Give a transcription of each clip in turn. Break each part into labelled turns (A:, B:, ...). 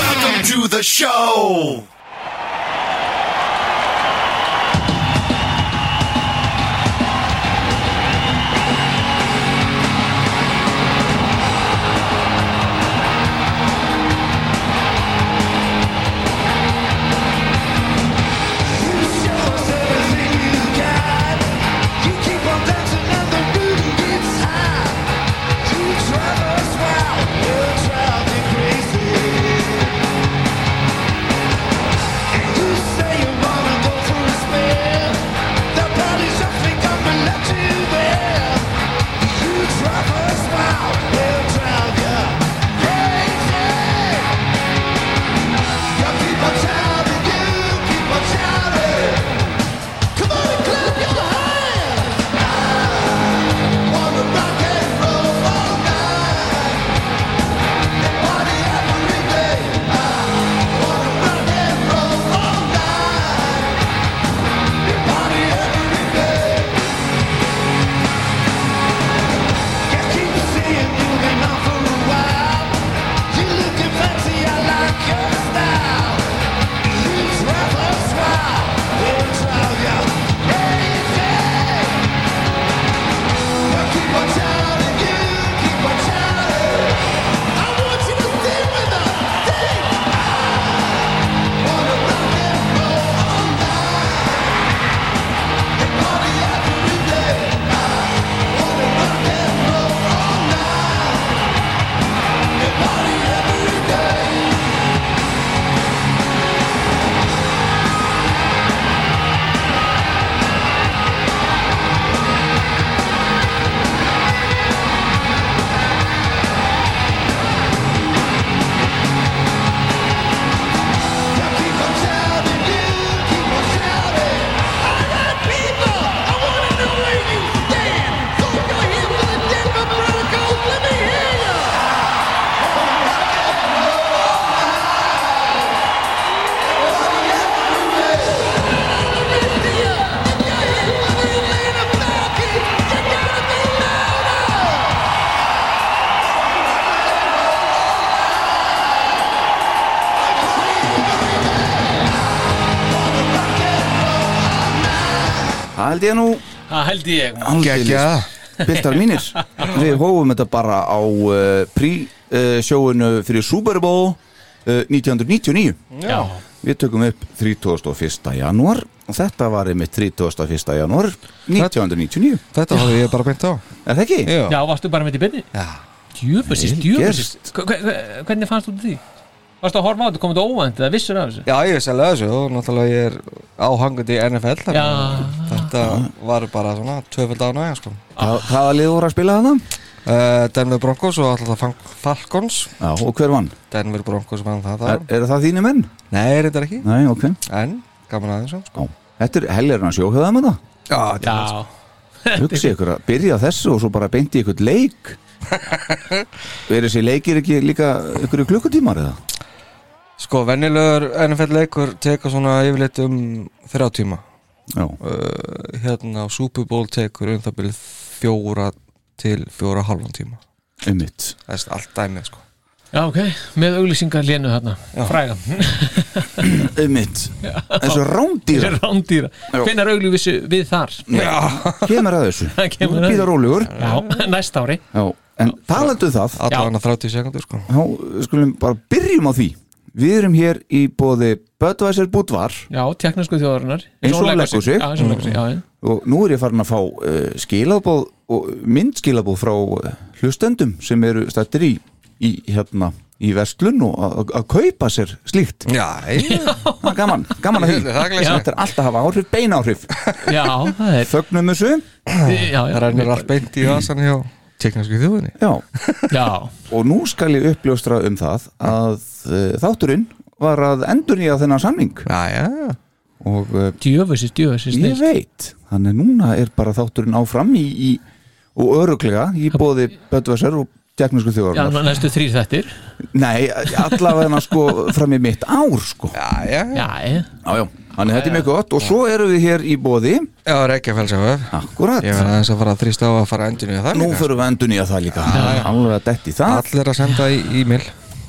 A: Welcome to the show.
B: Come on and clap your hands! wanna rock and roll all night and party every day. I wanna rock and roll all night and party every day. I keep seeing you been on for a while. You looking fancy, I like your style. You travel smile, we'll drive you crazy. Now keep on shouting, you keep on shouting. I want you to stay with us, stay. I wanna rock and roll all night and party every day. I wanna rock and roll all night and party every day. Now keep on shouting, you keep on shouting. I want people. I wanna know where you stand. So if you're here for the Denver Broncos, let me hear you.
C: Það held ég nú
D: Það held ég sko.
C: Gekkja Bildar mínir Við hófum þetta bara á uh, prísjóinu uh, fyrir Super Bowl uh, 1999
D: Já
C: Við tökum upp 31. janúar og þetta var einmitt 31. janúar 1999
E: Þetta hafði ég bara beint á
C: Er það ekki?
E: Já,
D: Já, varstu bara með þetta í byrni?
E: Já.
D: Djöfusist,
C: Vel
D: djöfusist Hvernig fannst þú því? Varstu að horfa á þetta, komið þetta óvænt eða vissur af þessu?
E: Já, ég vissi alveg þessu og náttúrulega ég er áhangandi í NFL þannig að
D: Já.
E: Þetta var bara svona tvöfald ánægja sko
C: Hva- Hvaða lið voru að spila þarna?
E: uh, Denver Broncos og alltaf Fal- Falcons
C: Já, og hver vann?
E: Denver Broncos vann það
C: Er,
E: þar
C: er það þínu menn?
E: Nei, reyndar ekki
C: Nei, ok
E: En, gaman aðeins sko.
C: Já. Þetta er helgirna sjóhauða með það
E: Já,
D: Já
C: Hugsið ykkur að byrja á þessu og svo bara beinti ykkur leik Er þessi leikir ekki líka ykkur í klukkutímar eða?
E: Sko, venjulegur NFL leikur tekur svona yfirleitt um þrjá tíma
C: Já,
E: uh, Hérna á Super Bowl tekur um það byrja fjóra til fjóra og hálfan tíma
C: einmitt
E: Það er allt dæmið sko
D: Já, ok, með auglýsingar lénu þarna Frægan,
C: Einmitt Þessu rándýra
D: rándýra Hvenær auglývissu við þar?
C: Kemur að þessu
D: Það kemur að
C: Býða
D: þessu.
C: rólegur
D: Já, næsta ári
C: Já, en talandu um það
E: Alla hana 30 sekundur sko
C: þá skulum bara byrjum á því Við erum hér í bóði Bödvæsir Búdvar
D: Já, teknisku þjóðarinnar
C: Eins og hún leggur sig.
D: Já, eins og hún leggur sig, já, já
C: eh, og nú er ég farin að fá uh, skilabóð og myndskilabóð frá uh, hlustendum sem eru stættir í, í hérna í verslun og að- að- að kaupa sér slíkt
E: Já, ég,
C: það er gaman, gaman að því
E: Það er glæsilegt.
C: þetta er alltaf að hafa áhrif, beina áhrif
D: Já, það er
C: þögnum þessu,
D: já,
E: það
D: já,
E: rennur allt beint í vasan hjá teknarsku þjóðinni
C: já
D: já,
C: og nú skal ég uppljóstra um það að uh, þátturinn var að endurnýja þennan samning
E: Já, já, já.
C: og uh,
D: djöfusis, djöfusis
C: ég
D: snill
C: veit þannig núna er bara þátturinn áfram í, í, og öruglega í bóði Böttvæsar og Tjeknisku
D: Já,
C: þjóðarinnar
D: næstu þrýr þettir
C: Nei, allavega sko fram í mitt ár sko
E: Já, já,
D: Já, ég
C: Já, já, þannig þetta er mjög gott og svo erum við hér í bóði
E: já, Reykjafels HF
C: Akkurat,
E: Ég verði aðeins að fara að þrýsta á að fara endur niður það
C: nú
E: líka.
C: förum við endur nýja það líka Alveg að detti það
E: Allir að senda í e-mail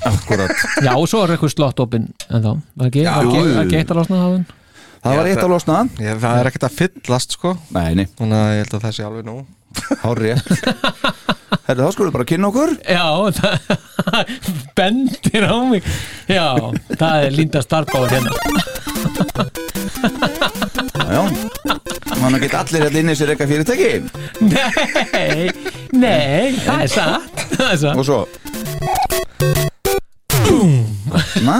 C: Akkurat,
D: Já, og svo er eitthvað slott opinn en þá Var ekki,
E: Já,
D: var
C: jú, jú.
D: ekki, var ekki eitt að losna hafinn
C: það var eitt að losna
E: ég, Það er ekkert að fyllast sko
C: Nei, nei,
E: Þannig að ég held að það sé alveg nú
C: hár rétt Herðu, þá skulum við bara kynna okkur
D: Já, það bendir á mig Já, það er Linda Starkóður hérna
C: Já, já Þannig að geta allir hérna inni sér eitthvað fyrirtæki
D: Nei, nei, það er satt Það er satt
C: Og svo Na,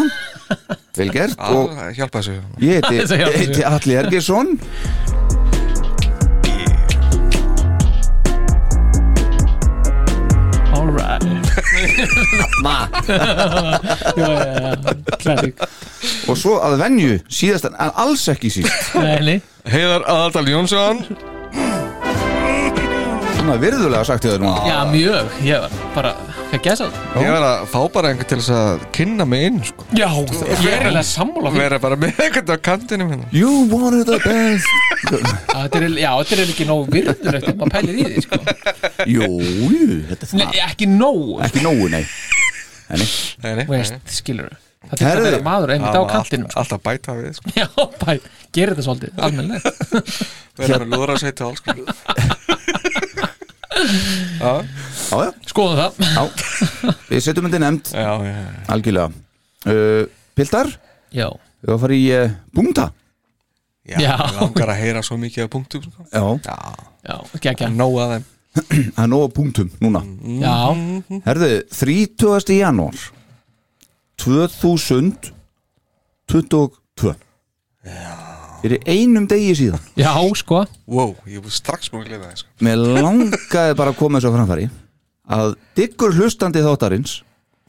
C: vel gert og
E: Að hjálpa þessu
C: Ég heiti,
D: Þessi hjálpar
C: ég heiti
D: sér.
C: Alli Ergesson
D: All right Já, já, já, klassik
C: og svo að venju síðast en alls ekki síst
D: Nei, nei,
E: Heiðar Aðaldal Jónsson
C: þannig að virðulega sagt þér núna
D: já, mjög Ég var bara, hvað gæsa það?
E: Ég verði að fá bara einhvern til þess að kynna mig inn sko
D: Já, ég er eiginlega sammála því
E: Verði bara með einhvern á kantinum hérna
C: You wanted the best
D: Já, þetta er, já, þetta er ekki nóg virðulegt ef maður pælir í því, sko
C: Jú, jú, þetta er
D: Nei,
C: það
D: ekki nóg
C: Ekki nógu, nei Nei,
E: Nei, nei,
D: veist, skilur það þurfti að
C: Herðu.
D: vera maður einmitt á
E: Það var
D: kantinum
E: allt- Alltaf bæta við sko
D: sko. já, bara, gera þetta svolítið, almenlega Hérna-
E: Verði með lúðra sveit og alls sko Já,
C: já, já,
D: skoðum það,
C: já Við setjum þetta í nefnd,
E: já, já
C: algjörlega uh, Piltar,
D: já,
C: við varum að fara í uh, búnda
E: Já,
D: Já.
E: mig langar að heyra svo mikið á punktum sko.
C: Já,
E: Já,
D: já, geggja
E: nóg að þeim
C: það er nóg af punktum núna
D: já,
C: Herðu, 30. janúar 2022 Fyrir einum degi síðan
D: já, sko
E: Wow, ég búið strax múið að gleyma það sko.
C: Mér langaði bara að koma þessu á framfæri að diggur hlustandi þáttarins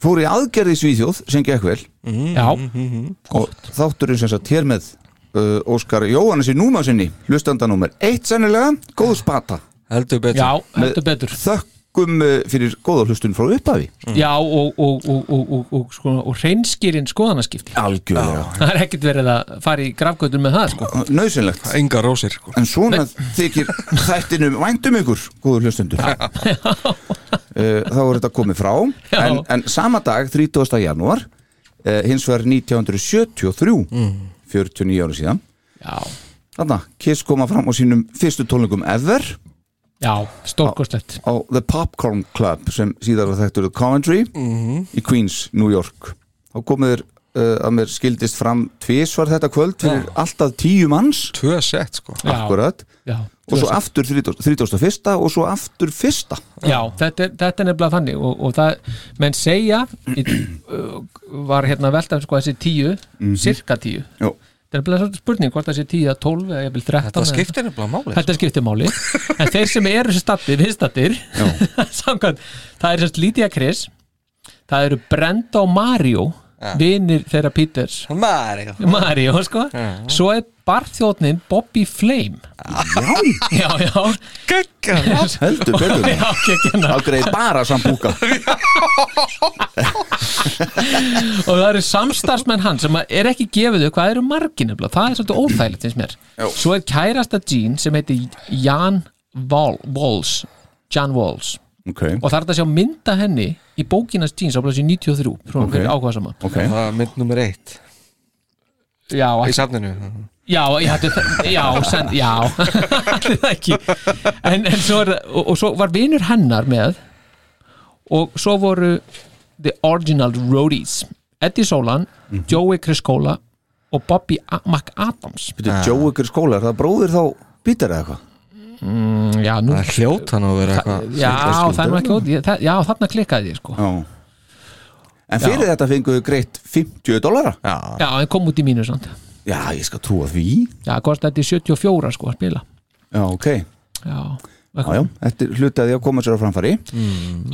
C: fór í aðgerði í Svíþjóð sem gekk vel
E: Mhm.
D: já,
C: og þátturinn sem satt hér með uh, Óskar Jóhannes í núma sinni hlustandanúmer eitt sennilega, góð spata
E: Heldur betur
D: já, heldur betur
C: þökkum uh, fyrir góða hlustun frá upphafi
D: já, og, og, og, og, og, og, sko, og reynskýrin skoðanaskipti
C: algjörlega,
D: það er ekkert verið að fara í grafgötur með það, sko
C: nöðsynlegt
E: Enga rósir sko.
C: en svona þykir þættinum væntum ykkur, góður hlustundur uh, þá er þetta komið frá
D: Já.
C: en, en sama dag, 30. janúar uh, hins vegar 1973
D: Mm.
C: 49 ára síðan
D: já,
C: þarna, Kiss koma fram á sínum fyrstu tólningum ever
D: já, stórkostlegt
C: á The Popcorn Club sem síðar var þekktur Coventry
E: Mhm.
C: í Queens, New York þá komið þér uh, að mér skildist fram tvisvar þetta kvöld fyrir alltaf tíu manns
E: Tvö sett sko.
D: já,
C: akkurat
D: já,
C: og svo aftur 30 31. og svo aftur fyrsta
D: Já, þetta er, þetta er nefnilega þannig og, og það, menn segja í, uh, var hérna veltan sko þessi tíu,
C: Mhm.
D: cirka tíu
C: Jó.
D: þetta er nefnilega svolítið spurning hvort það sé tíu að tólf eða jafnvel
E: Það
D: þrettán
E: skiptir nefnilega máli sko.
D: Þetta skiptir máli, en þeir sem eru sem stattir, viðstattir samkvæmt, það er semst Lídia Kris það eru Brenda og Mario vinir þeirra Peters
E: Mario
D: Mario, sko svo er barþjóðnin Bobby Flame Já, já, já,
E: Gekka
C: heldur betur
D: já, geggjana
C: þá greið bara sambúka
D: og það eru samstarfsmenn hans sem að er ekki gefið þau hvað eru margir nefnilega það er svolítið óþægilegt finnst mér svo er kærasta Jean sem heitir Jan Wall, Walls Jan Walls
C: ok,
D: og það er þetta að sjá mynda henni í bókinas Jean svo blæsir 93 frá okay. áhuga saman
C: ok
E: Það er mynd nummer eitt
D: já,
E: í
D: ekki-
E: safninu
D: já, ég hættu það- já, sen, já Ætli það ekki en, en svo er, það- og, og svo var vinur hennar með og svo voru The Original Roadies Eddie Solan,
C: Mhm.
D: Joey Criscola og Bobby A- McAdams
E: Ah.
C: Byrju, Joe ykkur skólar, það bróðir þá býtar eða eitthvað
D: mm, já, nú,
E: Það er hljótt hann að vera eitthvað
D: já, það er nú ekki ótt ég- það- já, þarna klikkaði ég sko
C: Já. En fyrir þetta fenguðu greitt 50 dollara
E: Já,
D: já, en kom út í mínu samt
C: Já, ég skal trúa því
D: já, kosti þetta í 74 sko að spila
C: Já, ok Já,
D: já,
C: já, þetta er hluti að því að koma sér á framfæri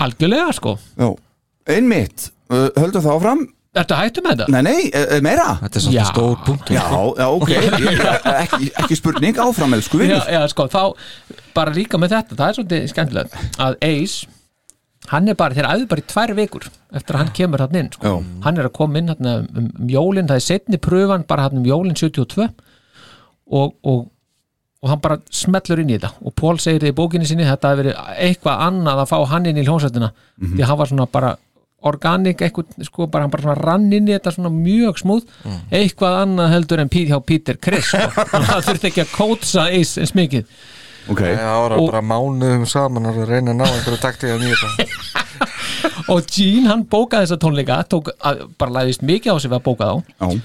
D: algjörlega sko
C: Já, einmitt uh, Höldum það áfram?
D: ertu að hættu með þetta?
C: Nei, nei, uh, meira
E: þetta er svolítið
D: Já.
E: stór punktur
C: Já, já, ok Ég- ekki, ekki spurning, áfram elsku
D: já,
C: vinur
D: já, sko, þá bara líka með þetta, það er svolítið skemmtilegt að Ace, hann er bara þeir æðu bara í tvær vikur eftir að hann kemur hann inn, sko.
C: Já.
D: hann er að koma inn hann um, um jólin, það er setni pröfan bara hann um jólin 72 og, og, og hann bara smellur inn í þetta og Paul segir í bókinni sinni þetta hafi verið eitthvað annað að fá hann inn í hljónsættina
C: Mhm.
D: því hann var svona bara organik, eitthvað, sko, bara hann bara svona rann inn í þetta svona mjög smúð
C: Mhm.
D: eitthvað annað heldur en Pete hjá Peter Chris sko. það þurfti ekki að kótsa eins eins mikið
C: Ok,
E: Það ára bara mánuðum saman að reyna að ná einhverju taktíða nýja
D: og Gene hann bókaði þessa tónleika tók, að, bara læðist mikið á sig við að bóka þá
C: já,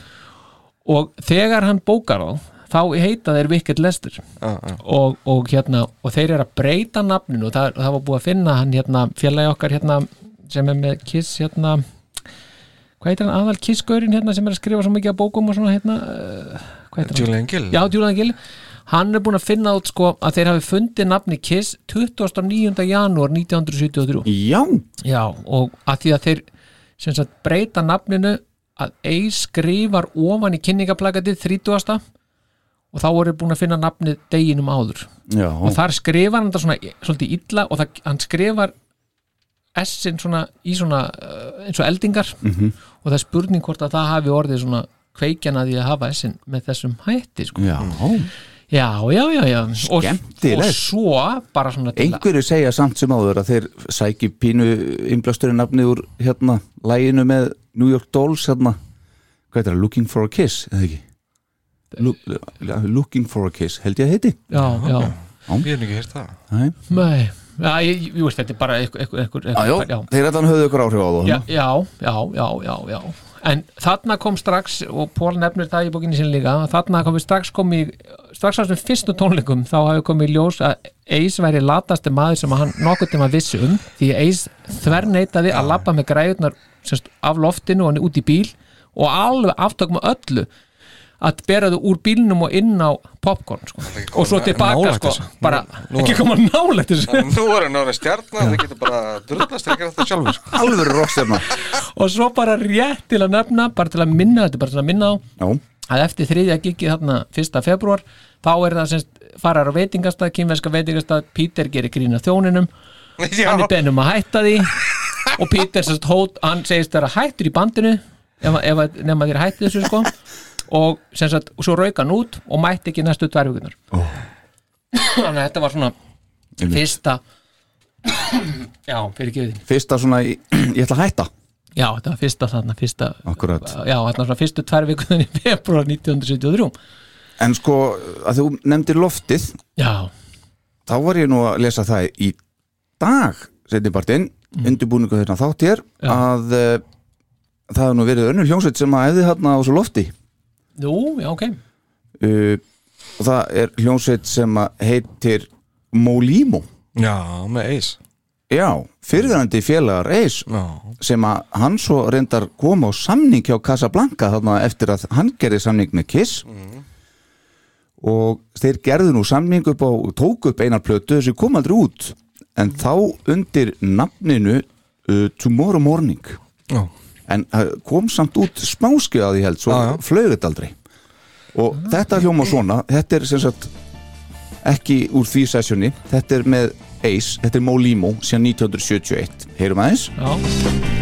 D: og þegar hann bókar þá þá heita þeir Wicked Lester og, og hérna og þeir eru að breyta nafninu og það, það var búið að finna hann hérna félagi okkar hérna sem er með Kiss hérna hvað heitir hann aðal Kiss-gaurinn hérna sem er að skrifa svo mikið að bókum og svona hérna uh, hvað heitir hann?
E: Julian Gill
D: Já, Julian Gill Hann er búin að finna út sko að þeir hafi fundið nafni Kiss 29. janúar 1973
C: já,
D: Já, og að því að þeir sem sagt breyta nafninu að ei skrifar ofan í kynningaplakatið 30. og þá voru búin að finna nafnið deginum áður
C: já.
D: og þar skrifar hann þetta svona svolítið illa og það, hann skrifar S-in svona í svona uh, eins og eldingar -hmm. og það er spurning hvort að það hafi orðið svona kveikjan að því að hafa S-in með þessum hætti sko.
C: Já,
D: Já, já, já, já og,
C: Skemmtilegt.
D: og svo bara svona til að-
C: einhverju segja samt sem áður að þeir sæki pínu innblasturinn nafnið úr hérna, læginu með New York Dolls hérna, hvað er það, Looking for a Kiss eða ekki Look, Looking for a Kiss, held ég að heiti
D: Já, já,
E: Ég hef ekki hýrt það
C: Nei.
D: nei Já, ég, ég veist, þetta er bara einhver, einhver, einhver,
C: Já, já,
D: já,
C: þeir allan höfðu ykkur áhrif á hérna. það
D: já, já, já, já, já, já en þarna kom strax og Pól nefnir það í bókinni sinni líka þarna kom við strax komi strax á þessum fyrstu tónleikum þá hafi komið í ljós að Ace væri latasti maður sem að hann nokkuð tíma vissi um því að Ace þverneytaði að labba með græðunar semst, af loftinu og hann út í bíl og alveg aftökum að öllu að bera þau úr bílnum og inn á popcorn sko.
E: ekki
D: og svo
E: koma
D: tilbaka
E: nálægt
D: sko,
E: þessu. Nú-
D: bara
E: nú-
D: ekki koma nálægt þessu
E: Nú er hann orðin stjarnar, það getur bara drullast ekki þetta sjálfur sko.
C: Alvöru rockstjarna
D: og svo bara rétt til að nefna bara til að minna þetta, bara til að minna á
C: Já,
D: að eftir þriðja gigið þarna 1. februar þá er það semst farar á veitingastað, kynverska veitingastað Pítur gerir grína þjóninum
E: Já,
D: hann er beðinn um að hætta því og Pítur semst hót, hann segist það er hættur í bandinu ef, ef, nefn að þér hætti þessu sko og sem sagt, og svo rauk hann út og mætti ekki næstu dverfjögunar oh. þannig að þetta var svona fyrsta já, fyrir gefið
C: fyrsta svona, í- ég ætla að hætta
D: já, þetta var fyrsta þarna, fyrsta
C: Akkurat
D: já, þarna svona fyrstu tverfjögunar í februar 1973
C: En sko, að þú nefndir loftið
D: já,
C: þá var ég nú að lesa það í dag setnibartinn, mm. undirbúningu hérna þátt hér
D: Já.
C: að uh, það hefur nú verið önnur hljómsveit sem að hefði hérna á svo lofti
D: Jú, já, ok
C: uh, og það er hljómsveit sem að heitir Molimo
E: já með eis
C: já, fyrirverandi félagar Eis
E: Já,
C: sem að hann svo reyndar kom á samning hjá Casablanca þarna eftir að hann gerði samning með Kiss og þeir gerðu nú samning upp á, tók upp einar plötu sem kom aldrei út en þá undir nafninu uh, Tomorrow Morning
E: já,
C: en uh, kom samt út smáskjöðaði held svo
E: Já, já.
C: flög þetta aldrei og þetta hljóma svona þetta er sem sagt ekki úr því sessjóni, þetta er með Ace, þetta er Molimo síðan 1971, heyrum aðeins
D: Já,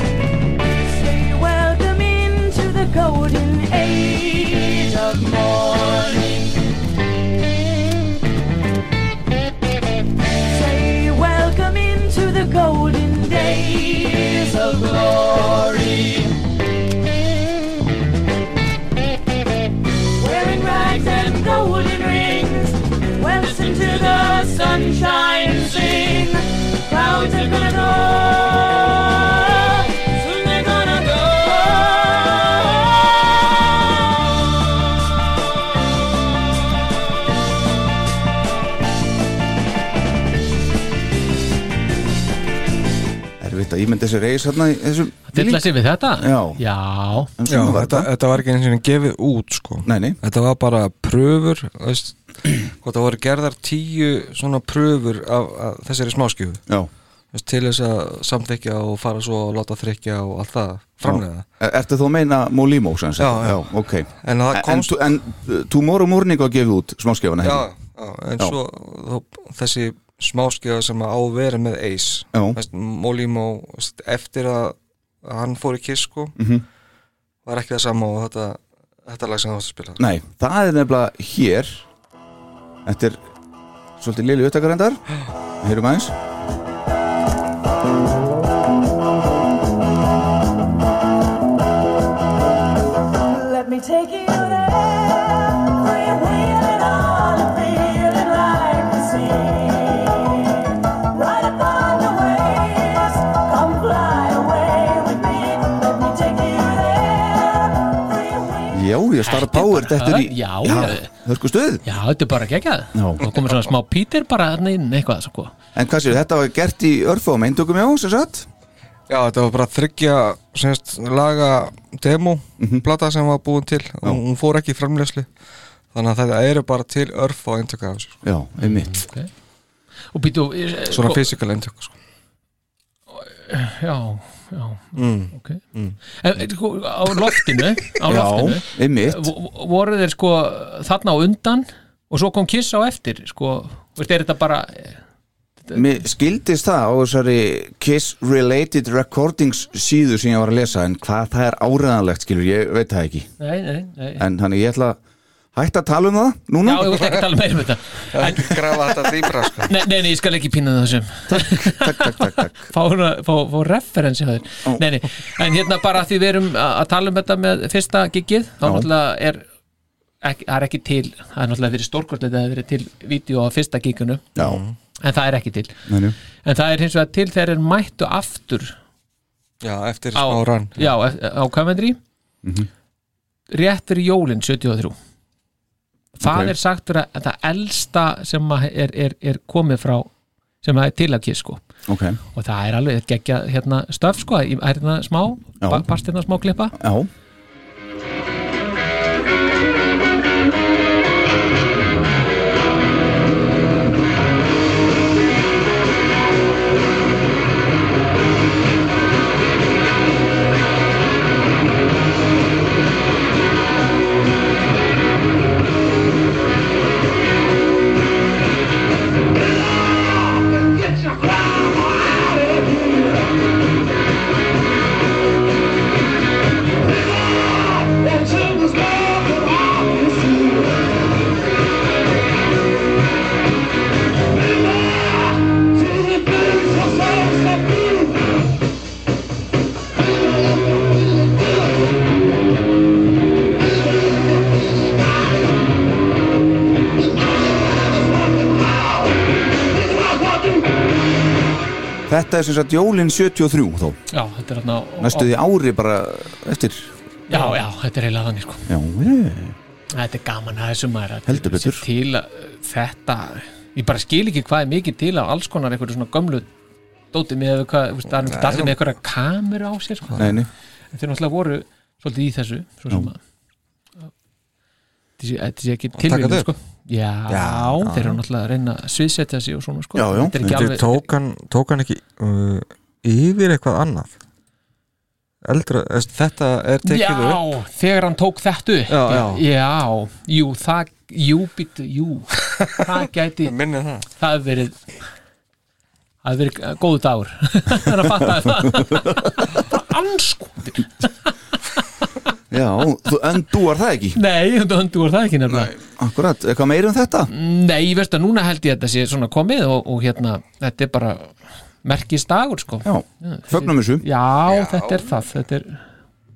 F: Welcome into the golden age of morning. Say welcome into the golden days of glory. Wearing rags and golden rings, well into the sunshine sing. Clouds are
C: er veit að ímyndi þessi reis hérna í þessum
D: Fylla sér við þetta?
C: Já.
D: Já.
C: En
E: Já,
C: svona var
E: þetta, þetta var ekki eins og gefið út sko.
C: Nei, nei.
E: Þetta var bara pröfur þú veist, Hvað það voru gerðar tíu svona pröfur af, af þessari smáskjöfu
C: Já
E: Þú veist, til þess að samþykja og fara svo og láta þrykja og allt það framlega
C: Er- Ertu þú að meina Molimo sem sagt?
E: Já, já.
C: ok
E: En það komst-
C: En, en Tomorrow Morning var gefið út smáskefuna
E: Já,
C: hérna
E: já, en
C: Já.
E: svo þó, þessi smáskjöfa sem að á að vera með Ace
C: Já.
E: Þú veist, Molimo þú veist, eftir að að hann fór í kiss sko,
C: Mhm.
E: var ekki það sama og þetta, þetta lag sem það var að spila
C: Nei, það er nefnilega hér Þetta er svolítið lili uttakarendar Heyrum aðeins
F: Let me take you there where you're wheeling on and feeling like the sea. Right upon the waves, come fly away with me. Let me take you there where you're wheeling
C: Já, ég starf power þetta er í
D: Já, já.
C: það er sko stuð
D: Já, þetta er bara geggjað.
C: Já.
D: Þá komur svona smá Pítur bara þarna inn eitthvað sko.
C: En hvað séu, þetta var gert í örfum eintökum já, sem sagt
E: Já, þetta var bara þryggja semst, laga demo
C: Mhm.
E: plata sem var búin til og hún fór ekki í framlegslu þannig að þetta eru bara til örf á eintöku af þessu, sko.
C: Já, einmitt
D: Mm, Og eh, býtu...
E: svona fysikal eintöku sko.
D: Já, já. Mm,
E: Mm.
D: Ok. En sko, á loftinu, á
C: Já,
D: loftinu,
C: einmitt
D: vo- voru þeir sko þarna á undan og svo kom Kiss á eftir sko, veist, er þetta bara
C: Mér skildist það á þessari Kiss Related Recordings síðu sem ég var að lesa en hvað það er áreðanlegt skilur, ég veit það ekki
D: nei, nei, nei
C: en hann ég ætla að hætta að tala um það
D: Já,
C: núna
D: ég vilt ekki tala meira um þetta en,
E: Grafa þetta dýbra sko.
D: nei, nei, nei, ég skal ekki pína það þessum
C: takk, takk, takk, takk.
D: fá, fá, fá referensi að þér
C: Ó.
D: nei, nei, en hérna bara að því við erum að að tala um þetta með fyrsta giggið þá
C: Já.
D: náttúrulega er ekki, það er ekki til, það er náttúrulega verið stórkortlega það er verið til vídeo á fyrsta gigginu
C: Já,
D: en það er ekki til,
C: meni.
D: en það er hins vegar til þegar þeir mættu aftur
E: Já, eftir
D: á,
E: smá rann
D: já, ef- á Coventry
C: Mhm.
D: rétt fyrir jólin 73 það
C: Ok.
D: er sagt vera það elsta sem að er, er, er komið frá sem að er til að kiss sko
C: ok
D: og það er alveg geggja hérna stöf sko, í- er hérna smá,
C: Já.
D: ba- barst hérna smá klippa
C: Já, þetta er sem sagt jólin 73 þó
D: já, þetta er hérna
C: næstu því ári bara eftir
D: já, já, þetta er heila þannig sko
C: Já, ég-
D: þetta er gaman að þessu maður að
C: Heldur
D: sé
C: betur.
D: til að uh, þetta, ég bara skil ekki hvað er mikið til af alls konar einhverju svona gömlu dóti með hvað, þú veist, það er náttúrulega allir með einhverja kameru á sér sko,
C: nei, nei
D: En þeir náttúrulega voru svolítið í þessu, svo sem að Þetta sé- þetta sé ekki tilvíðin
E: þetta
D: sko já, þeir eru náttúrulega að reyna að sviðsetja sig og svona sko
C: Já, já.
D: Þetta er ekki
E: Þetta
D: alveg-
E: tók hann, tók hann ekki uh, yfir eitthvað annað Eldra, þú veist, þetta er
D: Já,
E: tekið upp
D: þegar hann tók þetta upp
E: Já, já.
D: jú, það jú, býttu, jú það gæti,
E: Minni það
D: það hefur verið það hefur verið góðu dagur þannig að fatta það bara ansko,
C: Já, þú endúar það ekki
D: nei, þetta höndu voru það ekki nefnilega,
C: Akkurat, eitthvað meira um þetta?
D: nei, nei veist að núna held ég að þetta sé svona komið og, og hérna þetta er bara merkis dagur sko, já,
C: Já, fögnum þessu
D: þetta er það þetta er,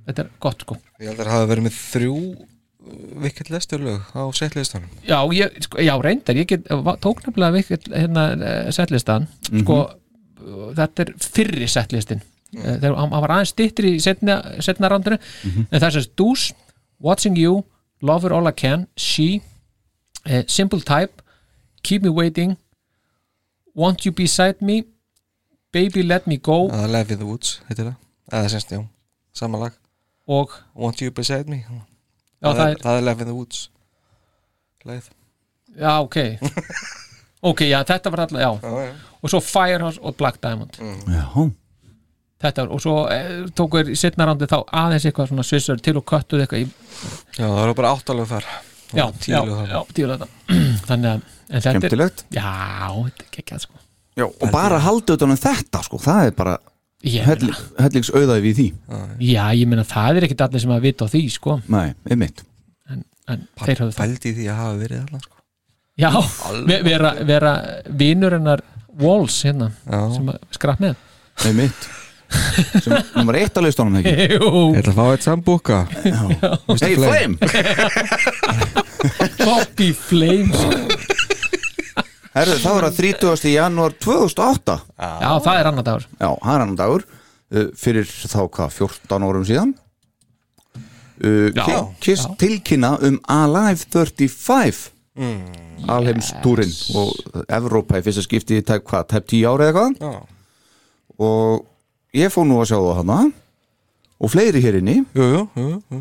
D: þetta er gott sko
E: Ég held að það hafa verið með þrjú uh, vikil lesturlög á setlistanum
D: Já, ég, sko, já reyndar, ég get, va- tók nefnilega vikil hérna eh, settlistan sko, eh, þetta er fyrri settlistin mm. þegar hann hann var aðeins styttri í setna, setna randinu en það er sem Dús, Watching You Lover All I Can, She eh, Simple Type Keep Me Waiting Won't You Beside Me Baby Let Me Go
E: eða Live in Uh, the Woods, heitir það eða semst, já, sama lag
D: og
E: Want You Beside Me já,
D: já, það er,
E: það er Live in the Woods leið
D: já, ok ok, já, þetta var alltaf, já
E: já, Mhm. já.
D: og svo Firehouse og Black Diamond
C: Já,
D: þetta var, og svo eh, tóku þér setna rándið þá aðeins eitthvað svona svissar til og köttuð eitthvað í,
E: já, það eru bara áttalög þar
D: já,
E: Og
D: já,
E: tíu lög þar.
D: já, tíu þetta þannig að, en þetta er
C: kemtilegt
D: já, þetta er geggjað sko
C: Já, og bara halda utan um þetta sko, það er bara
D: ég meina,
C: hellings auðaði við í því
D: já, ég meina það er ekkit allir sem að vita á því, sko
C: Nei, einmitt
D: en, en þeir höfðu það
E: pældi í því að hafa verið þarna sko.
D: já, ve- vera, vera vinur hennar Walls hérna, sem að skrapp með
C: Einmitt sem nummer eitt á listunum ekki
D: Jú,
E: Ég ætla að fá eitt sambúka Mr.
C: Hey Flame!
D: Bobby Flames
C: Herðu, það var að 30. janúar 2008
D: Já, það er annar dagur
C: Já, hann er hann dagur uh, fyrir þá hvað, 14 árum síðan uh,
D: Já,
C: Ki- Kiss
D: já.
C: tilkynna um Alive 35
D: Mm.
E: Mm.
C: alheimstúrin og Evrópa í fyrsta skipti í tæp hvað, tæp 10 ára eða eitthvað
E: Já.
C: og ég fór nú að sjá það hana og fleiri hér inni
E: Jú, jú, jú, jú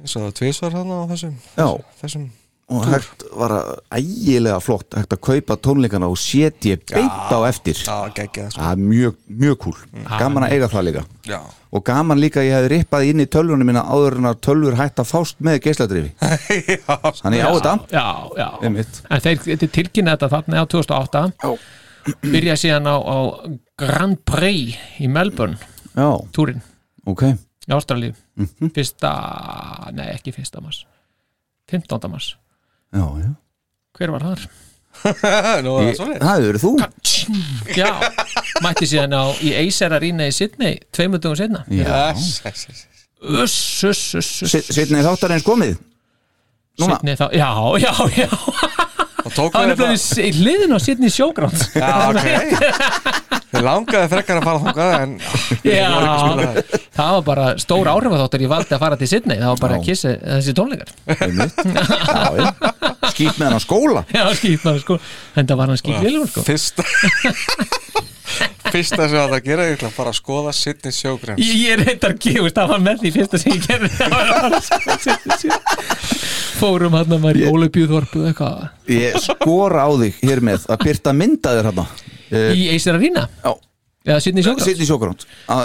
E: Ég sagði það tvisvar hann á þessum
C: já,
E: Þessum
C: og hægt var að ægilega flott hægt að kaupa tónleikana og setja beint á eftir
E: Já, geggjað sko. Mm.
C: það er mjög, mjög kúl gaman að eiga það líka
E: Já,
C: og gaman líka að ég hefði rippað inn í tölvunum minna áður en að tölvur hægt að fást með geisladrifi þannig ég á þetta
D: Já, já
C: Einmitt.
D: En þeir þeir tilkynna þetta þarna á 2008 já. Byrja síðan á, á Grand Prix í Melbourne
C: já, Mhm.
D: Túrin
C: ok,
D: í Ástralíu Fyrsta, nei ekki fyrsta mars 15. mars
C: já, já
D: Hver var þar?
E: nú er það
C: ég,
E: svona
C: það hefur verið þú
D: Já, mætti síðan á í Acer Arena í Sydney Tveimundugum setna
C: já.
D: Uss, uss, uss, uss
C: setna í þáttar eins komið núna,
D: Sydney þá, já, já, já
E: Og tók
D: Það er
E: við
D: nefnilega
E: það
D: s- í hliðin á Sydney Showgrounds
E: Já, ok Þið langaði frekar að fara þangað En
D: Já, það var bara stór áhrifatháttur ég valdi að fara til Sydney, það var bara að kissa þessi tónleikar
C: einmitt já, já. skýt með hann á skóla
D: Já, skýt maður sko, en það var hann skýt viljum sko
E: fyrsta Fyrsta sem það gera Ég ætla að fara að skoða Sidney Sjógren
D: Ég, ég reyndar gefust, það var með því fyrsta sem ég gerði Það var bara að skoða Sydney Showgrounds. Fórum hann að maður í Ólefjúðorpu eitthvað,
C: ég skora á þig hér með að byrta myndaðir hérna
D: í Acer Arena
C: Já.
D: eða Sydney Showgrounds
C: Sittin Sjókrand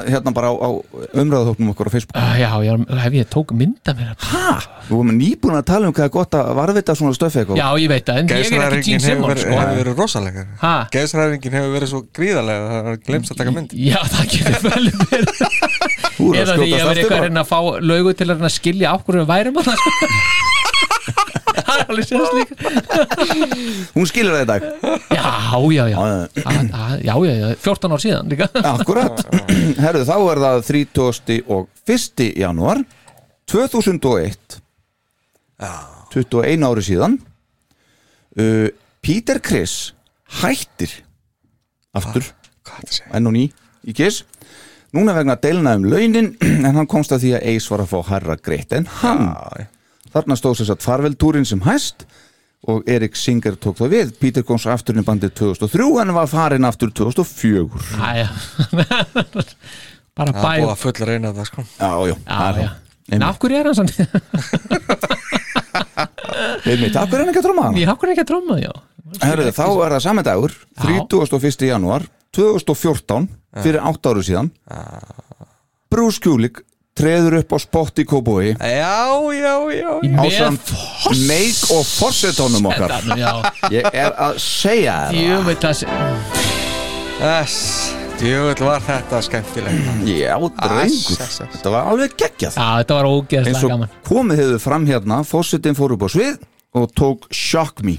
C: hérna bara á, á umræðathóknum okkur á Facebook
D: Ah, Já, já, hef ég tók mynda mér hérna. að-
C: við vorum nýbúin að tala um hvað er gott að varvita svona stöfi eitthvað
D: Já, ég veit það, en ég er ekki Gene
E: Geðsræðingin hefur
D: Simmons
E: verið,
D: sko
E: hefur verið rosalega
D: Ha?
E: Geðsræðingin hefur verið svo gríðarlega að Það er glemst að taka mynd
D: Já, það getur vel verið
C: Þú er að
D: Eða
C: skjótast
D: því að vera
C: aftur
D: eitthvað að
C: bara.
D: reyna að fá laugu til að reyna að skilja okkur við værum að það Það er alveg séðast líka
C: hún skilur það í dag
D: Já, já, já
C: Já,
D: Að- að- Já, já, já, 14 ár síðan líka
C: akkurat herðu þá er það 30. og 1. janúar 2001 21 ári síðan uh, Peter Criss hættir aftur
E: Ah, Hvað það segja?
C: enn og ný í Kiss núna vegna deilna um launin en hann komst að því að Ace var að fá herra greitt en hann,
E: já.
C: þarna stóð sér satt farveldúrin sem hæst og Erik Singer tók það við Peter komst aftur inn í bandið 2003 en var farin aftur 2004
D: Já, já
E: Það
D: Bara
E: er
D: bæ
E: búið að full reyna það sko
C: já, já,
D: Já, já En
C: Einmitt.
D: af hverju er hann sann?
C: einmitt, af hverju er hann ekki að tróma hann?
D: Ég af hverju er ekki að tróma, já
C: Herðu, þá er það saman dagur 31. janúar 2014 fyrir 8 áru síðan Bruce Kulik treður upp á spott í Kóboi
E: Já, já, já, já
D: Með
C: ásamt meik og fórsetónum okkar
D: þetta, já
C: ég er að segja þér
D: Jú, veit það sé-
E: Þess, djöfull var þetta skemmtilegt
C: það já, drengur,
E: Ass, ass, ass.
C: þetta var alveg geggjað
D: Já, þetta var
C: eins
D: ógeðslega
C: og
D: gaman
C: komið hefur fram hérna fórsetin fór upp á svið og tók Shock Me,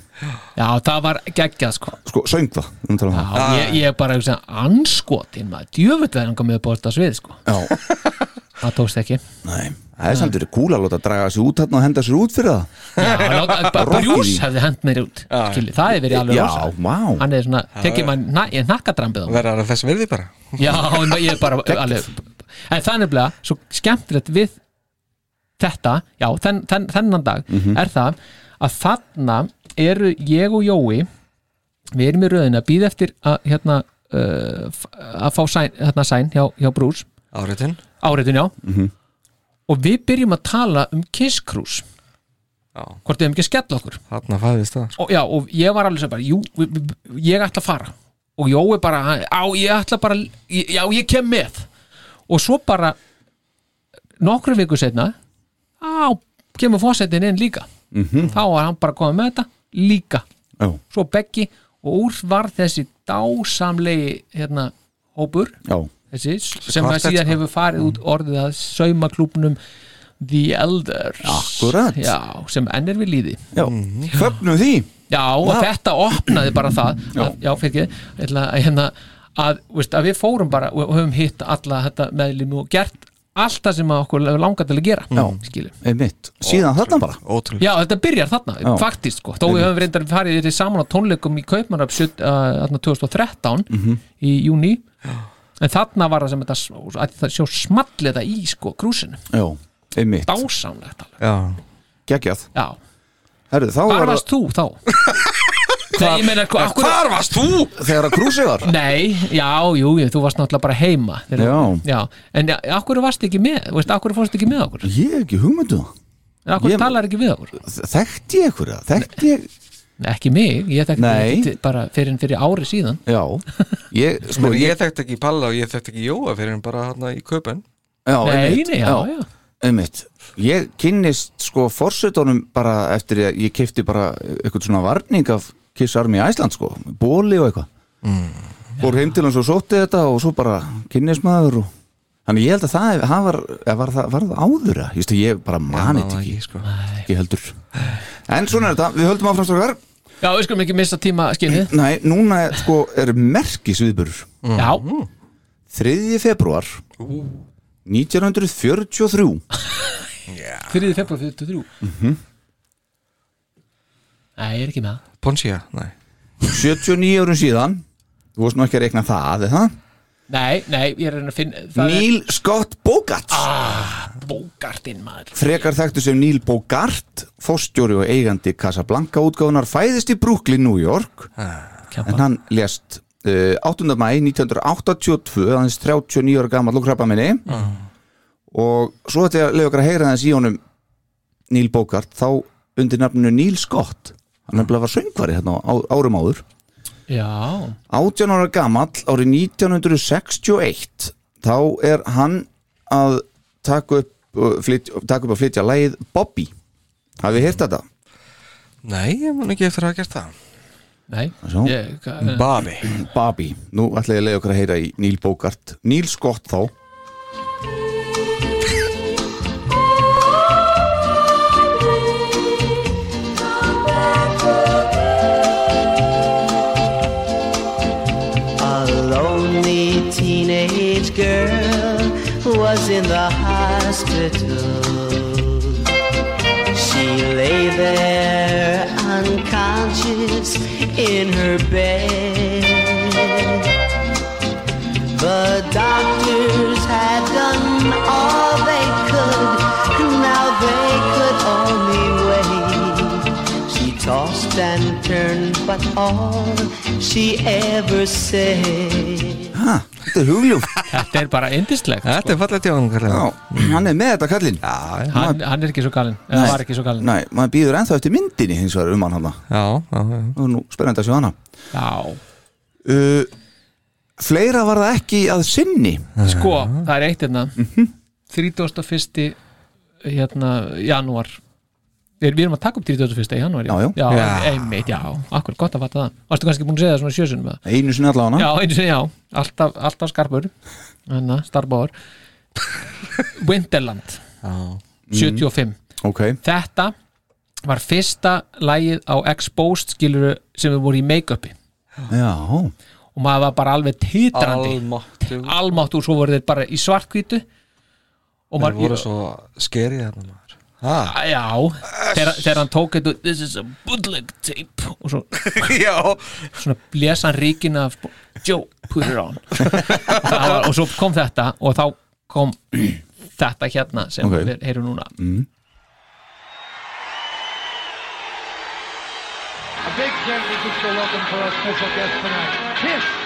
D: Já, það var geggjað, sko
C: sko, söng það um tala um það.
D: Já, ég, ég er bara hugsa, anskotin maður, djöfull verðan komið upp á þetta svið sko.
C: Já.
D: það tókst ekki já,
C: Nei, það er samt verið kúla að láta draga sig út hérna og henda sér út fyrir það
D: láta- bara
C: Rocky.
D: Bruce hefði hend mér út skilji, það hefði verið alveg
C: Já,
D: rosa
C: vá.
D: hann er svona, tekið maður na, ég nakkadrambið á honum.
E: Verðar þess virði bara
D: já, en ég er bara alveg, en það er nefnilega svo skemmtilegt við þetta, já, þenn, þenn, þennan dag
C: Mhm.
D: er það að þarna eru ég og Jói við erum í röðinu að býða eftir að hérna uh, f- að fá sæn, þarna sæn hjá, hjá Bruce
E: áriðin
D: áriðin já
C: Mhm.
D: og við byrjum að tala um Kiss Cruise
E: Já.
D: hvort við hefum ekki að skella okkur
E: þarna fæðist það sko.
D: og, já, og ég var alveg sem bara, jú, vi- vi- vi- ég ætla að fara og Jói bara, á, ég ætla bara ég- já, ég kem með og svo bara nokkru viku setna á, kemur fósettin inn líka -hmm. þá var hann bara komið með þetta líka,
C: já,
D: svo Beggi og úr var þessi dásamlegi hérna, hópur
C: já,
D: þessi, sem að
E: kvartett,
D: síðan
E: sko.
D: hefur farið út orðið að saumaklúbnum The Elders
C: Akkúrat.
D: já, sem enn er við líði
C: já. Fögnum Mhm. því
D: Já, og
C: Já.
D: þetta opnaði bara það að, Já, fyrir ekki, ég ætla að hérna að, veist, að við fórum bara og og höfum hitt alla þetta meðlum og gert allt það sem að okkur langar til að gera Já,
C: einmitt, síðan þarna bara
E: ótrúlega
D: Já þetta byrjar þarna,
C: Já.
D: faktist sko þó við höfum reyndar farið yfir saman á tónleikum í Kaupmannöf uh, 2013
C: Mhm.
D: í júni en þarna var það sem þetta s- að það sjó smallið þetta í sko krúsinu
C: já, einmitt,
D: dásamlegt alveg
E: já,
C: geggjað
D: Já,
C: Herru, þá var
D: hvar varst þú þá? Nei, ég meina, hva, hvar,
E: hvar varst þú?
C: þegar að krúsi var
D: Nei, já, jú, jú, þú varst náttúrulega bara heima þegar-
C: Já.
D: já En ja, af hverju varst ekki með, þú veist, af hverju fórst ekki með okkur
C: Ég hef ekki hugmyndu
D: En af hverju
C: Ég-
D: talar ekki við okkur
C: Þekkti ég ykkur það, þekkti ég
D: Nei, Ekki mig, ég þekki
C: Nei.
D: ekki til- bara fyrir, fyrir ári síðan
C: Já, ég, sko,
E: ég
C: ég
E: þekkt ekki Palla og ég þekkt ekki Jóa fyrir en bara hérna í köpen
C: já,
D: Nei,
C: einmitt,
D: nei, já, já,
C: einmitt Ég kynnist sko forsetunum bara eftir að ég kefti bara eitthvað svona varning af Kiss Army í Æsland sko, bóli og eitthvað mm. Fór heim til hans og sótti þetta og svo bara kynnist maður og Þannig ég held að það, það var, eða var, það, var það áður að, just, ég bara mani þetta ekki,
E: sko.
C: ekki heldur En svona er þetta, við höldum áfram strókar
D: já, við skulum ekki missa tíma skilið
C: Nei, núna er, sko er merkisviðburur
D: Mm. Já,
C: 3. februar 1943
D: 3. februar 43 Nei, ég er ekki með það
E: Ponsia, nei
C: 79 árum síðan Þú varst nú ekki að reikna það, eða?
D: Nei, nei, ég er Ah. að reyna að finna Það
C: Neil Scott Bogart
D: er bókartinn maður
C: Frekar þekktu sem Neil Bogart Fóstjóri og eigandi Casablanca útgáfunar Fæðist í Brooklyn, New York En
D: Kjampa.
C: hann lést uh, 8. mæ 1982 Hann er 39 ára gammal og krabba minni
E: Ah.
C: Og svo þetta ég að lefa ykkur að heyra þess í honum Neil Bogart Þá undir nafninu Neil Scott Hann nefnilega var söngvari hérna á, árum áður
D: Já,
C: 18 ára gamall árið 1961 þá er hann að taka upp, uh, flyt, taka upp að flytja lægið Bobby hafið hirt þetta?
E: nei, ég mun ekki eftir að hafa gert það
D: nei
C: Sjá.
D: ég, hva-
E: Babi
C: Bobby, nú ætla ég að leiða okkur að heyra í Neil Bogart Neil Scott þá
G: A lonely teenage girl was in the hospital. She lay there unconscious in her bed. The doctors had done all they could. Now they could only
D: sko.
G: wait. She tossed and turned, but all she ever said.
C: ha, þetta er hugljúf
D: Þetta er bara indislegt sko.
E: Þetta er fallið tjóðan
C: Já, hann er með þetta kallinn
E: já,
D: hann, hann er ekki svo galinn eða var ekki svo galinn
C: Nei, maður býður ennþá eftir myndinni hins vegar um hann hana
E: já, já, já.
C: og nú spennandi að sjá hana
D: Já,
C: uh, Fleira var það ekki að sinni
D: sko, það er eitt hérna
C: Mhm.
D: 31. Hérna, janúar Við við erum að taka upp 31. janúar
C: Já, já.
D: já,
E: Já.
D: einmitt, já, akkur, gott að fatta það Varstu kannski búin að segja það svona sjösunum að
C: Einu sinni allavega
D: Já,
C: hana
D: einu sinni, já, alltaf, alltaf skarpur Þannig að starfbáður Winterland 75
C: Mm. Ok,
D: Þetta var fyrsta lægið á Exposed skiluru sem við voru í make-upi
C: já,
D: og maður var bara alveg titrandi
E: Almáttu
D: almátt og svo voru þeir bara í svartkvítu og
E: Það voru
D: maður
E: svo skerið þarna maður Ha?
D: já, þegar, þegar hann tók þetta this is a bootleg tape og svo
E: Já,
D: svona blés hann ríkina af Joe, put it on Það var, og svo kom þetta og þá kom þetta hérna sem
C: Ok.
D: við heyrum núna
A: Mm.
H: A big gently just welcome for our special guest tonight. Kiss!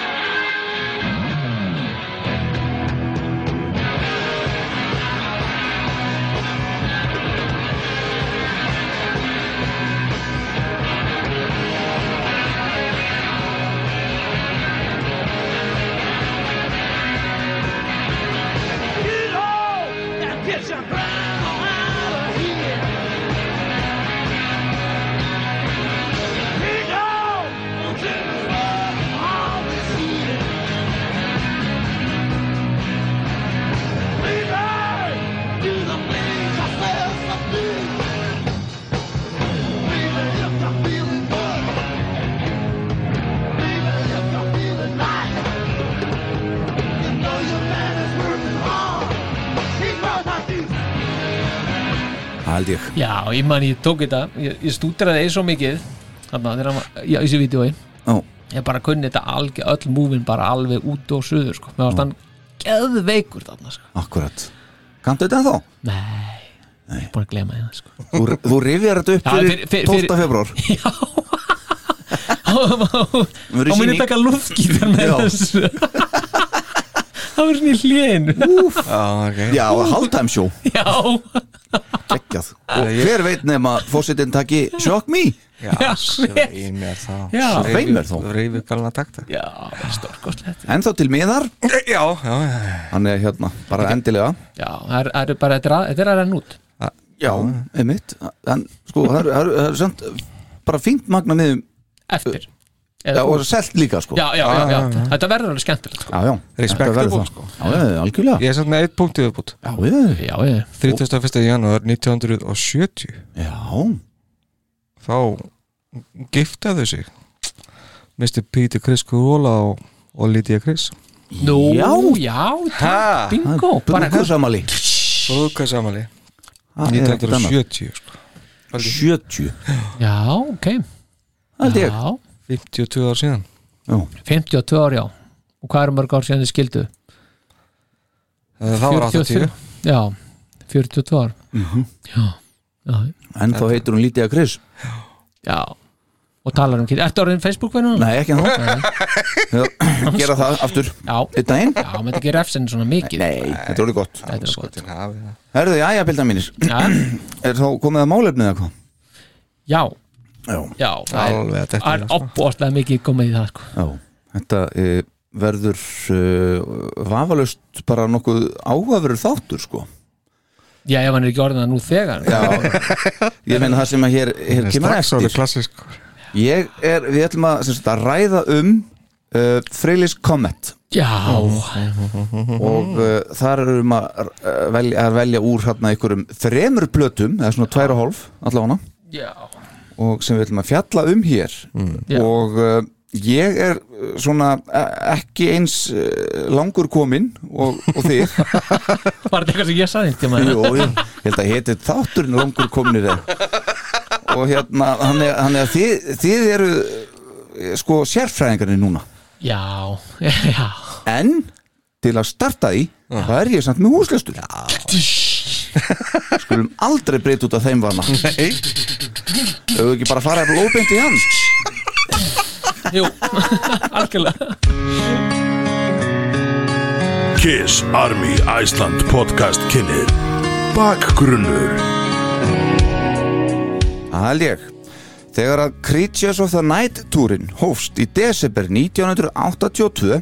C: held ég
D: Já, ég man, ég tók þetta Ég, ég stúdraði eins og mikið Þannig að þegar hann var, já, í þessu vídói
C: Ó,
D: Ég bara kunni þetta algjör, öll múvin bara alveg út og suður, sko Mér varst hann geðveikur þarna, sko
C: akkurat Kanntu þetta þá?
D: Nei, ég er búin að glema það, sko
C: Þú, þú rifjar þetta upp
D: Já,
C: fyrir,
D: fyrir- fyrir-
C: 12. februar verður
D: Já Há muni
C: sýning.
D: taka luftkýtar með
C: Já.
D: þessu Það verður svona í hléinu
E: ah, okay.
C: Já, halvtime show,
D: Já,
C: geggjað Og hver veit nema fósitin taki Shock Me
D: já,
E: Svo
D: hver
E: í mér þá
D: Já.
E: Svo
C: Svein mér þá.
E: rífið- rífið galna takta
D: Já, stórkostlegt
C: En þá til miðar,
E: já, já, já, já.
C: hann er hérna, bara endilega
D: Já, það er- það eru bara, þetta er að- þetta er að renna út
E: Ah,
C: Já, einmitt En sko, það er, það er, það er samt bara fínt magna miðum
D: Eftir
C: Já,
D: Eða,
C: og selt líka sko
D: já, já, já, já,
E: Ah.
D: þetta verður alveg skemmtilegt sko.
C: já, já.
E: Respect
C: Þetta verður
E: til
C: það.
E: bók, sko.
C: Já, já, algjörlega
E: ég er samt með eitt punkt í viðbútt
C: Já, já,
D: Já, já,
E: 31. janúar 1970
C: já,
E: þá giftaðu sig Mr. Peter Chris Corolla og, og Lydia Chris
D: Nú,
C: Já.
D: já, já bingo bara,
C: Brúðkausamali
E: Brúðkausamali Ah,
C: Það Ah, er ekkert annað.
E: 1970 sko.
C: 70
D: Já, ok
C: Held ég
D: já,
E: 52 ár síðan
C: Já.
D: 52 ár, já Og hvað eru mörg ár síðan þið skildu?
E: Eh, það var 80
D: Já, 42 ár
C: Mhm.
D: Já, já,
C: En þá heitir hún Lítiða Kris
D: já Og talar um kýtt Ertu orðin Facebook verður núna?
C: Nei, ekki hann þá Gera það aftur
D: Já,
C: Einn daginn
D: já, maður ekki refsinn svona mikið
C: Nei, þetta er orðið gott
D: Þetta er gott
C: Herðu, já, já, bilda mínir
D: Já,
C: Er þá komið að málefnið eða hvað?
D: já,
C: Já,
D: já Það er-
E: alveg að
D: það er
E: þetta sko.
D: opbóðslega mikið komið í það sko.
C: já Þetta e, verður uh, vafalaust bara nokkuð áhugaverður þáttur sko
D: Já, ef hann er ekki orðin það nú þegar
C: Já, ég meina það sem að hér, hér kemur
E: strax
C: eftir
E: orðið klassisk
C: Ég er, við ætlum að, sem sagt, að ræða um uh, Freylis Comet
D: Já,
B: Mhm.
C: og uh, þar erum að, uh, velja, að velja úr hérna einhverjum þremur blötum, eða svona tværa hálf allavega,
D: já
C: og sem við ætlum að fjalla um hér
D: Já.
C: og uh, ég er uh, svona eh, ekki eins uh, langur komin og, og þið
D: Var þetta eitthvað sem ég saði einhvern tímann?
C: Jú, jú, ég held að heiti þátturinn langur komnir þeir og hérna, hann er, hann er þið, þið eru eh, sko sérfræðingarnir núna
D: Já, já
C: en til að starta í það er ég samt með húslistur skulum aldrei breyta út af þeim vana
E: Nei.
C: hefur ekki bara farað lóbeint í hann
D: Jú, algjörlega
A: Kiss Army Iceland podcast kynir Bakgrunnur
C: það held ég þegar að Creatures of the Night túrin hófst í desember 1982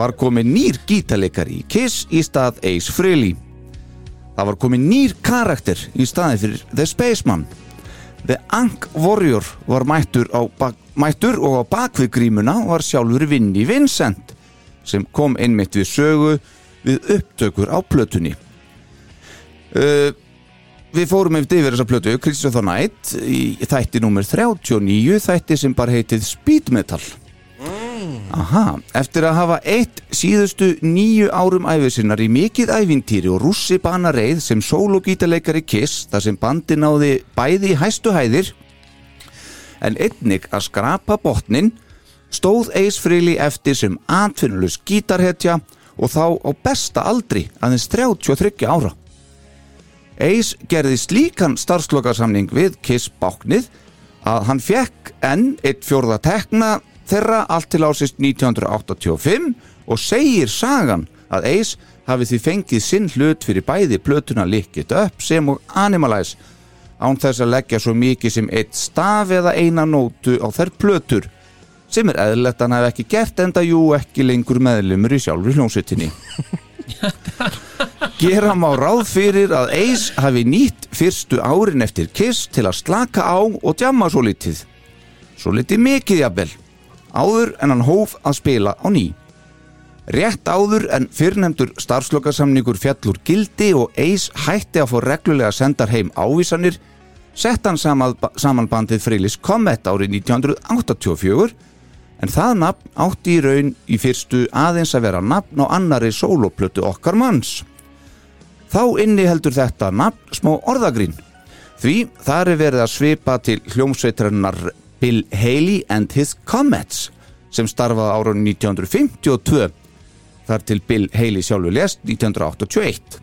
C: var komið nýr gítarleikari í Kiss í stað Ace Frehley það var komið nýr karakter í staði fyrir The Spaceman The Ankh Warrior var mættur, á bak, mættur og á bakvið grímuna var sjálfur Vinnie Vincent sem kom einmitt við sögu við upptökur á plötunni uh, Við fórum eftir yfir þessa plötu Christopher the Night í þætti nummer 39 þætti sem bara heitið Speed Metal Aha, eftir að hafa eitt síðustu nýju árum æfisinnar í mikið ævintýri og rússi banareið sem sólogítarleikari Kiss þar sem bandi náði bæði í hæstu hæðir en einnig að skrapa botnin stóð Ace Frehley eftir sem atvinnulus gítarhetja og þá á besta aldri aðeins 33 ára. Ace gerði slíkan starfslokasamning við Kiss báknið að hann fekk enn eitt fjórða tekna þeirra allt til ásist 1985 og segir sagan að Ace hafi því fengið sinn hlut fyrir bæði plötuna Lick It Up sem og Animalize án þess að leggja svo mikið sem eitt staf eða eina nótu á þær plötur sem er eðlilegt að hann hef ekki gert enda jú ekki lengur meðlumur í sjálfur hljónsutinni. Gera má ráð fyrir að Ace hafi nýtt fyrstu árin eftir Kiss til að slaka á og djamma svo litið. Svo litið mikið jafnvel, áður en hann hóf að spila á ný. Rétt áður en fyrrnefndur starfslokasamningur fjallur gildi og Ace hætti að fá reglulega sendar heim ávísanir sett hann saman, saman bandið Freylis Comet árið 1984 en það nafn átti í raun í fyrstu aðeins að vera nafn á annari sóloplötu okkar manns. Þá inni heldur þetta nafn smá orðagrín Því þar er verið að svipa til hljómsveitrennar Bill Haley and his Comets sem starfaði árunum 1952 þar til Bill Haley sjálfur lest 1981.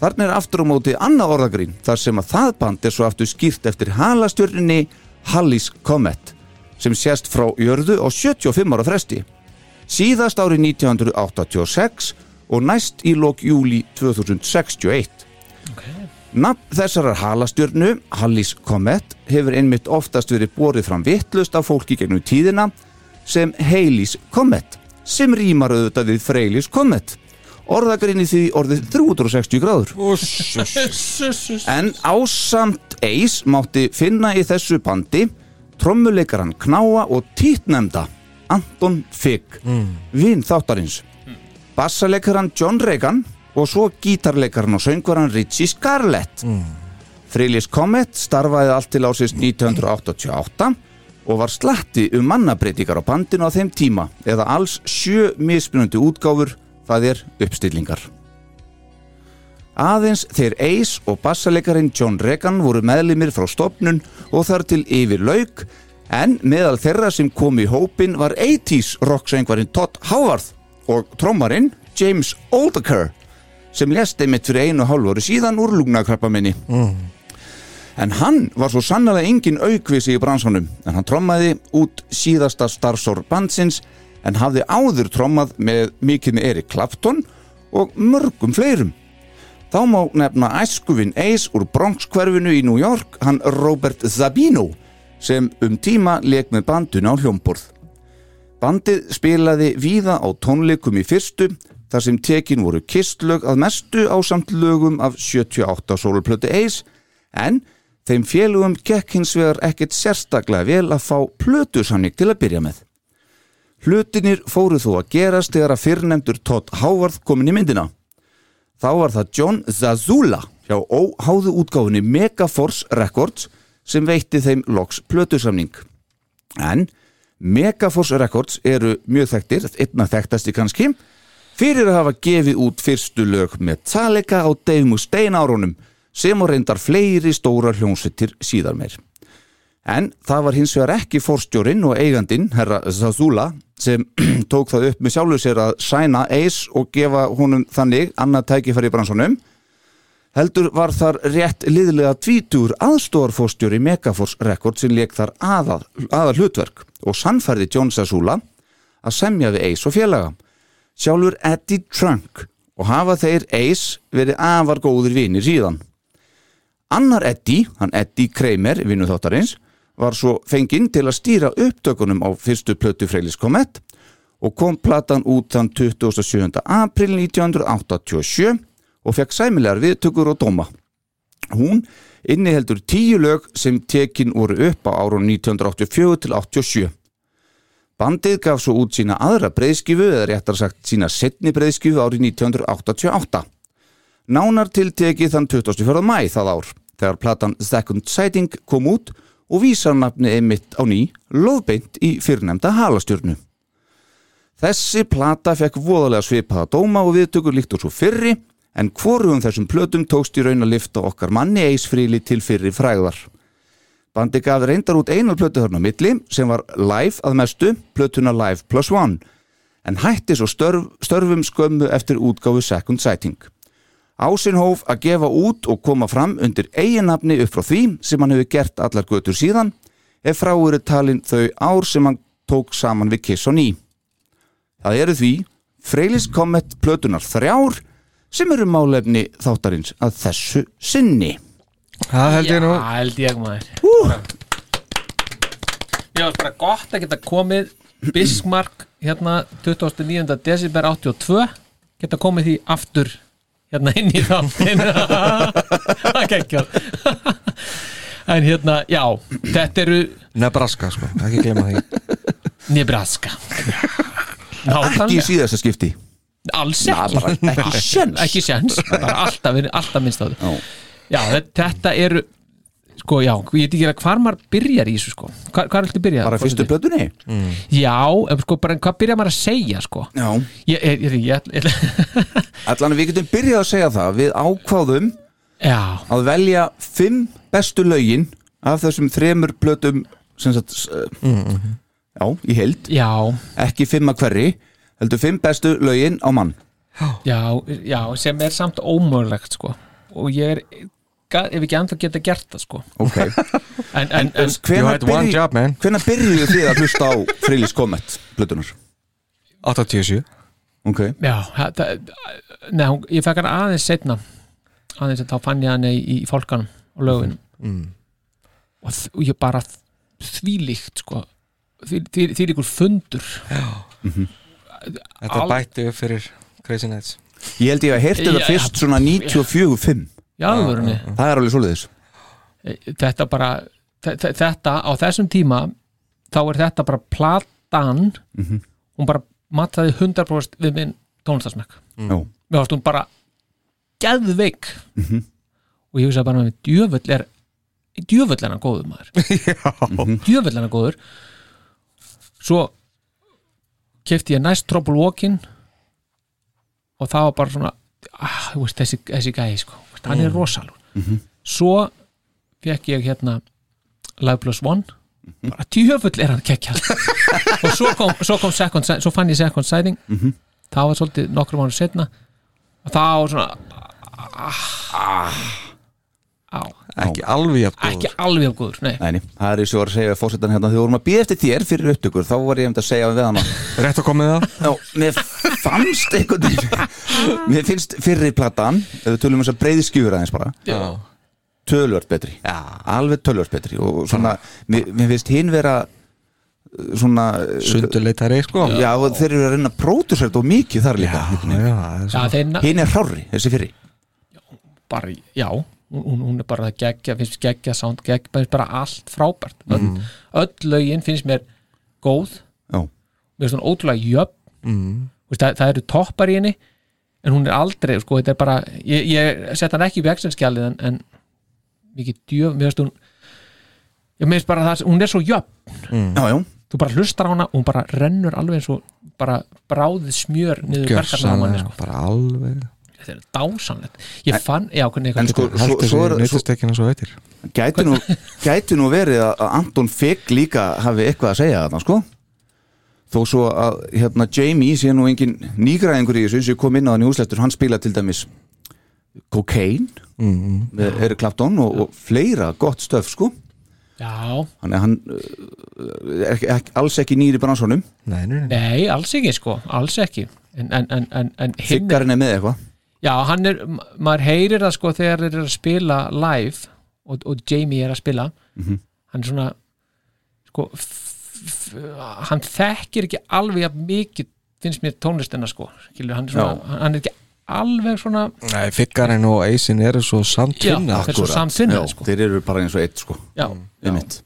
C: Þarna er aftur á móti annað orðagrín þar sem að það band er svo aftur skýrt eftir halastjörninni Halley's Comet sem sést frá jörðu á 75 ára fresti síðast árið 1986 og næst í lok júli 2061. Nafn þessarar halastjörnu, Hallis Comet, hefur einmitt oftast verið borið fram vittlust af fólki gegnum tíðina sem Heilis Comet, sem rýmar auðvitað við Freilis Comet. Orðagrinn í því orðið 360 gráður. En ásamt eis mátti finna í þessu bandi trommuleikaran Knáa og títnemda Anton Figg, mm. vinn þáttarins, bassaleikaran John Reagan og svo gítarleikaran og söngvaran Richie Scarlett. Mm. Frilis Comet starfaði allt til ásins 1988 og var slatti um mannabreytingar á bandinu á þeim tíma eða alls sjö mismunandi útgáfur, það er uppstillingar. Aðeins þeir Ace og bassaleikarin John Regan voru meðlimir frá stopnun og þar til yfir lauk en meðal þeirra sem kom í hópin var 80s rocksöngvarinn Todd Howard og trommarinn James Oldaker sem lest einmitt fyrir einu og hálfu ári síðan úr lungnakrabba minni.
B: Mm.
C: En hann var svo sannlega engin aukvisi í bransanum en hann trommaði út síðasta starfsór bandsins en hafði áður trommað með mikinni Erik Clapton og mörgum fleirum. Þá má nefna æskuvin Ace úr Bronx-hverfinu í New York, hann Robert Zabino, sem um tíma leik með bandinu á hljómborð. Bandið spilaði víða á tónleikum í fyrstu, þar sem tekin voru kistlög að mestu á samt lögum af 78 sólplötu Ace, en þeim félugum gekk hins vegar ekkert sérstaklega vel að fá plötusamning til að byrja með. Hlutinir fóru þó að gerast þegar að fyrrnefndur Todd Howard komin í myndina. Þá var það John Zazula hjá óháðu útgáfunni Megaforce Records sem veitti þeim loks plötusamning. En Megaforce Records eru mjög þekktir, einna þekktasti kannski, fyrir að hafa gefið út fyrstu lög Metallica á Dave Mustaine árunum sem og reyndar fleiri stórar hljónsvittir síðar meir. En það var hins vegar ekki forstjórinn og eigandinn, herra Zazula, sem tók það upp með sjálfu sér að sæna Ace og gefa honum þannig annað tækifæri í bransunum. Heldur var þar rétt liðlega tvítur aðstóðarforstjóri Megaforce Records sem leik þar aðal, aðal hlutverk og sannfærði John Zazula að semja við Ace og félaga. Sjálfur Eddie Trunk og hafa þeir Ace verið afar góðir vinir síðan. Annar Eddie, hann Eddie Kramer, vinnu þáttarins, var svo fenginn til að stýra upptökunum á fyrstu plötu Freilis Komet og kom platan út þann 27. april 1987 og fekk sæmilegar viðtökur og dóma. Hún inniheldur tíu lög sem tekin voru upp á árun 1984 til 87. Bandið gaf svo út sína aðra breyðskifu eða réttar sagt sína setni breyðskifu árið 1988 nánar tiltekið þann 24. mæ það ár þegar platan Second Sighting kom út og vísar nafni einmitt á ný loðbeint í fyrrnemda halastjörnu. Þessi plata fekk voðalega svipaða dóma og viðtökur líkt og svo fyrri en hvorum þessum plötum tókst í raun að lifta okkar manni eisfríli til fyrri fræðar. Bandi gaf reyndar út einu plötu þarna á milli sem var live að mestu, plötuna live plus one en hætti svo störf, störfum skömmu eftir útgáfu Second Sighting. Ásinhóf að gefa út og koma fram undir eiginnafni upp frá því sem hann hefur gert allar götur síðan ef frá eru talin þau ár sem hann tók saman við Kiss og Ný. Það eru því Freilis Comet plötunar þrjár sem eru málefni þáttarins að þessu sinni.
E: Það held ég nú
D: Já, held ég maður
C: Ú.
D: Já, bara gott að geta komið Bismarck hérna 29. desember 82 geta komið því aftur hérna inn í þáttin Það geggjum En hérna, já, þetta eru
E: Nebraska sko, ekki glemma því
D: Nebraska
C: Ekki í
D: Nákvæmlega,
C: síðasta skipti.
D: alls
C: Na,
D: ekki
C: bara ekki sjens.
D: ekki sjans, bara alltaf, alltaf minnst á því
C: Já.
D: já, þe- þetta eru sko, já, ég veit ekki hvar maður byrjar í þessu sko, hvar, hvar viltu byrja?
C: Bara fyrstu
D: Forseti?
C: plötunni.
D: já, en sko, bara en hvað byrjar maður að segja sko
C: Já.
D: ég, ég, ég, ég, ég
C: Allan að við getum byrjað að segja það. Við ákváðum
D: já,
C: að velja fimm bestu lögin af þessum þremur plötum sem sagt s- eh,
E: Mm-hmm.
C: já, í heild,
D: já,
C: ekki fimm að hverri heldur fimm bestu lögin á mann
D: já, já sem er samt ómögulegt sko og ég er ga- ef ekki ennþá geta gert það sko
C: ok,
D: en, en, en,
E: You
C: hvenær
E: had one
C: byrju-
E: job, man.
C: hvenær byrjuðu þið að hlusta á Frilis Comet plötunar?
E: 87
C: ok,
D: já, það, neð, ég fekk hann aðeins setna aðeins að þá fann ég hann í, í fólkanum og lögunum og, þ, og ég bara þvílíkt sko því, því, því ykkur fundur
E: Þetta
D: Al-
E: bætti upp fyrir Crazy Nights
C: ég held ég að heyrti það
D: Já,
C: fyrst svona 94-5
D: já, já, já.
C: það er alveg svoleiðis
D: e, þetta bara þe- þe- þetta á þessum tíma þá er þetta bara platan hún bara mataði 100% við minn tónlistasmekk
C: Já.
D: mér varst hún bara geðveik og ég hugsaði bara með djöfull er djöfull er hann góður maður djöfull er hann góður svo kefti ég næst Trouble Walking og það var bara svona ah, þú veist, þessi, þessi gæði sko Þú veist, hann er rosalur svo fekk ég hérna Live Plus One bara tjöfull er hann kekkjað og svo kom, svo kom second, Si- svo fann ég second sighting það var svolítið nokkrum árum setna og það var svona ah, á,
E: Ekki alveg jafn góður
D: ekki alveg af góður nei.
C: Nei, nei, það er eins og ég var að segja fórsetan hérna þegar við vorum að býða eftir þér fyrir upptökur þá var ég um að segja við hana
E: Rétt að koma með það
C: Já, mér fannst einhvern veginn Mér finnst fyrri platan ef við tölum þess að breiði skjúra aðeins bara
E: Já.
C: tölvört betri Já. alveg tölvört betri og svona mér, mér finnst hinn vera uh, svona
E: Sundurleitari sko
C: Já, og þeir eru að reyna að pródusera þetta og mikið þar líka
E: já það er
D: Já,
E: svo-
D: þeir, na-
C: Hinn er hrári, þessi fyrri
D: bara, já, hún- hún, hún er bara það geggja, finnst geggja sound, geggja finnst bara allt frábært öll, öll lögin finnst mér góð
C: Já.
D: mér finnst hún ótrúlega jöfn Þú veist, það, það eru toppar í henni en hún er aldrei, sko, þetta er bara ég, ég set hann ekki í vextinskjalið en, en mikið djöf, mér finnst hún ég finnst bara það, hún er svo jöfn
C: Já, já,
D: þú bara hlustar á hana og hún bara rennur alveg eins og bara bráðið smjör niður verkarnar á manni,
E: Gjörsamlega,
D: sko
E: bara alveg
D: þetta er dásanlegt, ég fann, já, hvernig
C: en
D: eitthvað
C: sko, svo,
E: Heldur
C: svo, er-
E: þessi
C: svo
E: nöytistekkina svo veitir
C: gæti nú, gæti nú verið að að Anton Fegg líka hafi eitthvað að segja þarna sko þó svo að hérna Jamie sé nú engin nýgræðingur í þessu eins og ég kom inn á hann í húslættur hann spila til dæmis Cocaine
E: Mhm.
C: með Eric Clapton og, og fleira gott stöf sko
D: já,
C: hann er hann uh, er, er, alls ekki nýri bransunum
E: Nei, nei, nei
D: Nei, alls ekki sko, alls ekki en, en, en, en, en hinn er,
C: þiggarinn er með eitthvað
D: já, hann er ma- maður heyrir það sko þegar þeir eru að spila live og, og Jamie er að spila
C: Mhm.
D: hann er svona sko f- f- hann þekkir ekki alveg jafn mikið finnst mér tónlistina sko skilur, hann, er svona, hann- hann er ekki alveg svona
E: Nei, Figgarinn og Eisin eru svo samtvinna
D: Já. Þetta er svo samtvinnað,
C: Já,
D: sko.
C: þeir eru bara eins og eitt sko
D: já,
C: einmitt.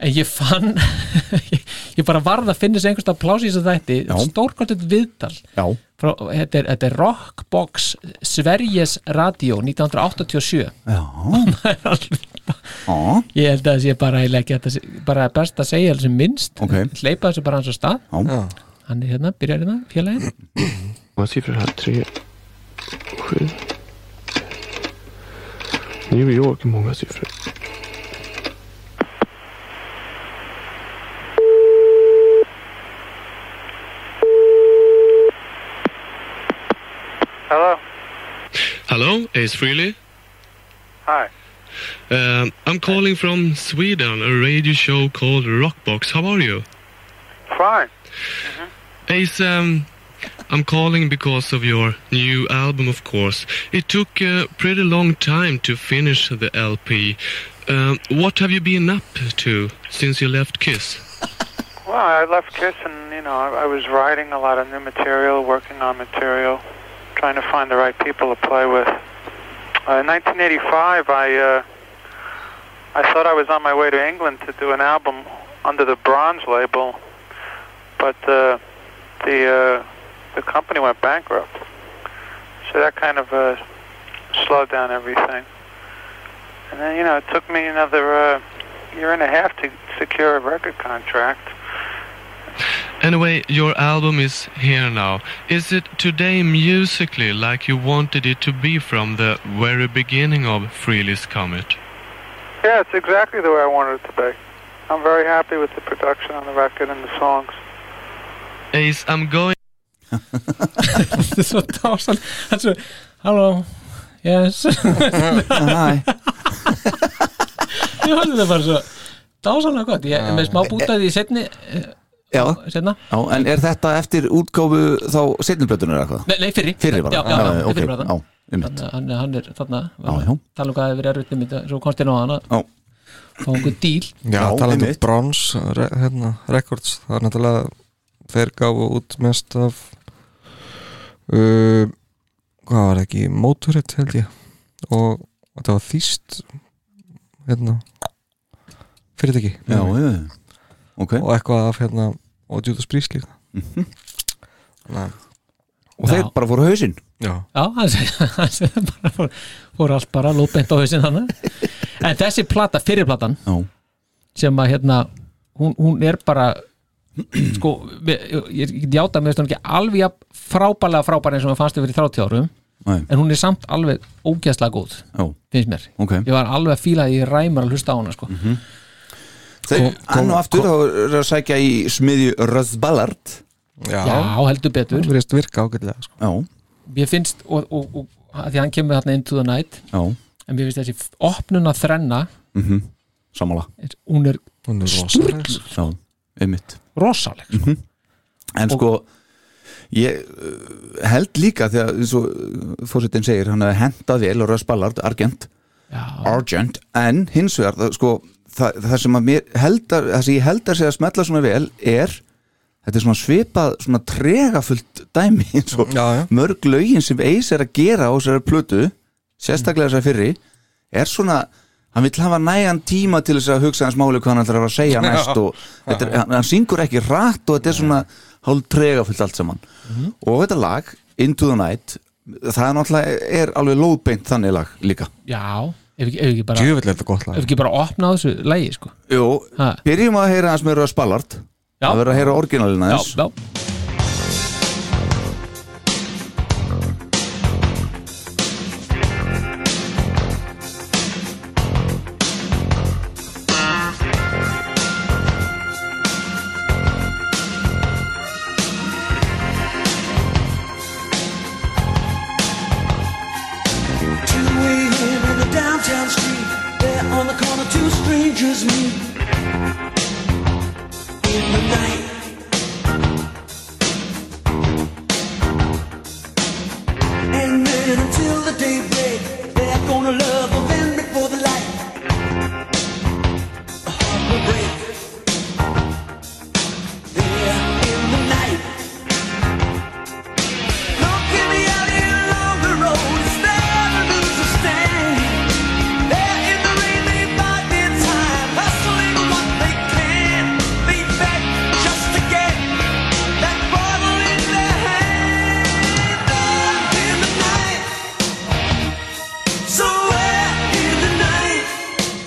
D: en ég fann ég, ég bara varð að finna sér einhverstað plási í þessu þætti,
C: Já.
D: stórkvæmt viðtal
C: já,
D: frá, þetta, er, þetta er Rockbox Sveriges Radio 1987
C: já, já.
D: ég held að það sé bara, eiginlega ekki hægt að se- bara best að segja sem minnst
C: Ok.
D: hleypa þessu bara hans á stað
C: Já.
D: hann er hérna, byrjar hérna, félagin
I: Många siffror här. Tre, sju. New York, många siffror.
H: Hello.
I: Hello, Ace Frehley.
H: Hi.
I: Um, I'm calling from Sweden, a radio show called Rockbox. How are you?
H: Fine.
I: Ace, um, I'm calling because of your new album, of course. It took a pretty long time to finish the LP. Um, what have you been up to since you left Kiss?
H: Well, I left Kiss, and you know, I, I was writing a lot of new material, working on material, trying to find the right people to play with. Uh, in 1985, I uh, I thought I was on my way to England to do an album under the Bronze label, but uh, the uh, the company went bankrupt, so that kind of uh, slowed down everything. And then, you know, it took me another uh, year and a half to secure a record contract.
I: Anyway, your album is here now. Is it today musically like you wanted it to be from the very beginning of Freely's Comet?
H: Yeah, it's exactly the way I wanted it to be. I'm very happy with the production on the record and the songs.
I: Ace, I'm going.
D: þetta er svo dásan hann svo, hello yes
I: Hi.
D: ég fannst þetta bara svo dásanlega gott, ég er með smá bútaði í setni
C: Já.
D: setna
C: Já, en er þetta eftir útgáfu þá setniblötunar eða hvað?
D: Nei, nei, fyrri
C: Fyrri bara,
D: já, já, já,
C: ok,
D: fyrri bara
C: já, einmitt.
D: Þannig að hann, hann er þarna
C: Já, já.
D: tala um hvað hefur verið erfitt um þetta svo komst ég ná hana
C: Já.
D: fá einhver díl
E: Já, talandi um Bronze re, hérna, Records, það er náttúrulega þeir gáfu út mest af uh, hvað var það ekki, Motorhead held ég og þetta var þýst hérna fyrirtæki
C: Já, já, já. okay.
E: og eitthvað af hérna og Judas Priest líka
C: Mhm.
E: Nei.
C: Og þeir bara fóru á hausinn
E: Já.
D: Já, hann segir, hann segir bara fór, fór allt bara lópeint á hausinn hann En þessi plata, fyrirplatan
C: Já.
D: sem að hérna hún, hún er bara sko, ég, ég get játa með ekki alveg jafn frábælega frábæra eins og maður fannst þau fyrir 30 árum
C: Nei.
D: en hún er samt alveg ógæslega góð
C: Já.
D: finnst mér,
C: Ok.
D: ég var alveg að fíla að ég ræmar að hlusta á hana sko.
E: Mhm.
C: Þeir, hann og aftur þá er að sækja í smiðju Russ Ballard
E: Já,
D: heldur betur
E: Það verðist virka ágætlega sko.
C: Já,
D: Mér finnst, og, og, og að því hann kemur þarna into the night
C: já,
D: en mér finnst þessi f- opnun að þrenna
C: mhm mm Samála
D: er- hún er,
E: Hún er
D: Sturlu.
C: Já, einmitt
D: rosaleg
C: mm En sko ég uh, held líka þegar eins og fórsetin segir hann hefði hendað vel og röðspallard, argent argent, en hins vegar það, sko, það, það sem að mér heldar það sem ég held að segja að smetla svona vel er þetta er svona svipað svona tregafullt dæmi eins og mörg lögin sem Eis er að gera á þessari plötu sérstaklega þessari fyrri er svona hann vill hafa nægan tíma til þess að hugsa hans máli hvað hann ætlar að fara að segja næst og þetta er, hann, hann syngur ekki rætt og þetta er svona hálf tregafullt allt saman og þetta lag, Into the Night það er náttúrulega er alveg lóðbeint þannig lag líka
D: já, ef ekki, ef ekki bara
E: Djöfull er þetta gott lag.
D: ef ekki bara opna á þessu lægi sko.
C: Jú,
D: Ha.
C: byrjum að heyra hans með Röða Spallard
D: Já.
C: að vera að heyra orginalina
D: já,
C: þess
D: já,
B: Two-way here in the downtown street. There on the corner, two strangers meet. In the night. And then until the day break, they're gonna love a man before the light. A heart will break. There in the night.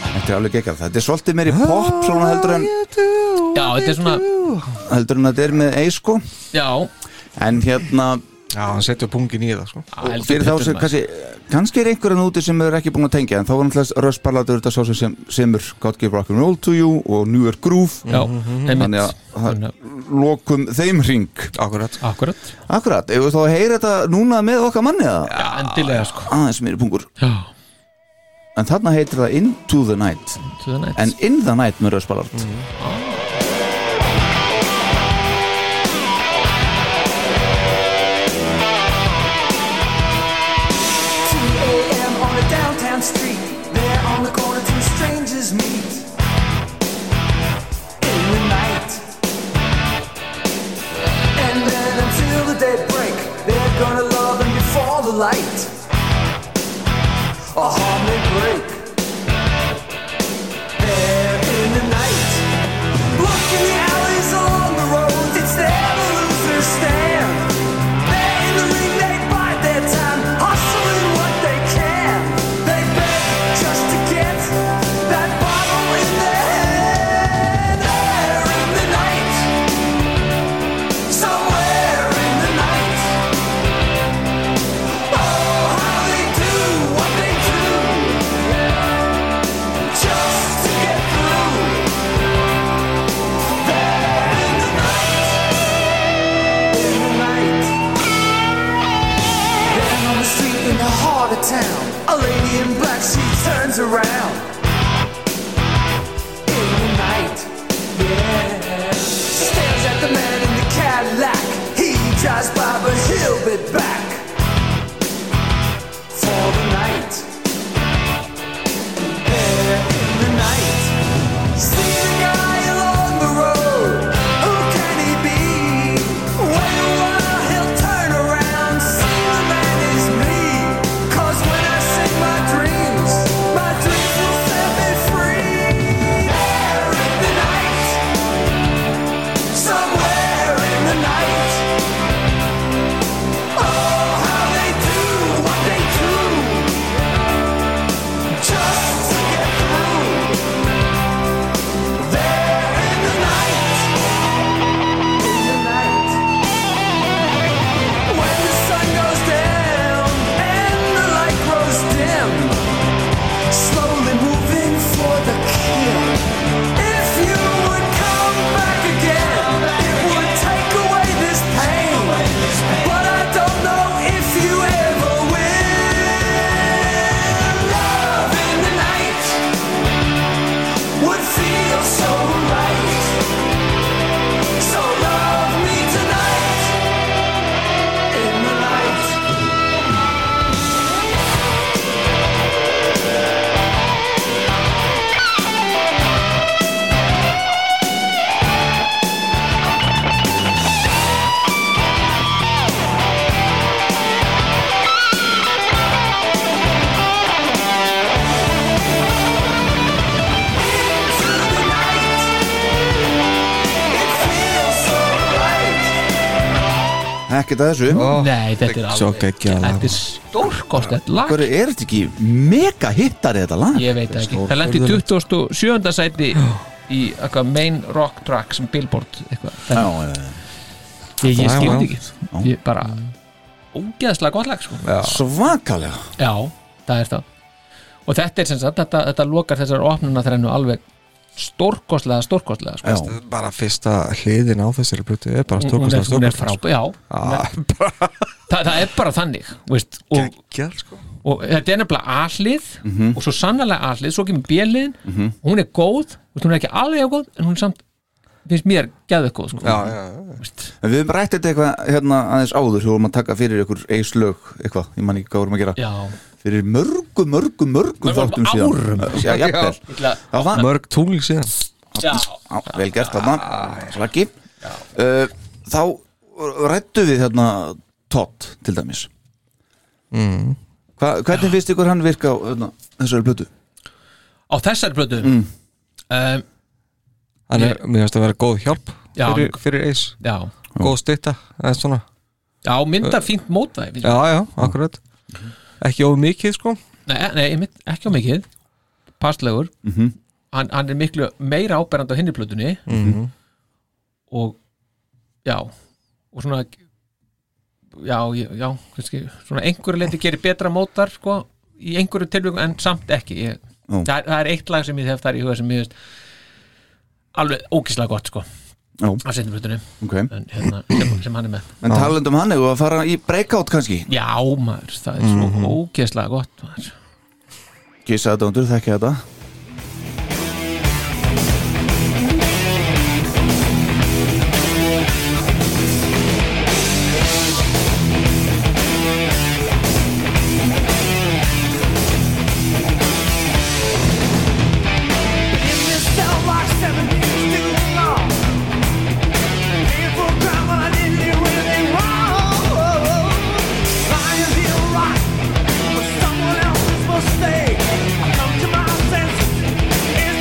C: Þetta er alveg gekkað, þetta er svolítið meiri pop svona heldur en,
D: já, þetta er svona
C: heldur en að þetta er með Eis sko
D: já,
C: en hérna
E: Já, hann setjur pungin í það sko.
C: og fyrir þá sem kannski, kannski er einhverjan úti sem er ekki búin að tengja en þá var náttúrulega röðsparlatur þetta sá sem- sem semur God Give Rock'n'Roll to You og New York Groove
D: já, einmitt
C: þannig að það- lokum þeim ring
E: Akkurat
D: akkurat,
C: Akkurat, ef við þá að heyra þetta núna með okkar manni eða?
D: já, endilega sko.
C: Aðeins meiri pungur
D: já,
C: En þarna heitir það Into the Night
D: to the night Mhm.
C: En In the Night með röðsparlat
B: on a downtown street. There on the corner, two strangers meet. In the night. And then until the day break, they're gonna love and before the light. A harmony break. There in the night. Look in the alleys along the roads, it's there the losers stand. They're in the ring, they bide their time, hustling what they can. They beg just to get that bottle in their hand. There in the night. Oh, part of town. A lady in black, she turns around. In the night, yeah. Stares at the man in the Cadillac. He drives by, but he'll be back. For the night. Yeah, in the night. See the guy along the road. Who can he be? Wait a while, he'll turn around. See the man is me. 'Cause when I sing my dreams, my dreams will set me free. There in the night, somewhere in the night. Oh, how they do what they do, just to get through. There in the night, in the night. When the sun goes down and the light grows dim, slowly moving for the kill. If you would come back again, it would take away this pain. But I don't know if you ever will. Love in the night would feel so right. So love me tonight. In the night.
C: Ekkert að þessu
D: Nei, þetta er alveg
C: Svo geggjað lag.
D: Þetta er stórkostlegt lag
C: Hverju er þetta ekki mega hittari þetta lag?
D: Ég veit það ekki Það lendi 27. sæti í eitthvað main rock track sem Billboard eitthvað
C: Já,
D: Þannig-
C: já, já.
D: Ég,
C: Það
D: ég
C: er
D: skildi
C: langt.
D: ekki Ég bara Ógeðslega gott lag sko
C: Svakalega
D: Já, það er það Og þetta er sem sagt Þetta, þetta lokar þessar opnuna þrennu alveg Stórkostlega, stórkostlega sko.
E: Veist, bara fyrsta hliðin á þessari plötu er bara
D: Hún-
E: stórkastlega
D: hún er- hún er frábær, já.
E: ah,
D: Þa, það er bara þannig veist, og,
E: Geggjað, sko.
D: og þetta er nefnilega aðlið
C: Mhm.
D: og svo sannlega aðlið, svo kemur bjöliðin
C: Mhm.
D: hún er góð, veist, hún er ekki alveg jafn góð en hún er samt, finnst mér gæðu góð sko.
C: En við höfum rætt þetta eitthvað hérna aðeins áður sem vorum að taka fyrir ykkur eislög eitthvað, ég man ekki hvað vorum að gera
D: Já.
C: fyrir mörgu, mörgu, mörgu þáttum síðan
D: árum.
C: Já, jafnvel
D: Já. Illa-
C: Já, það-
E: Mörg tungling síðan
D: Já.
C: Já, vel gert þarna Slaggi Uh, Þá rættu við hérna Todd til dæmis
E: mm.
C: Hva, Hvernig finnst ykkur hann virka á hérna, þessari plötu?
D: á þessari plötu mm. um,
E: Hann er, mér finnst að vera góð hjálp
D: Já.
E: fyrir, fyrir eis
D: Já.
E: Góð stytta, eða svona
D: já, mynda fínt mótvæði finnst
E: Já,
D: mér.
E: já, akkurat Ekki of mikið, sko
D: Nei, nei einmitt, ekki á mikið passlegur
E: Mhm.
D: hann, hann er miklu meira áberandi á hinni plötunni
E: Mhm.
D: og já og svona já, ég- já, kannski svona einhverju leiti gerir betra mótar sko, í einhverju tilvíkum en samt ekki ég,
C: Ó.
D: það, er, það er eitt lag sem ég hef þar í huga sem ég veist alveg ókíslega gott sko
C: Ó.
D: á setjum plötunni
C: Ok.
D: en, hérna, sem, sem hann er með
C: En talandi um hann eða að fara í breakout kannski
D: Já maður, það er svo
C: Mhm.
D: ógeðslega gott maður.
C: Kissa þetta undur, þekki þetta
B: Someone else's mistake. I come to my senses.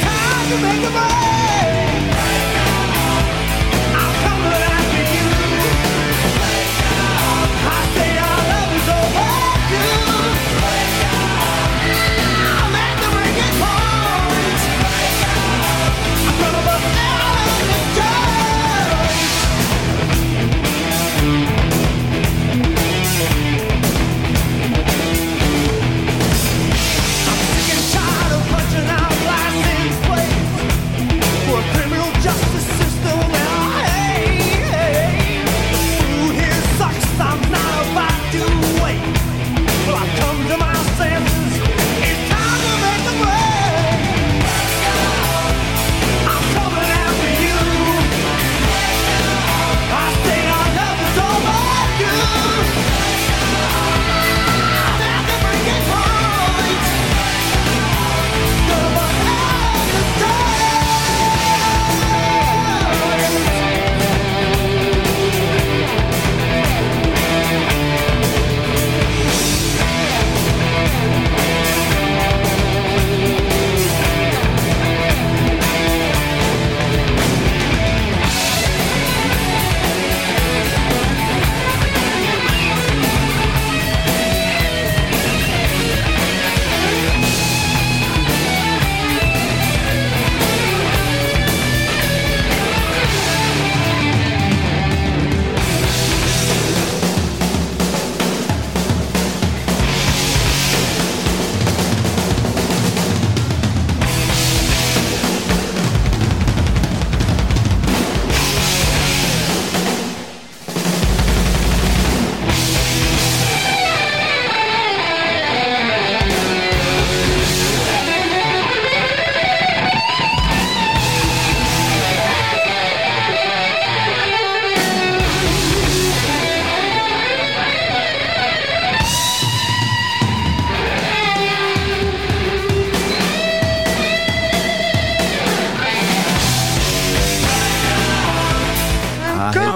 C: Ah, Þarna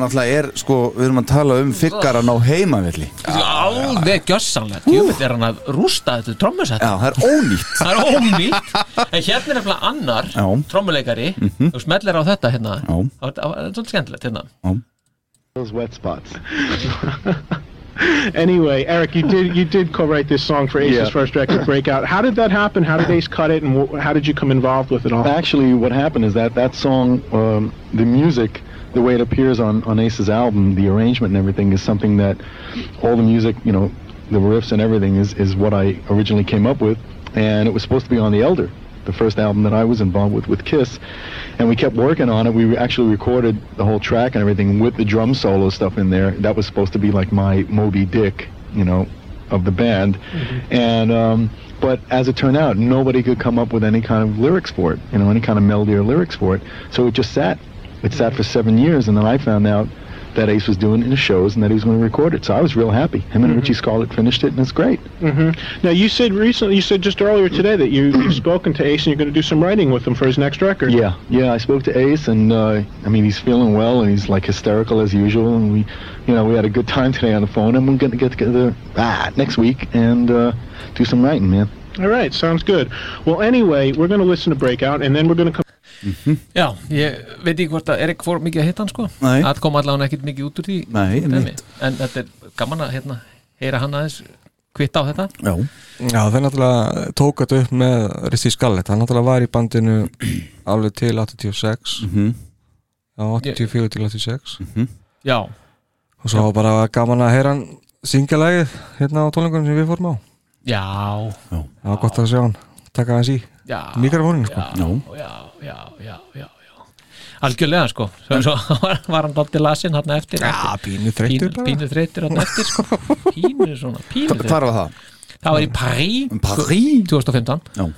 C: náttúrulega er, sko, við erum að tala um figgaran á heimavilli
D: Alveg gjössanlega, djúvill er hann að rústa þetta trommusett
C: Já, það er ónýtt
D: Það er ónýtt En hérna er nefnilega annar
C: Já.
D: trommuleikari
C: Mhm.
D: Þú smellir á þetta hérna
C: Já.
D: Það var- það var svolítið skemmtilegt hérna
J: Those wet spots. anyway, Eric, you did you did co-write this song for Ace's
K: Yeah.
J: first record, Breakout. How did that happen? How did Ace cut it, and wh- how did you come involved with it all?
K: Actually, what happened is that that song, um, the music, the way it appears on, on Ace's album, the arrangement and everything is something that all the music, you know, the riffs and everything is, is what I originally came up with. And it was supposed to be on The Elder, the first album that I was involved with with Kiss. And we kept working on it. We actually recorded the whole track and everything with the drum solo stuff in there. That was supposed to be like my Moby Dick, you know, of the band.
J: Mm-hmm.
K: And um, but as it turned out, nobody could come up with any kind of lyrics for it, you know, any kind of melody or lyrics for it. So it just sat. It sat
J: Mm-hmm.
K: for seven years, and then I found out that Ace was doing it in the shows and that he was going to record it. So I was real happy. Him
J: Mm-hmm.
K: and Richie Scarlett finished it, and it's great.
J: hmm Now, you said recently, you said just earlier today that you, you've spoken to Ace and you're going to do some writing with him for his next record.
K: Yeah, yeah. I spoke to Ace, and uh, I mean, he's feeling well, and he's like hysterical as usual. And we, you know, we had a good time today on the phone, and we're going to get together ah, next week and uh, do some writing, man.
J: All right, sounds good. Well, anyway, we're going to listen to Breakout, and then we're going to come.
D: Já, ég veit ekki hvort að Erik fór mikið að hitta hann sko
J: Nei.
D: Það kom allavega ekkit mikið út úr því
C: Nei,
D: dæmi.
C: einmitt.
D: En þetta er gaman að hérna, heyra hann aðeins kvitta á þetta
C: Já
E: Já, það er náttúrulega tók þetta upp með Risti Skallett, hann náttúrulega var í bandinu alveg til 86
C: Mhm.
E: Já, 84 til 86
C: Mhm.
D: Já.
E: Og svo var bara gaman að heyra hann syngja lagið hérna á tónleikunum sem við fórum á
D: Já,
E: Það var gott að sjá hann, taka hans í
D: Já.
E: Mikrofónin, sko
D: já, já, já, já, já, já. Algjörlega sko Svo, svo var, var hann dótti lasinn hann eftir Já,
E: pínu þreyttur
D: Pínu, pínu þreyttur hann eftir sko Pínu svona, pínu
C: Hvar- hvar var það?
D: Það var í París sko,
C: París?
D: 2015
C: Já.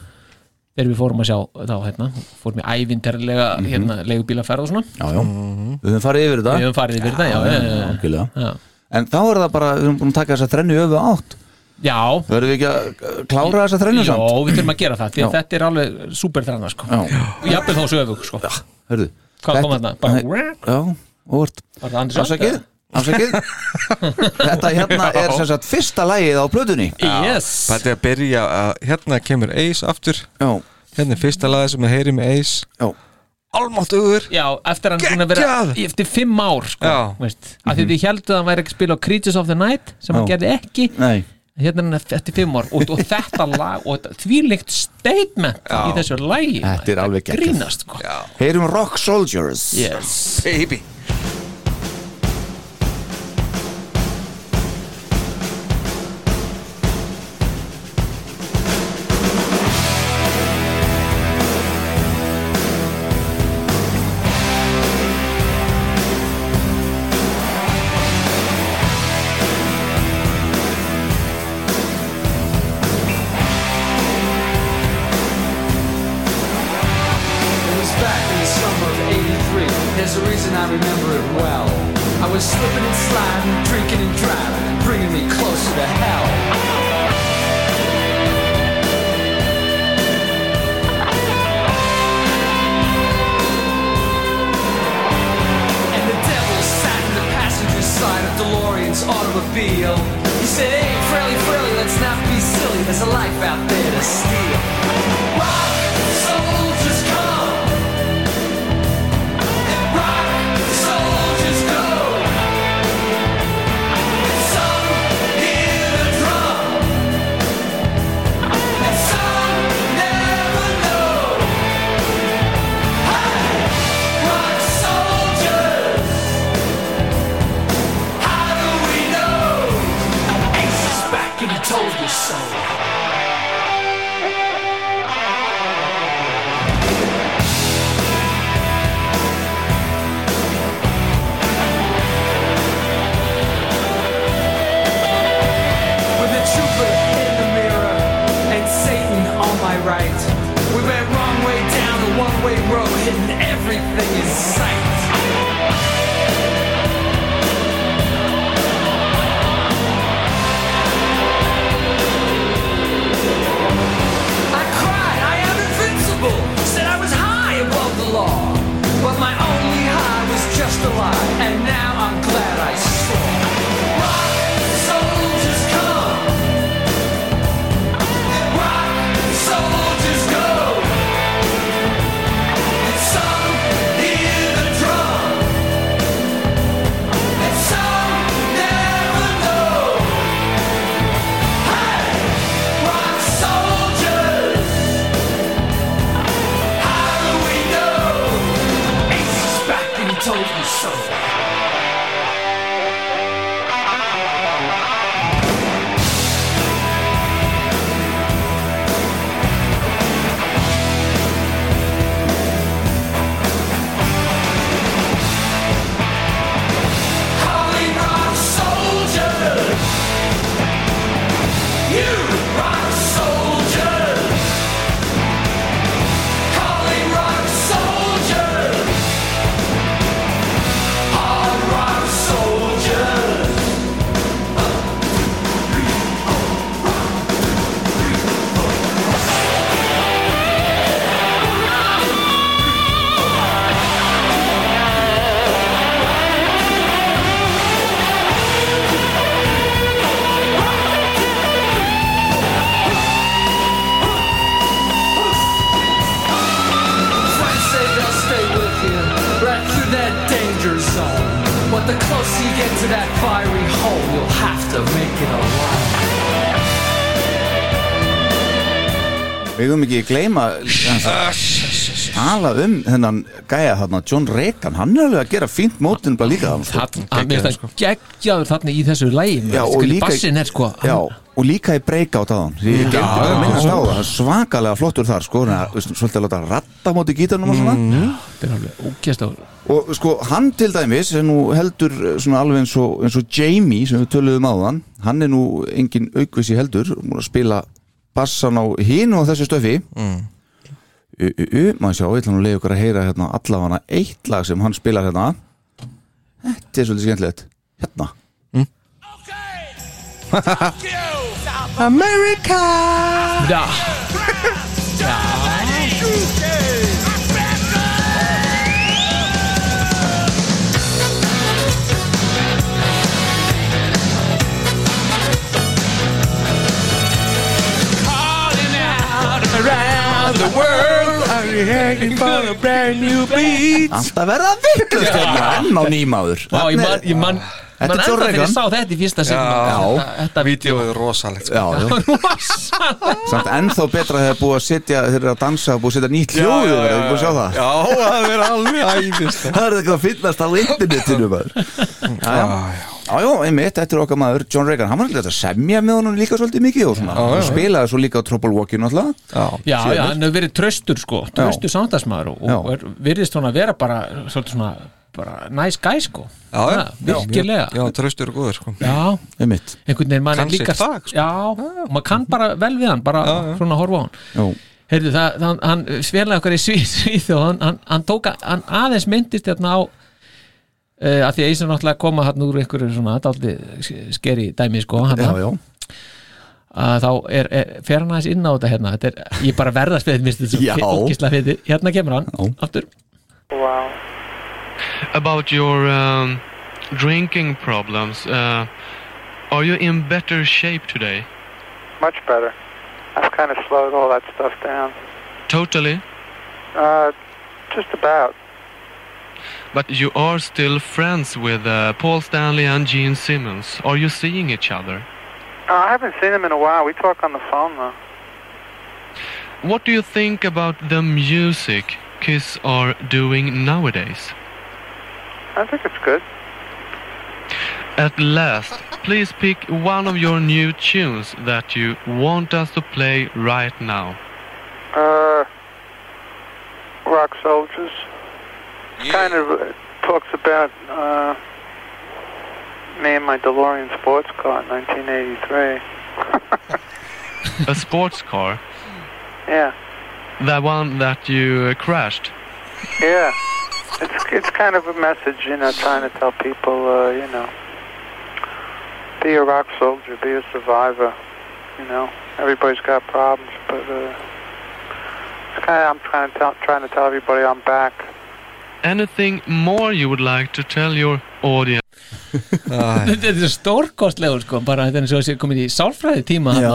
D: Þegar við fórum að sjá þá hérna Fórum í ævindarlega
C: Mhm.
D: hérna, leigubílaferð og svona
C: Já, já, við höfum farið yfir þetta
D: Við höfum farið yfir þetta, já, já, já, já.
C: Mm-hmm. algjörlega.
D: Já.
C: En þá er það bara, við höfum búin að taka þessa þrennu öfu átt
D: Já
C: Verðum við ekki að uh, klára þessa þrennu
D: Jó,
C: samt?
D: við þurfum að gera það Því
C: Já.
D: að þetta er alveg super þrenna sko Jafnvel þá sögum sko
C: Hörðu
D: Hvað kom þarna? Bara-
C: Já, óvart
D: Var það Andri Sjöld,
C: Afsakið,
D: eða?
C: afsakið Þetta hérna er sem sagt fyrsta lagið á plötunni
D: yes.
E: Þetta er að byrja að hérna kemur Ace aftur
C: Já.
E: Hérna er fyrsta lagið sem við heyrim með Ace
C: Já.
E: Almáttugur
D: Já, eftir hann búin að vera Eftir fimm ár sko
E: Já.
D: veist, Af því þið heldur að hann væri ekki að spila á Creatures of the Night Sem
C: Mhm.
D: hann
C: Já.
D: gerði ekki
C: Nei
D: Hérna er hann eftir fimm ár Og, og þetta lag Og þetta þvílíkt statement
C: Já.
D: Í þessu lagi
C: Þetta er alveg geggjað.
D: Grínast sko
C: Heyrum Rock Soldiers
D: Yes
E: Baby
B: It was back in the summer of 83. There's a reason I remember it well. I was slipping and sliding, drinking and driving, bringing me closer to hell. And the devil sat in the passenger side of DeLorean's automobile. He said, hey, Fraley, Fraley, let's not be silly. There's a life out there to steal. Rock, soldiers, come. Rock, soldiers, go. And some hear the drum. And some never know. Hey, rock soldiers, how do we know? Ace is back and he told you so. With the trooper in the mirror and Satan on my right. We went wrong way down a one-way road, hitting everything in sight.
C: Við höfum ekki gleyma
D: Ah,
C: tala um þennan gæja þarna, John Reagan, hann er alveg að gera fínt mótin bara líka þarna, sko.
D: Hann er það geggjaður þarna í þessu lægi
C: Já, og líka,
D: Bassin er sko
C: já, og líka í breakout á hann ég
D: Mm.
C: glemdi
D: Já,
C: bara að
D: já.
C: minnast á það svakalega flottur þar sko, na, veist, svolítið að láta ratta á móti gítarnum og svona
D: Mhm. þetta er alveg ógjast á
C: og sko hann til dæmis er nú heldur eh, svona alveg eins og, eins og Jamie sem við töluðum á hann hann er nú engin aukvisi heldur múin að spila bassan á hinu á þessu stöfi
E: Mm.
C: u, u, u, maður sjá, ég ætla nú að leiða ykkur að heyra hérna allafana eitt lag sem hann spilar hérna þetta er svolítið skemmtilegt hérna
D: Mm.
B: America!
D: Já.
B: Around the world, I'm hanging for a brand new beat.
C: alltaf verða vittlust hérna enn á nýmaður
D: Vá, ég man, ég man
C: Þetta er John
D: man ennþá þegar ég
C: Reagan.
D: sá þetta í fyrsta sinn
C: já,
D: þetta
E: Vídeóið er rosalegt
C: já, já. samt ennþá betra þegar búið að setja þeir eru að dansa og búið að setja nýtt hljóðu þegar þeir búið að sjá það
E: Já, það verður alveg æðist
C: það er eitthvað að finnast á internetinu maður já, já. Já, já, einmitt, þetta er okkar maður John Reagan, hann var alltaf að semja með honum líka svolítið mikið og svona,
D: Já, já,
C: og
D: já.
C: spilaði svo líka á Trouble Walking alltaf
D: Já, já, hann hefur verið tröstur sko tröstur samdagsmaður og, og
C: Já.
D: er, virðist hún að vera bara svolítið svona bara nice guy sko
E: Já, já.
D: virkilega
E: Já, traustur og góður sko
D: Já,
C: einmitt
D: einhvern veginn mann
E: Kann
D: er líka
E: sitt fag,
D: Já, og maður kann bara vel við hann bara svona að horfa á hann
C: Já.
D: Heyrðu, það, það, hann sverlega okkar í Svíð, Svíð og hann, hann, hann tók að, hann aðeins myndist hérna á uh, að því að Ísland náttúrulega koma hann úr einhverju svona daldi skeri dæmi sko hann
C: Já, já.
D: að þá er, er, fer hann aðeins inn á þetta hérna þetta er, ég er bara verða spilið minnst
I: Já.
D: þetta ógisla fyrir hérna kemur hann aftur
I: Wow. About your um, drinking problems, uh, are you in better shape today?
H: Much better. I've kind of slowed all that stuff down.
I: Totally.
H: Uh, just about.
I: But you are still friends with uh, Paul Stanley and Gene Simmons. Are you seeing each other?
H: Uh, I haven't seen him in a while. We talk on the phone though.
I: What do you think about the music Kiss are doing nowadays?
H: I think it's good.
I: At last, please pick one of your new tunes that you want us to play right now.
H: Uh, Rock Soldiers. Kind of uh, talks about uh, me and my DeLorean sports car in 1983.
I: A sports car,
H: Yeah,
I: the one that you uh, crashed.
H: yeah. It's it's kind of a message, you know, trying to tell people, uh, you know, be a rock soldier, be a survivor. You know, everybody's got problems, but uh, it's kind of I'm trying to tell, trying to tell everybody I'm back.
I: Anything more you would like to tell your audience?
D: þetta er stórkostlegur sko bara þetta er eins og þessi komin í sálfræði tíma
C: Já.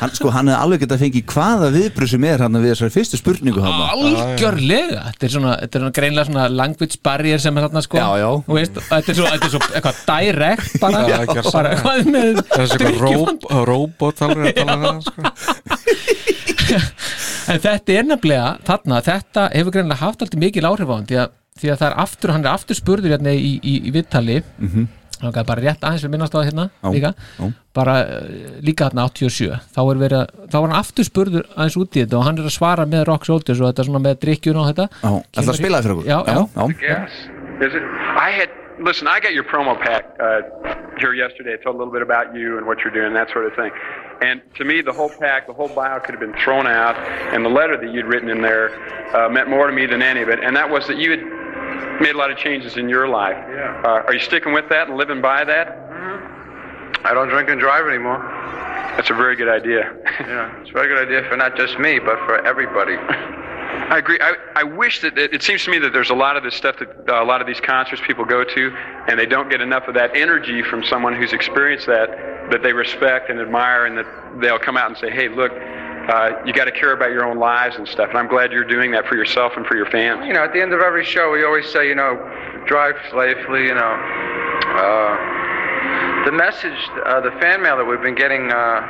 C: hann, sko, hann hefði alveg getað fengið hvaða viðbröð sem er hann við þessari fyrstu spurningu hann
D: algjörlega þetta er svona, þetta er svona greinlega svona language barrier sem er þarna sko já, já. Veist, og þetta er svo, þetta er svo eitthvað direct bara,
E: Já, gjörsamlega.
D: bara hvað er með
E: Þessi eitthvað
D: drykkjufand?
E: rób- róbot alveg að tala sko. við hann sko.
D: en þetta er nefnilega þarna, þetta hefur greinlega haft alltaf mikil áhrif á hann því að, því að það er aftur, hann er aftur spurður hérna í, í, í vittali
C: Mhm.
D: hann er bara rétt aðeins við minnast á það hérna
C: Já,
D: líka,
C: já.
D: bara eh, líka þarna 87 þá er, verið, að- þá var hann aftur spurður aðeins út í þetta og hann er að svara með Rock Soldiers og þetta svona með drikkjun og þetta
C: Já, ætlaðu að spila það fyrir okkur?
D: já, já,
C: já.
L: Yes. Is it? I had listen. I got your promo pack uh, here yesterday. It told a little bit about you and what you're doing, that sort of thing. And to me, the whole pack, the whole bio could have been thrown out. And the letter that you'd written in there uh, meant more to me than any of it. And that was that you had made a lot of changes in your life. Yeah. Uh, are you sticking with that and living by that?
M: Mm-hmm. I don't drink and drive anymore.
L: That's a very good idea.
M: Yeah, it's a very good idea for not just me, but for everybody.
L: I agree. I, I wish that it, it seems to me that there's a lot of this stuff that uh, a lot of these concerts people go to, and they don't get enough of that energy from someone who's experienced that that they respect and admire, and that they'll come out and say, "Hey, look, uh, you got to care about your own lives and stuff." And I'm glad you're doing that for yourself and for your fans.
M: You know, at the end of every show, we always say, you know, drive safely, you know. Uh, the message, uh, the fan mail that we've been getting uh,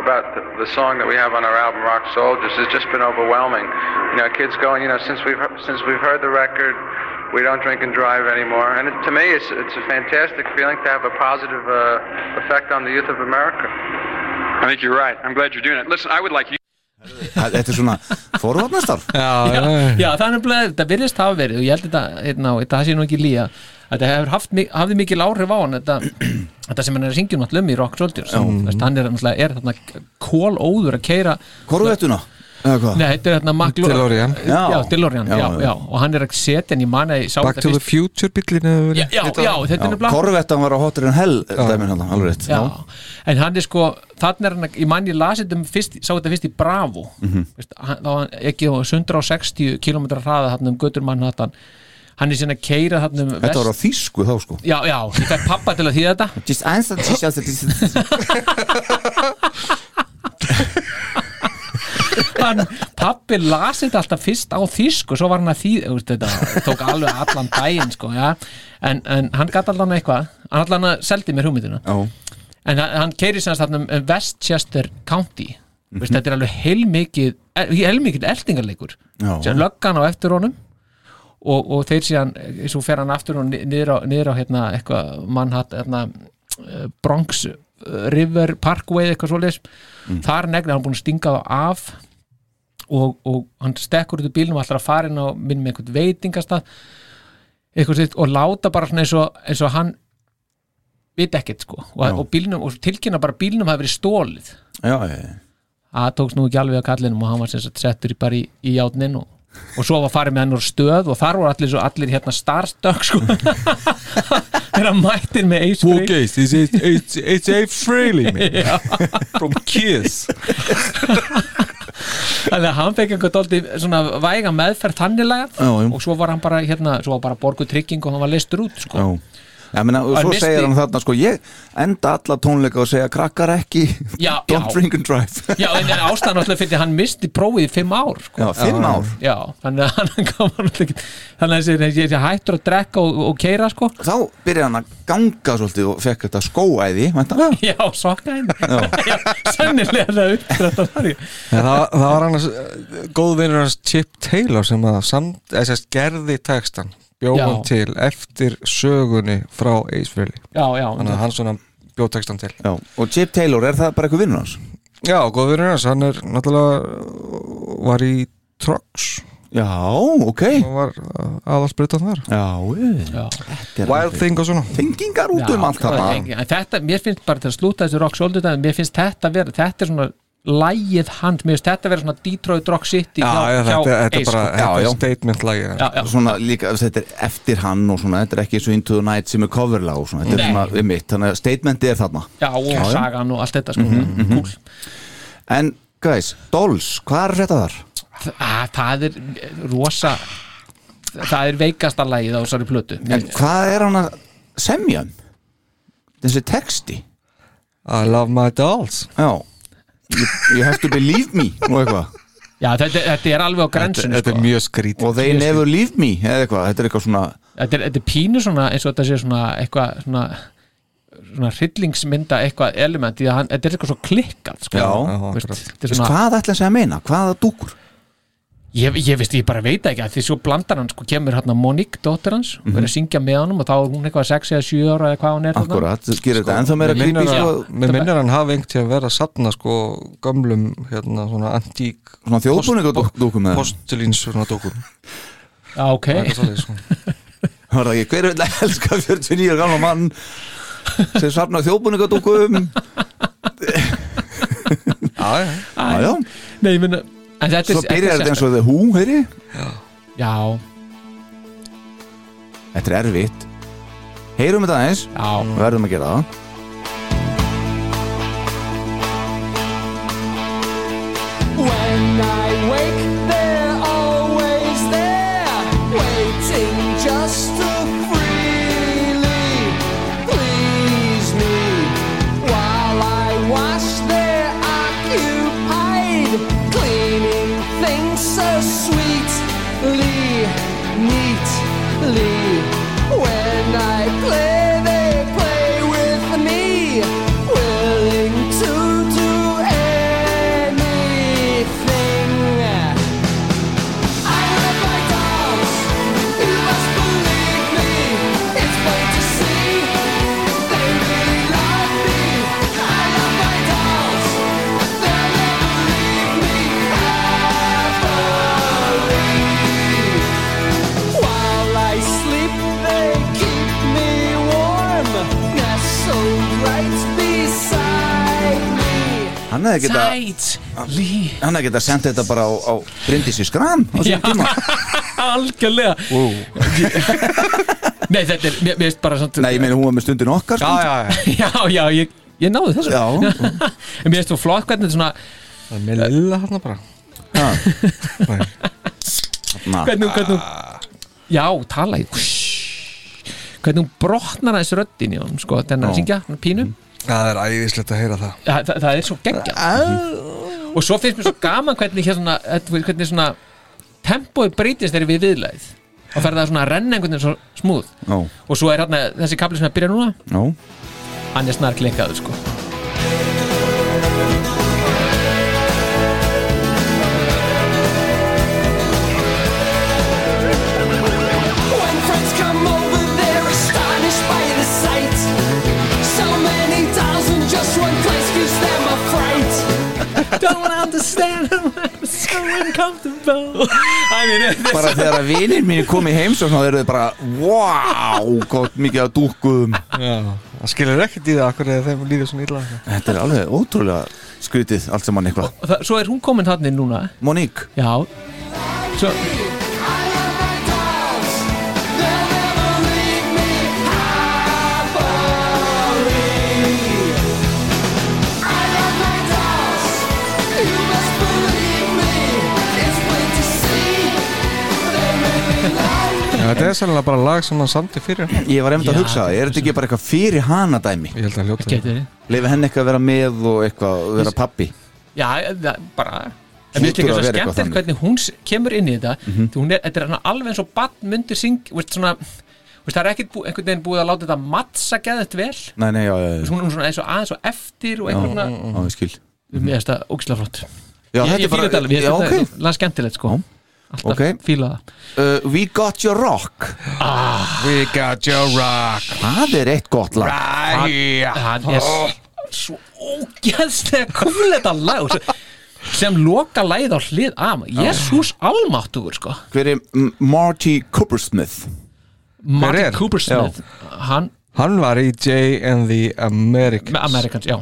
M: about the, the song that we have on our album, Rock Soldiers, has just been overwhelming. You know, kids going, you know, since we've he- since we've heard the record, we don't drink and drive anymore. And it, to me, it's it's a fantastic feeling to have a positive uh, effect on the youth of America.
L: I think you're right. I'm glad you're doing it. Listen, I would like you.
C: Það- Þetta er svona forvarnastarf
E: Já,
D: já, já það er nefnilega, þetta virðist hafa verið og ég held þetta, hérna, og þetta sé nú ekki lýja þetta hefur haft, mi- hafði mikil áhrif á hann þetta, þetta sem hann er að syngja náttúrulega um í Rock Soldiers, mm. hann er, náttúrulega- er þarna kólóður að keira
C: Korvettuna? Eða hvað?
D: Nei, þetta er hérna Mac Lo-
E: DeLorean.
D: Já, já DeLorean, já,
E: Já,
D: já,
E: já.
D: og hann er að setja en ég man að ég sá
E: Back
D: þetta
E: to the
D: fyrst
E: Future bíllinn
D: Já, já, já, þetta er nefnilega
C: Korvettan var á hotur en hell dæmin hann, alveg rétt
D: Já. en hann er sko, þannig er hann að- ég man ég lasi þetta um fyrst, sá þetta fyrst í Bravo Mhm. Veist, hann- þá var hann ekki á 160 km hraða þarna um götur mannhattan hann er sinna að keira þarna um
C: Þetta var á þýsku þá sko
D: Já, já, ég fekk pappa til að þýða þetta
C: Just answer to just
D: Hann, pappi las þetta alltaf fyrst á þýsku svo var hann að þýða, veist, þetta tók alveg allan daginn, sko, já en, en hann gatt allan eitthvað, hann allan að seldi mér hugmyndina
C: Já.
D: en hann, hann keiri sem sagt um um Westchester County veist, þetta er alveg heilmikið heilmikið eltingarleikur
C: Já.
D: sem löggan á eftir honum og, og þeir síðan, eh, svo fer hann aftur og ni- niður á, niður á hérna eitthvað Manhattan, hérna eh, Bronx eh, River Parkway eitthvað svoleiðis,
C: Mm.
D: þar negna hann búin að stinga þá af og, og hann stekkur út úr bílnum allar að fara inn á minn með einhvern veitingastað eitthvað sitt og láta bara svona eins og, eins og hann vit ekkert sko og,
C: Já.
D: og, bílnum, og tilkynna bara að bílnum hafi verið stólið
C: Já, já, já
D: það tókst nú ekki alveg að kallinum og hann var sem sagt settur í bara í, í játnin og, og svo var farið með hann úr stöð og þar voru allir, svo, allir hérna starstök sko þeirra mættir með Ace Frehley
E: Okay, it's, it's, it's, it's a freely man
D: Já.
E: From Kiss
D: þannig að hann fekk einhvern dóldi svona væga meðferð þannilega
C: Já, já.
D: og svo var hann bara hérna, svo var bara borgu trygging og hann var leistur út sko.
C: Já Já, menna, og
D: Hann
C: svo
D: missti-
C: segir hann þarna sko ég enda alla tónleika og segja krakkar ekki
D: Já,
C: don't
D: já.
C: drink and drive
D: Já, en, en ástæðan alltaf fyrir því að hann misti prófið í fimm ár sko.
C: Já, fimm Já. ár?
D: Já, þannig að hann kom alltaf ekki Þannig að þessi- þessi þessi hættur að drekka og, og keira sko
C: Þá byrjaði hann að ganga svolítið og fekk þetta skóæði væntanlega.
D: Já, sokka henni Já, sennilega það uppdrættar það í.
E: En það, það var annars eh, góð vinur hans Chip Taylor sem að samt, eða sérst gerði textan
D: Já.
E: bjóðan til eftir sögunni frá Ace Frehley
D: Já, já.
E: þannig að hann svona bjóð textan til
C: já. og Chip Taylor, er það bara eitthvað vinnur hans?
E: Já, góð vinur hans, hann er náttúrulega var í Trucks
C: Já, ok
E: og var aðalsbrytan þar
C: Já,
D: já.
E: Wild
C: er alveg- um
E: Thing og svona
C: Tengingar
D: Já, það er ekki- en þetta, mér finnst bara til að slúta þessu rock soldier dæmi, mér finnst þetta vera, þetta er svona lægið hand, mér finnst þetta vera svona Detroit Rock City
E: Já, já, þetta- þetta er
D: Ace,
E: bara-
D: sko.
E: þetta er statement lagi
D: Já, já.
C: svona líka, þetta er eftir hann og svona, þetta er ekki svo Into the Night sem er coverlag og svona, þetta er
D: Nei.
C: svona um mitt þannig að statementi er þarna
D: Já, og sagan og allt þetta sko
C: -hmm. en guys, Dolls, hvað er þetta þar?
D: Þa- Það er rosa það er veikasta lægið á þessari plötu
C: En hvað er hann að semja um? þessi texti
E: I love my dolls
C: já, you, you have to believe me og eitthvað
D: Já, þetta, þetta er alveg á grensinu
E: Þetta
D: sko.
E: er mjög skrítið
C: og they never leave me eða eitthvað, þetta er eitthvað svona
D: þetta, er, þetta er pínu svona eins og þetta sé svona eitthvað svona, svona hryllingsmynda eitthvað element því að hann, þetta er eitthvað svo klikkað sko.
C: já,
D: Veist, þetta er
C: Veist,
D: svona,
C: hvað ætla hann að meina, hvaða dúkur
D: ég, ég veist, ég bara veit ekki að því svo blandar hann, sko, kemur hérna Monique, dóttir hans, mm
C: Mhm.
D: verið að syngja með honum og þá er hún eitthvað 6 eða 7 ára eða hvað hún er þarna.
C: akkurat, þetta gerir þetta ennþá meira
E: Mér
C: creepy
E: minnir
C: sko,
E: að- mér minnir hann hafi einhvern tíðan verið að sapna sko gömlum hérna svona antík
C: Svona þjóðbúningadúkum eða?
E: postulín svona dúkum
D: Já, ok
E: Eitthvað svoleiðis, sko.
C: var það ekki, hver vil að elska 49 ára gamla mann sem safna þjóðbúningadúkum
E: já,
C: já, já
D: Nei, ég minna
C: svo byrjar þetta eins og The Who, heyri
D: Já,
C: þetta er erfitt heyrum þetta aðeins
D: já.
C: verðum að gera það
B: When I wake, they're always there, waiting just to freely please me. While I wash, they're occupied, cleaning things so sweetly, neatly. When I play, they play with me, willing to do anything.
C: Hann hefði geta
D: Tight, lean.
C: Hann hefði geta sendt þetta bara á, á Bryndísi Skram á
D: Já,
C: þessum tíma
D: algjörlega
C: wow.
D: Nei, þetta er, mér mér finnst bara samt
C: Nei, ég meina hún var með stundin okkar sko.
D: já, já, já, já, ég, ég náði þessu já. En mér finnst þú flott hvernig þetta svona Það
E: er með lilla þarna bara
D: Hvernig, hún- hvernig,
E: Ah.
D: hún- já, tala í Hvernig hún brotnar aðeins röddin í honum, sko, þennan að syngja, hann pínu
C: Mhm.
E: Það er æðislegt að heyra það
D: Þa, það, það er svo geggjað
C: Ah.
D: Mhm. Og svo finnst mér svo gaman hvernig hér svona, eh, þú veist, hvernig svona tempóið breytist þegar við viðlæð og fer það svona að renna einhvern veginn svo smúð
C: Já,
D: og svo er hérna þessi kapli sem er að byrja núna
C: já
D: hann er snar klikkaður sko
B: When friends come over, they're astonished by the sight. So many dolls in just one place gives them a fright.
D: Don't understand I'm so uncomfortable I mean,
C: Bara þegar að vinir mínu kom í heims og svona þeir eru bara Wow, gott mikið að dúkum
E: Já, það skilur ekkert í það Akkur eða þeim líður svona illa
C: Þetta er alveg ótrúlega skrutið allt saman eitthvað
D: Og það, svo er hún komin hann inn núna
C: Monique
D: Já Svo,
E: Já, Þetta er sannlega bara lag sem hann samti fyrir hann.
C: Ég var einmitt að hugsa það, er þetta ekki bara eitthvað fyrir hana dæmi?
E: Ég held að hljóta
D: Gæti verið.
C: Leifa henni eitthvað að vera með og eitthvað, og vera pappi
D: já, það, bara
C: Hlýtur
D: En mér finnst líka
C: að
D: svo
C: vera eitthvað
D: skemmtilegt
C: þannig.
D: hvernig hún s- kemur inn í þetta mm
C: Mhm.
D: hún er, Þetta er svona alveg eins og badn myndir syng veist, svona, veist, Það er ekkert bú, einhvern veginn búið að láta þetta mattsa geðið vel
C: Nei, nei, já, já, já
D: Veist, Hún er svona eins og aðeins og eftir og einhvern
C: Já,
D: veginn
C: já, ég skil
D: Mér finnst það ógislega flott
C: Já,
D: Ég-
C: þetta
D: Ég
C: er bara-
D: fíla þetta alveg, ég
C: já,
D: finnst
C: ok.
D: þetta lag skemmtilegt sko Alltaf
C: Ok.
D: fíla það
C: uh, We got your rock
D: Ah.
E: We got your rock
C: Það er eitt gott lag
D: Hann- Hann er s- svo ógeðslega komið þetta lag og svo- sem loka lagið á hlið am Jésús almáttugur sko
C: Hver er M- Marty Coopersmith?
D: Martin Coopersmith hann,
E: hann var í J and the Americans
D: Americans, já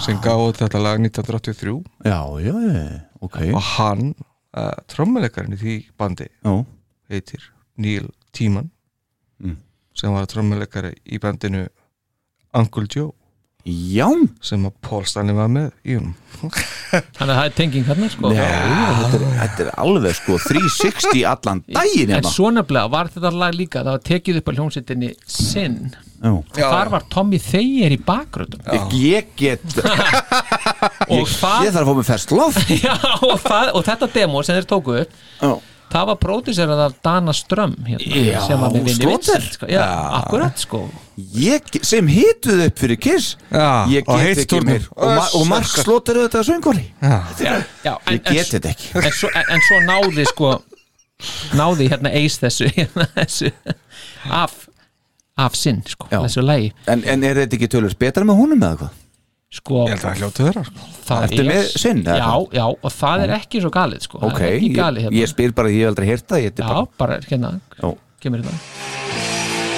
E: sem gaf út þetta lag 1983
C: Já, já, já, ok
E: og hann, uh, trommuleikarinn í því bandi
C: já.
E: heitir Neil Tíman
C: Mm.
E: sem var trommuleikari í bandinu Uncle Joe
C: Já
E: sem að Paul Stanley var með í honum
D: Þannig að það er tenging hann sko
C: Já, þetta er, þetta er alveg sko 360 allan daginn
D: En
C: hérna
D: svo nefnilega var þetta lag líka það var tekið upp á hljómsveitinni Sin
C: Já.
D: og þar var Tommy Thayer í bakgröndum
C: Ég- Ég get
D: og, það,
C: Ég þarf að fá mig fersk lof
D: já, og, það, og þetta demo sem þeir tóku upp
C: Já.
D: það var pródúserað af Dana Ström hérna,
C: Já,
D: sem var með vinni
C: Slaughter.
D: Vincent sko. já, akkurat sko
C: Ég, sem hituð upp fyrir Kiss
E: Já, á
C: Ég get ekki
E: heitstúrnum.
C: mér Og, ma og Mark
D: sko.
E: Öss.
C: Slóter auðvitað söngvari
E: Já.
D: já, en,
C: Ég get þetta ekki
D: en, svo, en, en svo náði sko náði hérna eis þessu, hérna, þessu af, af sinn sko, þessu lægi
C: en, en er þetta ekki tölvöld betra með honum eða hvað?
D: sko,
E: Ég held að það hljótu vera sko.
D: það
C: Ertu
D: er-
C: með Sinn, eða
D: já,
C: hvað?
D: já, og það er ekki svo galið sko,
C: Ok,
D: það er ekki
C: ég,
D: galið hérna
C: ég spyr bara, ég hef aldrei heyrt það ég heiti
D: já,
C: bara,
D: bara hérna,
C: Já.
D: kemur hérna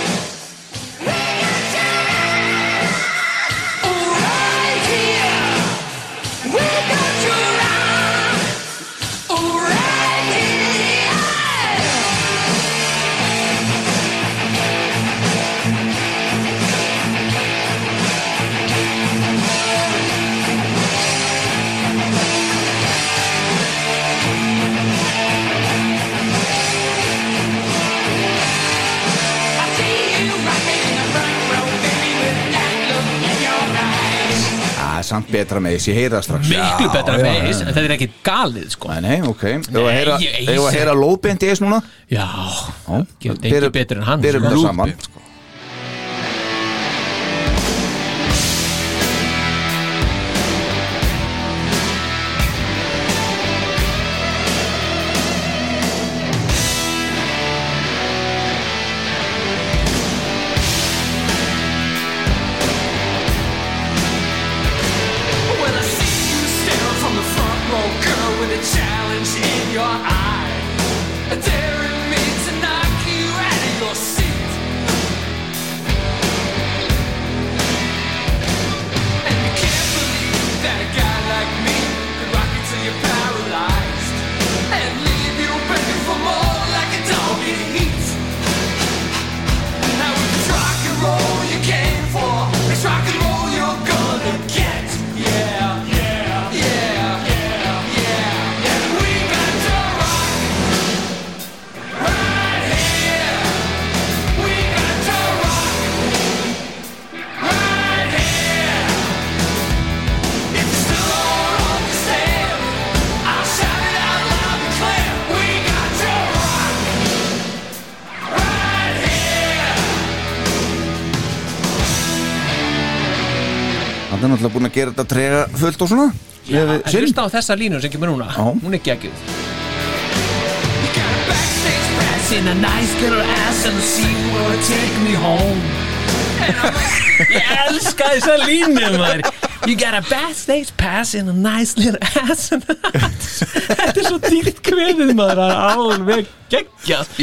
C: að samt betra með þess, ég heyra það strax
D: miklu
C: Já,
D: betra
C: já,
D: með eis,
C: já.
D: en þetta er ekki galið sko
C: Nei, nei, ok, hefur að heyra,
D: ég- ég-
C: eigum við að heyra lóðbind í þess núna?
D: já,
C: Já,
D: þetta er ekki betur en hann
C: Berum
D: sko.
C: það saman
B: When I see you staring from the front row, girl, with a challenge in your eye, daring me to knock you out of your seat.
C: þetta er náttúrulega búin að gera þetta trega fullt og svona
D: Já, en hlusta á þessa línu sem kemur núna Hún er geggjuð
N: Ass in a nice little ass and she will take me home And I'm like,
D: Ég elska þessa línu maður You got a bad stage pass in a nice little ass and Þetta er svo dýrt kveðið maður Það er alveg geggjað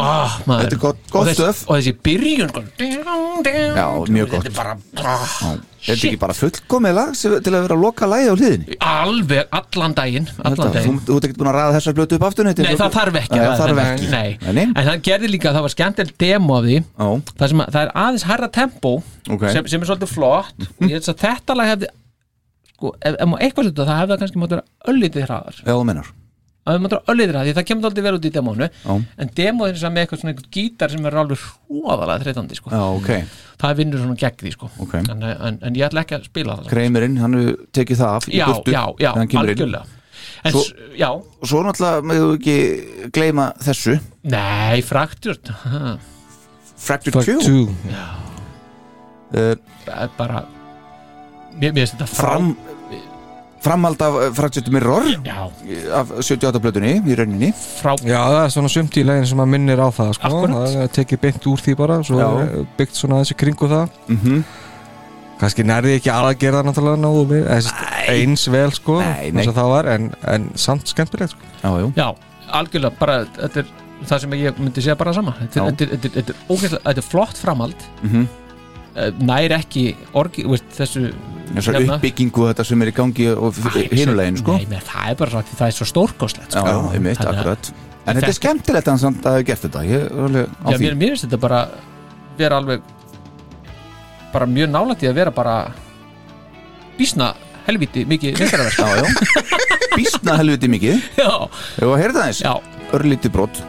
D: Ah, maður.
C: Þetta er gott,
D: Og
C: gott
D: þess-
C: stöf
D: Og þessi byrjun sko.
C: Já, mjög gott
D: Þetta er bara
C: Já, Þetta er ekki bara fullkomið lag sem- til að vera að loka lagið á hliðinni
D: Alveg allan daginn Allan
C: Þetta- Þú
D: daginn
C: þú ert ekkert búin að ræða þessar blötu upp aftur
D: Nei, það þarf ekki
C: Eh, Það
D: að-
C: þarf ekki
D: Nei. En hann gerði líka, það var skemmtileg demo af því það, sem að, það er aðeins herra tempo
C: Ok.
D: sem, sem er svolítið flott og ég held að þetta lag hefði sko, ef, ef maður eitthvað setja það hefði það kannski mátt vera öllítið hraðar
C: Já, þú meinar
D: að við maður öllítið hraðar, því það kemur alltaf vel út í demónu
C: Já.
D: en demóðin er samt með eitthvað svona eitthvað gítar sem er alveg hróðalega þreytandi sko.
C: Já, ok
D: það vinnur svona gegn því sko.
C: Ok.
D: en, en, en ég ætla ekki að spila það
C: Kreimurinn, hann hefur tekið það af í
D: Já,
C: burtu
D: já, já,
C: þegar hann kemur inn.
D: algjörlega. En
C: Svo-
D: s- já.
C: Og svo náttúrulega maður ekki gleyma þessu
D: Nei, Fractured ha.
C: Fractured Fractured Two. Two. Eh,
D: Já Það er Eh, bara Mér mér finnst þetta
C: Fram- Framhald af eh, Fractured Mirror
D: Já.
C: Af 78 blötunni í rauninni
D: Frá
E: Já, það er svona sumt í leginn sem að minnir á það sko.
C: Akkúrat.
E: Það er tekið beint úr því bara Svo
C: Já.
E: er byggt svona þessi kringu það mm
C: Mhm,
E: -hmm. Kannski nærði ekki aðgerða náttúrulega náðu við eða sem sagt Eins vel sko
D: Nei, nei.
E: eins og það var, en, en samt skemmtilegt sko.
C: Já, jú
D: Já, algjörlega bara, þetta er það sem ég myndi segja bara sama Þetta er,
E: Já.
D: þetta er, þetta er, þetta er, ógeðslega- þetta er flott framhald mm
C: Mhm.
D: Nær ekki orgi, veist, þessu
C: Þessar
D: hérna.
C: uppbyggingu þetta sem er í gangi og hinulegin sko
D: Nei, menn, það er bara rátt því það er svo sko. stórkoslegt
C: Já, já, einmitt, akkurat En þetta er skemmtilegt að hann samt að hafa gert þetta Ég er alveg á
D: Já,
C: því
D: mér, mér finnst þetta bara vera alveg bara mjög nálægt í að vera bara bísna helviti mikið meistaraverk
C: Já, já Býstna helviti mikið
D: Já
C: Hefur að heyrða þess?
D: Já
C: Örlítið brot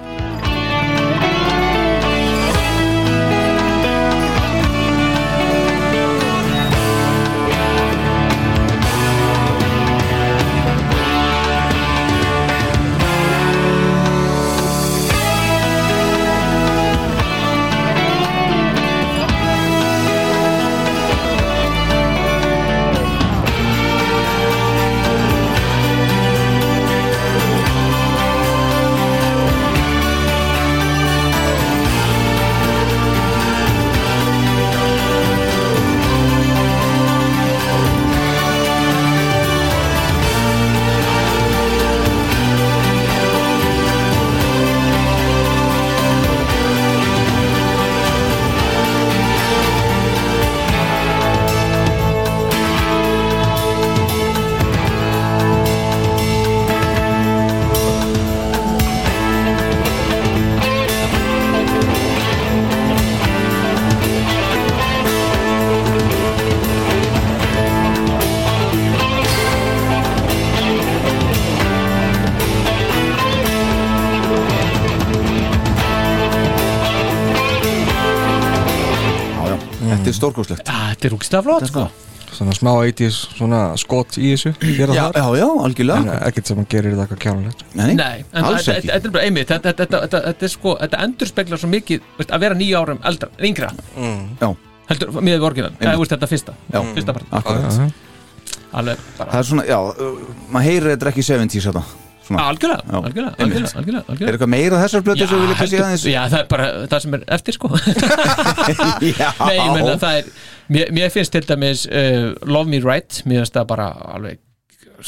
C: Já, já Þetta er stórkoslegt
D: Þetta er úkstlega flott sko
E: Mm. Svona smá 80s svona skot í þessu hér og
C: Já,
E: þar.
C: já, já, algjörlega
E: En ekkert sem að gerir þetta eitthvað kjánulegt
D: Nei, en þetta- þetta þetta er bara einmitt þetta, þetta, þetta, þetta, þetta, er sko, þetta endurspeglar svo mikið veist, að vera nýja árum eldra, yngra
C: Já.
D: heldur, miðað við orginan,
C: Einmitt.
D: eða veist, þetta fyrsta
C: Já,
D: fyrsta part
C: akkurat. Já, já.
D: alveg bara
C: Það er svona, já, uh, maður heyrir þetta ekki 70s þetta Svona.
D: Algjörlega,
C: Já,
D: algjörlega,
C: einmitt.
D: algjörlega, algjörlega, algjörlega.
C: Er eitthvað meira af þessar blötu sem við viljum kannski
D: heldur-
C: aðeins
D: Já, það er bara það sem er eftir sko Nei, ég menna það er Mér, mér finnst til dæmis uh, Love Me Right, mér finnst það bara alveg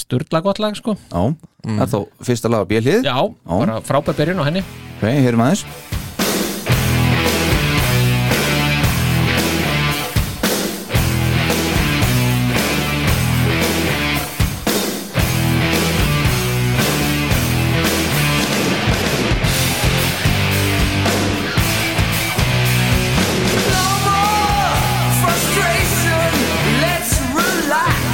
D: sturla gott lag sko
C: Já, það er þá fyrsta lag á bjölið
D: Já, bara frábær byrjun á henni
C: Ok, heyrum aðeins
B: Frustration, let's relax.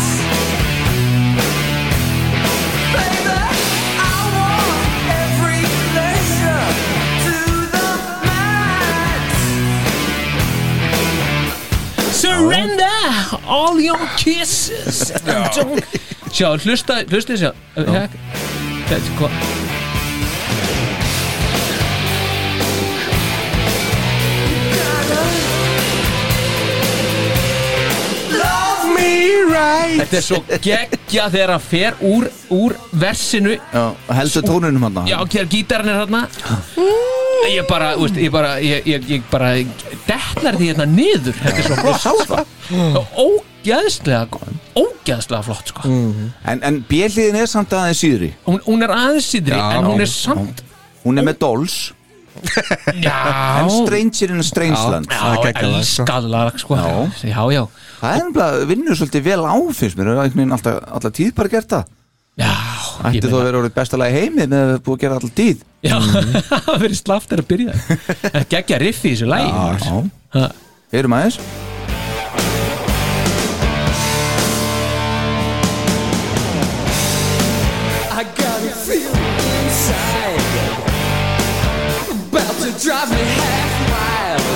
B: Baby, I want every pleasure to the max.
D: Surrender all your kisses and don't- Sjá, hlusta, hlusta sjá Hek- Þetta er sko
B: Love me
C: right
D: Þetta er svo geggja þegar hann fer úr, úr versinu
C: Já, heldur tónunum hann
D: Já, og þegar gítarinn er þarna Ég bara, þú veist, ég bara ég, ég, ég bara detnar því hérna niður Þetta er svo flott sko. Ógeðslega góð, Ógeðslega flott sko.
C: En, en bjelliðin er samt aðeins síðri
D: hún, hún er aðeins síðri en hún er samt
C: Hún er með dolls
D: Já
C: En stranger in a strange land
D: Já, elskað lag sko Já, já, já
C: Það er nefnilega, vinnur svolítið vel á fyrst mér, það er einhvern veginn alltaf, alltaf tíð bara gert það
D: Já
C: Ætti þó að vera orðið besta lag í heimi með að við búið að gera alltaf tíð
D: Já,
C: Mm.
D: það verið slaft er að byrja Það geggja riff í þessu lagi
C: Já, já Heyrum aðeins
N: I got a feeling inside About to drive me half wild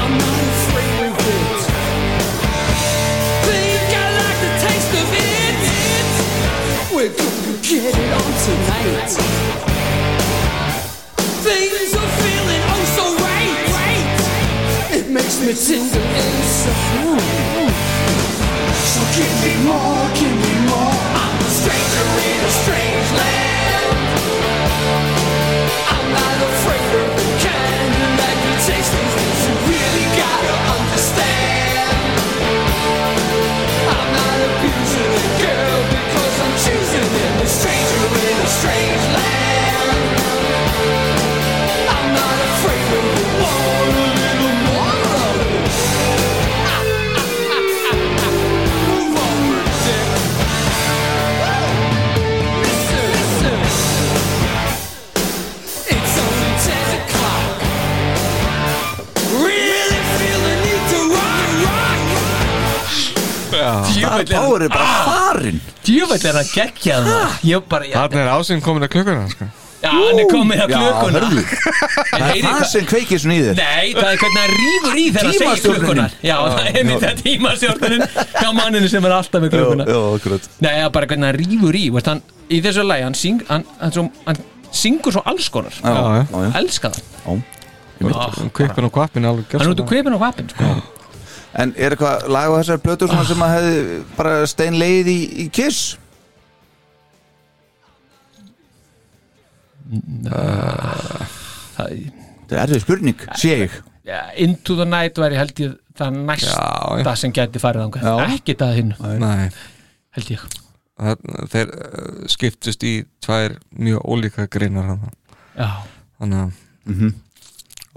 N: I'm not afraid of it Think I like the taste of it We're gonna get it on tonight Things are feeling oh so right, right It makes me tender inside so give me more, give me more. I'm a stranger in a strange land. I'm not afraid of the kind of that you taste things you really gotta understand. I'm not abusing a girl because I'm choosing it. A stranger in a strange land. I'm not afraid of the more, a little more of it. Move on, Dick. Listen, listen. It's only ten o'clock. Really feel the need to rock, rock.
C: Star Power er bara farin
D: Djöfell er að geggja það Ég bara, ég
E: Þarna er ásinn komin að klukkuna sko.
D: Já, hann er komin að
C: Já,
D: klökkuna
C: hörðu. Það er það sem kveikir svona í þér
D: Nei, það er hvernig hann rýður í þegar hann segir
C: Tímastjórnunin.
D: klökkunar Já, það er mitt að tímastjórnunin hjá manninu sem er alltaf með klökkuna
C: Já, akkurat
D: Nei, það er bara hvernig hann rýður í veist, hann, Í þessu lagi, hann, syng, hann, hann, svo, hann syngur svo alls konar
C: Já, já, já, já.
D: Elska það
E: Hún kveipin og kvapin er alveg
D: Hann er út
E: gjörsamlega.
D: úr kvipin og vapin sko.
C: En er eitthvað lag á þessari plötu svona sem að hefði bara steinleið í, í Kiss?
D: uh, Það-
C: Það er erfið spurning, sé ég
D: Já, Into the Night væri held ég það
E: Já,
D: næsta
E: já.
D: sem gæti farið
E: Já.
D: þangað Ekki það hinn,
E: Nei
D: held ég
E: Þarna- Þeir uh, skiptust í tvær mjög ólíka greinar hann
D: Já.
E: Þannig að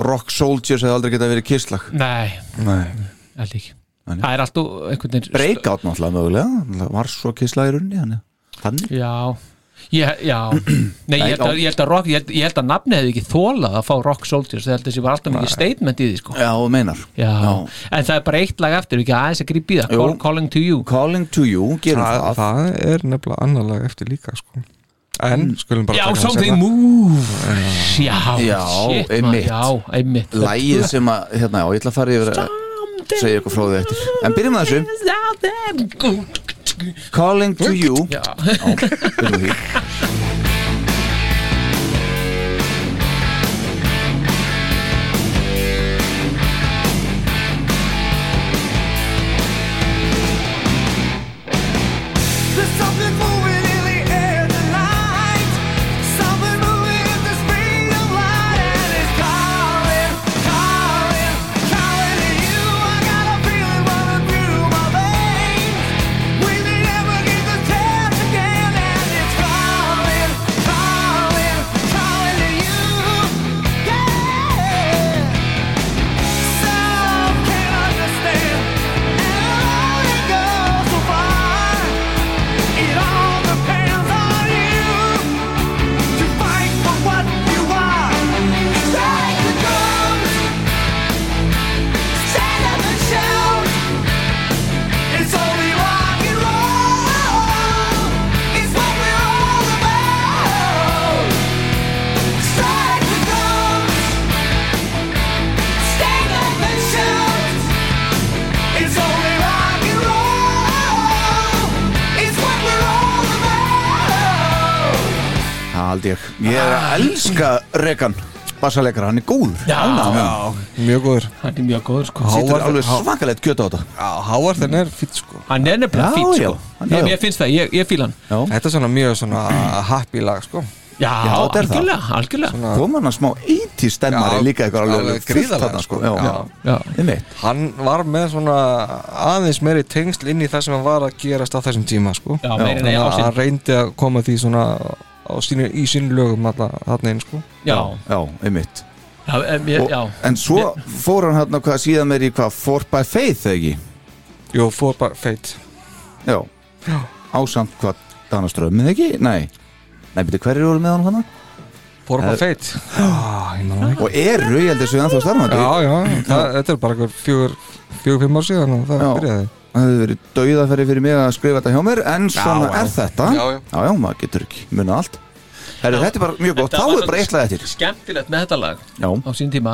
C: Rock Soldiers hefði aldrei getað verið Kiss-lag
D: Nei,
C: Nei
D: held ég
C: Nei.
D: Það er alltaf einhvern veginn
C: Breakout náttúrulega mögulega Það var svo Kiss-lag í runni þannig. Þannig
D: Já Ég, já, nei, ég
C: Nei,
D: held,
C: já.
D: að, ég, held að rock, ég, held, ég held að nafni hefði ekki þólað að fá Rock Soldiers, það held að þessi var alltaf mikið statement í því sko.
C: Já, þú meinar
D: já. en það er bara eitt lag eftir, ekki aðeins að grípi það
C: Jú.
D: Call, Calling to You
C: Calling to you, gerum
E: það,
C: það
E: það er nefnilega annar lag eftir líka sko. En skulum bara
D: Já,
E: taka hérna. það
D: Something
E: seinna.
D: Move Já,
C: hérna. Já,
D: shit, maður,
C: einmitt.
D: Já, einmitt
C: Lægið sem að, hérna, já, ég ætla að fara yfir að segja eitthvað frá því eftir En byrjum með
B: er
C: þessu Calling to you
D: Já.
C: byrjum við því
B: There's something moving in the air tonight. Something moving at the speed of light, and it's calling, calling, calling to you. I got a feeling running through my veins. We may never get the chance again, and it's calling, calling, calling to you. Yeah. Some can't understand, and alone it goes so far. It all depends on you to fight for what you are. Strike the drums, stand up and shout. It's only rock and roll. It's what we're all about. Strike the drums, stand up and shout. It's only rock and roll. It's what we're all about.
C: Það held ég Ég er að elska Regan bassalegara, hann er góður
D: Ah. Já.
C: Ánægður með
E: mjög góður
C: hann.
D: Hann er mjög góður sko
C: Setur alveg svakalegt kjöt á þetta
E: Já, Hávarðin er fýtt sko
D: Hann er nefnilega
E: Já,
D: fýtt
E: já,
D: sko
E: hann
D: já,
E: er-
D: Mér finnst það, ég, ég fíla hann
C: Já.
E: Þetta er svona mjög svona happy lag sko
C: þetta er
D: Já,
C: það.
D: algjörlega, algjörlega
E: Svona-
C: Kom hann að smá 80 stemmari
E: Já,
C: líka eitthvað
E: alveg
C: alveg, alveg
E: gríðarlega,
C: fullt þarna,
E: sko.
C: sko. Já,
E: Já.
D: Já.
E: Hann var með svona aðeins meiri tengsl inn í það sem hann var að gerast á þessum tíma sko
D: Já, meiri en
E: Þannig
D: á
E: að
D: sinn.
E: Hann reyndi að koma því svona á sínu, í sínu lögum alltaf þarna inn sko
D: Já.
C: já, einmitt
D: Já, em, ég, já.
C: En svo fór hann hérna hvað síðan meir í hvað For by Faith eða ekki?
E: Jó, For by Faith
C: Já,
E: Já.
C: ásamt hvað Danaströmmið ekki? Nei Nei, betur hverju voru með hann hann?
E: For by Faith Já, ég man það ekki.
C: Og eru, ég held þessu ennþá starfandi
E: Já, já, það, þetta er bara eitthvað fjögur, fjögur, fimm ár síðan og það byrjaði
C: Það hefði verið dauðafæri fyrir mig að skrifa þetta hjá mér En
E: Já,
C: svona
E: já.
C: er þetta
E: Já, já.
C: já, maður getur ekki munið allt Heru, Þetta er bara mjög gott,
D: Þetta
C: þá er
D: var
C: bara
D: svo
C: eitthvað eftir
D: Skemmtilegt með þetta lag
C: Já.
D: á sín tíma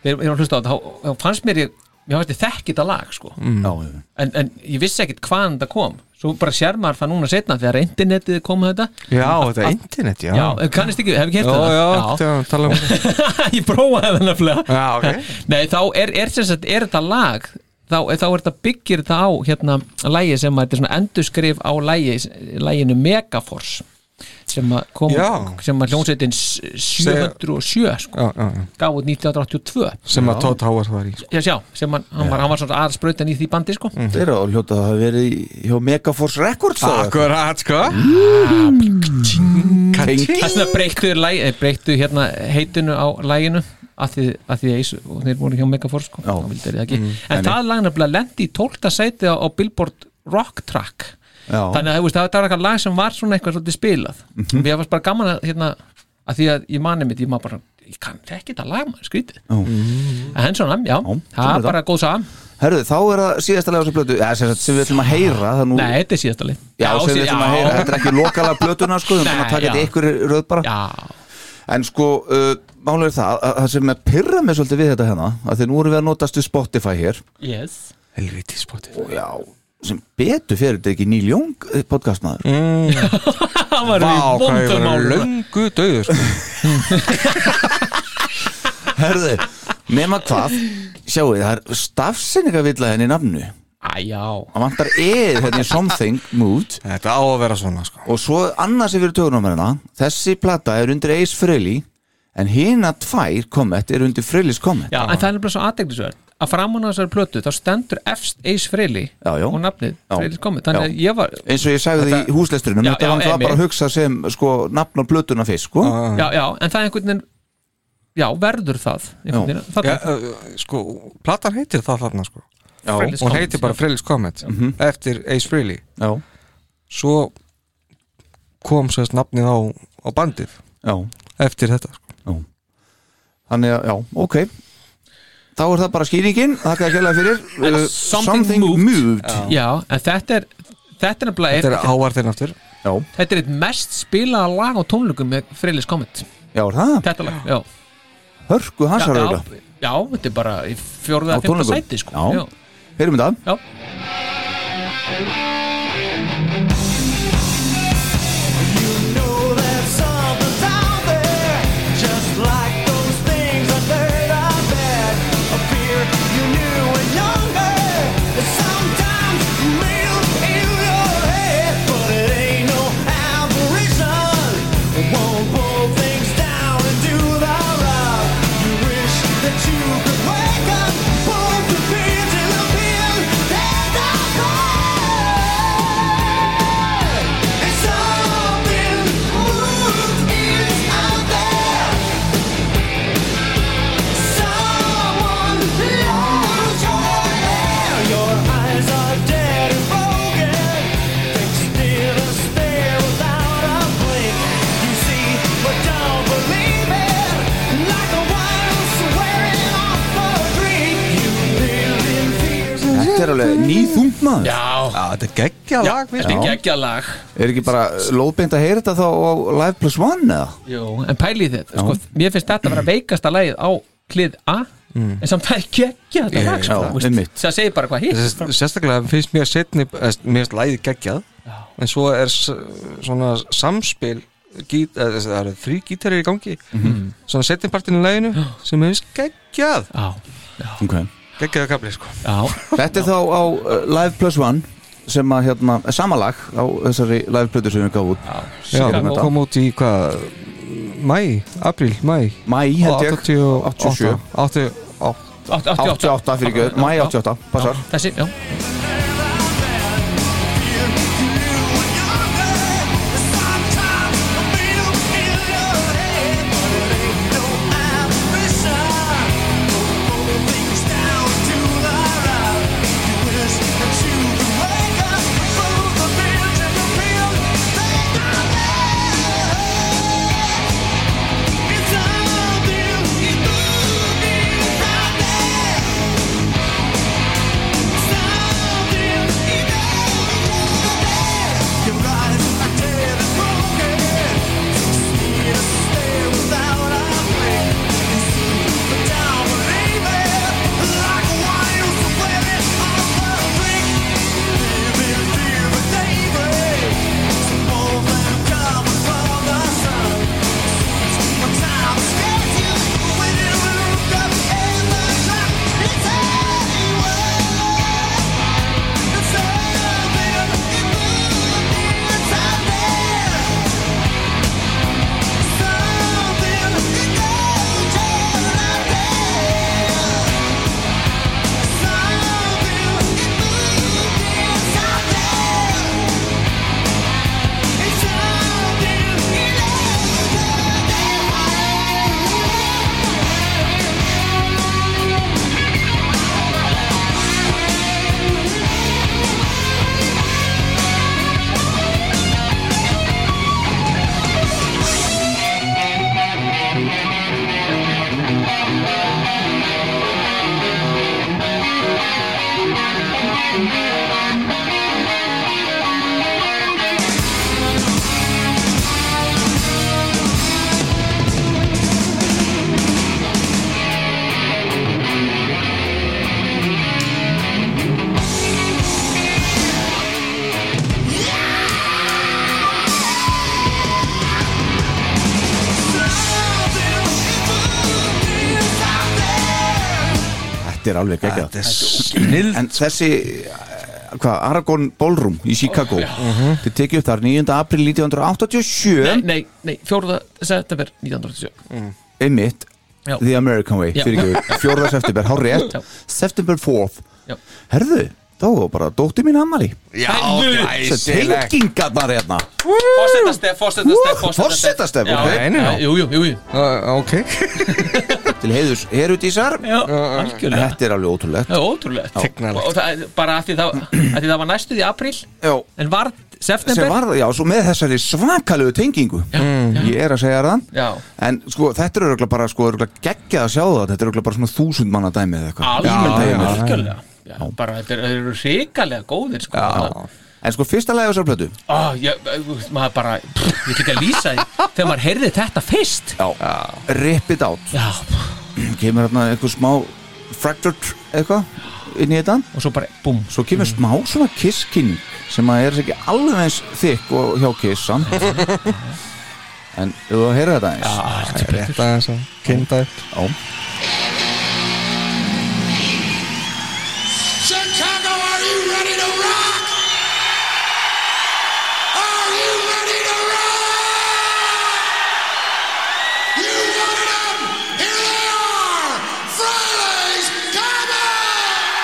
D: Þegar ég var að hlusta á þetta þá- þá fannst mér ég Mér fannst ég þekki þetta lag sko
C: Mm. Já, já.
D: en, en ég vissi ekkit hvaðan þetta kom Svo bara sér maður það núna setna Þegar internetið kom með þetta
E: Já, þetta er internet, já
D: Já, kannist ekki, hef ekki hert
E: Já, já,
D: þetta
E: þegar tala um
D: ég prófaði það nefnilega
E: Já, ok.
D: Nei, þá er, er sem sagt, er þetta lag þá, þá er þetta byggir þetta á hérna lægi sem að þetta er svona endurskrif á lægi, læginu Megaforce sem að kom
E: Já.
D: sem að hljónsveitin s- 707 sko,
E: já, já.
D: gaf út 1982
E: Sem að Todd Howard var í sko.
D: Já, sjá, sem að, hann, var, hann var svona aðsprautan í því bandi sko
C: Þetta er að hljóta að það hafi verið í- hjá Megaforce Records þá.
E: Mhm. Akkurat, sko
D: Þess vegna breyttu, þeir lagi- eh, breyttu hérna heitinu á læginu að því að því að Ace og þeir voru hjá Megaforce sko, þá vildu þeir það ekki.
C: Mm. Nei,
D: en það lag nefnilega lendi í 12. sæti á, á Billboard Rock Track
C: Já. Mhm.
D: þannig að þú veist, það var eitthvað lag sem var svona eitthvað svolítið spilað og mér varst bara gaman að hérna að því að ég mani mitt, ég maður bara ég kann ekki þetta lag maður, skrítið en henn svona, já, það
C: er
D: er bara góð sam
C: Herðu, þá er það síðasta lega á þessu blötu ja, sem, sagt, sem við ætlum að heyra það nú...
D: Nei, þetta er síðasta lega
C: Já, sem við ætlum að heyra, þetta er ekki lokala blötuna sko, við ætlum
D: Nei,
C: að taka þetta
D: já.
C: ykkur röð bara
D: Já.
C: En sko, uh, málega er það að, að það sem er pyrra mig svolítið við þetta hérna að því nú erum við að notast við Spotify hér
D: Yes
E: Helviti Spotify
C: Já, sem betur fyrir þetta er ekki Neil Young eh, podcastmaður
E: mm.
D: Það
E: Vá,
D: var í
E: hvað ég var
D: vondum málum.
E: löngu döður sko.
C: Herðu, nema hvað Sjáu, það er stafsinningavilla henni í nafnu
D: Æjá
C: Það vantar eð hérna í something mood
E: Þetta á að vera svona sko.
C: Og svo annars yfir tökunumverðina Þessi plata er undir Ace Frehley En hina tvær komment er undir Frehley's komment
D: Já, en það er nefnilega svo aðteglisverð að framan á þessari plötu, þá stendur efst Ace Frehley
C: já.
D: og nafnið Frehley's komið, þannig að
C: Já.
D: ég var
C: eins og ég sagði
D: Þetta-
C: í húsleisturinn
D: Já,
C: þetta
D: já,
C: var náttúrulega
D: einmitt.
C: bara að hugsa sem sko nafn á blötuna fyrst sko
D: já, já, en það er einhvern veginn já, verður það einhvern veginn,
E: Já,
D: þarna.
E: uh, sko, platan heitir það þarna sko.
C: Já. Mhm.
D: Frehley's
E: Hún
D: Comet,
E: heitir bara
D: já.
E: Frelis Comet Eftir Ace Frehley
C: já.
E: Svo kom sérst nafnið á, á bandið
C: já.
E: Eftir þetta sko.
C: þannig að, já, ok þá er það bara skýringin, þakka að kjalla fyrir
D: En
C: Uh,
D: something moved. já, en þetta er þetta er nefnilega
E: Þetta er ávarðin aftur
C: já,
D: þetta er eitt mest spilaða lag á tónlökum með Frehley's komið,
C: já, er það
D: þetta lag já,
C: hörku
D: já,
C: hansar
D: já,
C: auðvitað
D: já, þetta er bara í
C: á
D: fjórða, fjóða
C: tónleikum
D: sæti sko,
C: já, heyrum við það
D: Já.
B: You could wake up, both the beards and the beard that I call.
C: þetta er alveg nýþungt maður
D: já,
E: Þetta er geggja
D: já,
E: lag
D: þetta er
C: Já.
D: geggjað lag
C: er ekki bara lóðbeint að heyra þetta þá á Live Plus One eða?
D: Jú, en pælið þetta sko, Mér finnst þetta að vera veikasta lagið á klið A
E: Mm.
D: En samt það er geggja þetta lag sko,
C: já,
D: veist.
C: einmitt.
D: Það segir bara hvað hitt
E: Sérst- Sérstaklega finnst eh, mér setni, eða, mér finnst læðið geggjað en svo er s- svona samspil gít, eða, þessi- það eru þrý gítarir í gangi
C: Mhm.
D: Mm,
E: svona setjumpartinu í læginu sem hefist geggjað
C: okay.
E: geggjaðu kafli sko
C: Þetta er þá á uh, Live Plus One sem að hérna, er samalag á þessari live plötu sem við gáðum út
E: Já, hún kom út í hvað mæ, apríl, mæ
C: mæ held ég.
E: 88 88
C: 88 fyrir göð, mæ 88 passar
D: Þessi, já
C: Þetta er alveg geggjað
E: Þetta er
C: En þessi eh, hvað, Aragon Ballroom í Chicago
E: Mhm.
C: Þið tekið upp þar 9. april 1987
D: Nei, nei, nei, 4. september 1987
C: Mm. Einmitt,
D: Já.
C: The American Way
D: Já.
C: fyrir ekki, 4. september, hár rétt
D: Já.
C: September 4th
D: Já.
C: Herðu, þá var bara dóttir mín ammali
D: Já,
C: Þessi tengingarnar hérna
D: Fórsetastef, fórsetastef
C: Forsetastef,
D: Já,
C: ok?
D: já, Jú, jú, jú, jú
E: Ok
C: Til heiðus Herudísar
D: Já, algjörlega.
C: Þetta er alveg ótrúlegt
D: Það er ótrúlegt
C: Tignarlegt.
D: Og það, bara af því það, af því það var næstuð í apríl
C: Já.
D: En var
C: Sem
D: september
C: var, já, svo með þessari svakalegu tengingu já, Ég er að segja það
D: Já,
C: En sko, þetta er örgulega bara sko, örgulega geggjað að sjá það Þetta er örgulega bara svona þúsund manna dæmi eða eitthvað
D: alveg,
C: Ímyndaðu mér.
D: algjörlega Já, bara þetta er- þeir eru hrikalega góðir sko. já.
C: En sko, fyrsta lagi á þessar plötu
D: Ó, ég, maður bara, pff, ég get að lýsa því þegar maður heyrði þetta fyrst Ah.
C: Já, Rip It Out
D: Já
C: Kemur hérna eitthvað smá Fractured eitthvað inn í þetta
D: Og svo bara, búm Mm.
C: Svo kemur smá svona kisskinn Sem að er ekki alveg eins þykk og hjá kissan En ef þú heyrðu þetta eins
E: Já, rétt aðeins að kynnta upp
C: Já
B: Chicago, are you ready to rock? Are you ready to rock? You wanted them. Here they are. Fridays coming.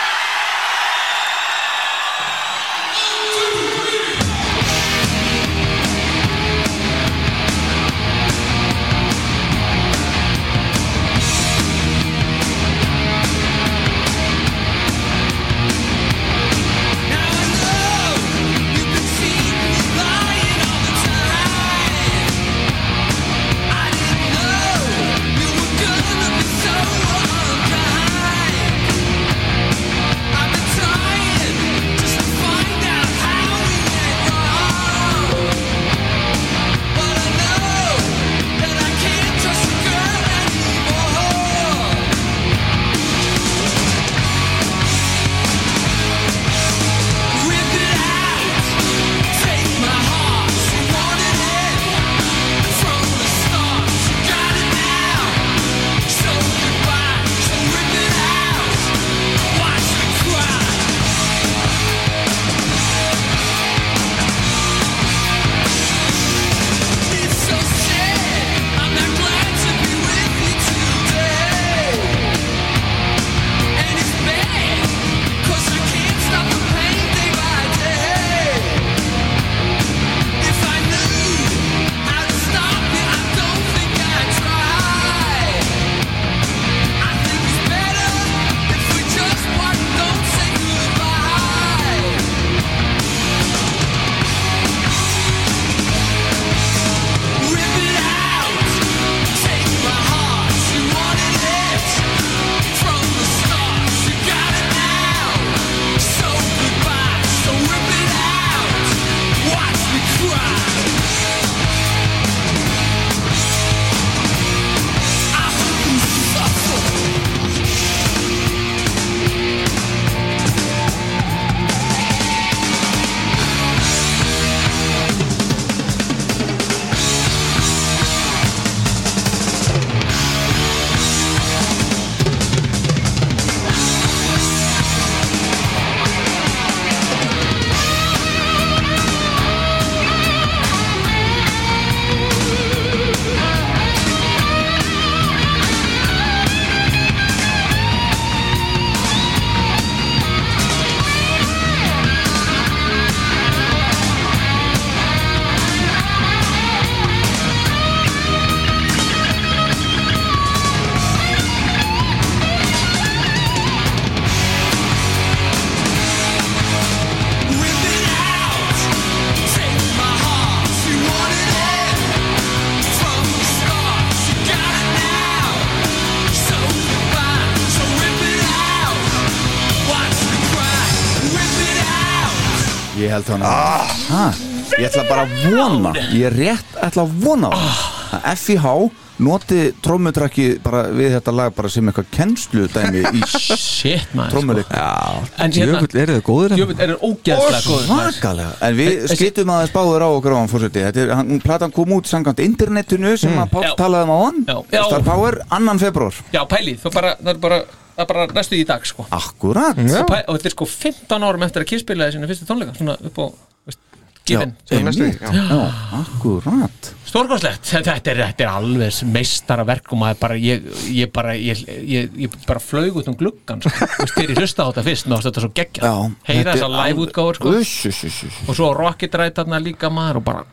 C: Ég held hann að ah, Ég ætla bara að vona Ég rétt ætla að vona ah. að FIH noti trómmutrakki bara við þetta lag bara sem eitthvað kennslu dæmi í
D: Shit, maður, sko.
C: trómmuleik
D: En hérna- Jöfull,
C: er þið góðir
D: Jöfull, er þið ógeðslega góðir, maður.
C: Svakalega En við skýtum aðeins báður á okkur á hann fórseti Þetta er, hann, platan kom út samkvæmt internetinu sem
D: Mm.
C: að Páll
D: Já.
C: talaði um á hann
D: Já.
C: Star Power, annan februar
D: Já, pælið, það er bara, það er bara, það er bara næstu í dag, sko
C: Akkurat
D: Svo pæ- Og þetta er sko 15 árum eftir að Kiss spilaði sína fyrstu tónleika Svona upp á, veist, gifin
C: einmitt. Já, akkurat
D: Stórgóðslegt, þetta þetta er, þetta er alveg meistaraverk og maður bara, ég, ég bara, ég, ég, ég bara flaug út um gluggan, sko, og styrir hlusta á þetta fyrst, mér varst þetta svo geggja, heyra
C: þetta er
D: þessa live útgáður, sko,
C: Uss, uss, uss, uss.
D: og svo Rocket Ride þarna líka maður og bara,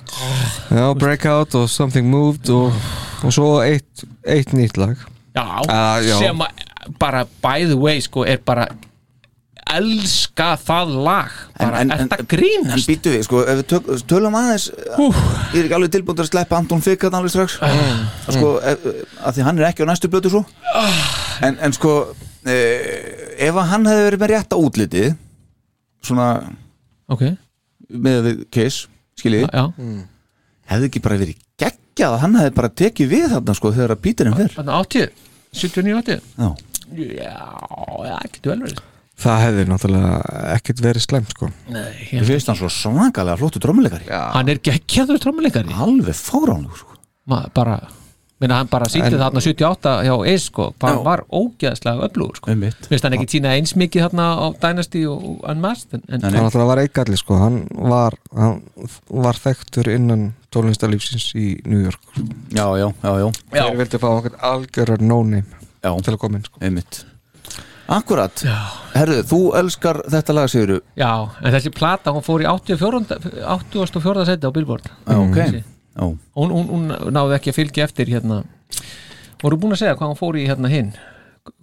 E: Já, Breakout og Something Moved og, og svo eitt, eitt nýtt lag
D: já,
E: Ah, já.
D: sem að, bara, by the way, sko, er bara, elska það lag, bara, en, þetta
C: En
D: grínast.
C: býtu við, sko, ef við tök, tölum aðeins Ég er ekki alveg tilbúin að sleppa Anton Fikk að alveg
D: Ah,
C: strax Sko, ef, að því hann er ekki á næstu blötu svo
D: Ah.
C: En, en sko, e, ef að hann hefði verið með rétta útliti Svona
D: Ok
C: Með við Kiss, skiljið
D: Já
C: Hefði ekki bara verið geggjað að hann hefði bara tekið við þarna, sko, þegar að Píturinn fyrr
D: Þarna 80, 79, 80
C: Já,
D: já, ekki vel verið
E: Það hefði náttúrulega ekkert verið slæmt sko
D: Nei,
C: Ég finnst hann svo svakalega flottu trómuleikari
D: Hann er geggjaður trómuleikari
C: Alveg fáránlegur sko.
D: Ma, bara, minna, hann bara sýndi
C: En-
D: þarna 78 hjá Eis sko, bara var ógeðslega öflugur sko. finnst hann ekki týna eins mikið þarna á Dynasty og og Unmasked en, en,
E: Hann náttúrulega var eigalli sko Hann var, hann var þekktur innan tónlistarlífsins í New York sko.
C: já, já, já, já
E: Þeir vildi fá okkur algjörar no-name
C: já.
E: til að koma inn sko
C: Einmitt Akkurat, herðu, þú elskar þetta lag Siguru
D: já, en þessi plata hún fór í 84. 84. seti á Billboard
C: Já, ok.
D: Þessi.
C: Já.
D: hún, hún, hún náði ekki að fylgja eftir hérna voru búin að segja hvað hún fór í hérna hinn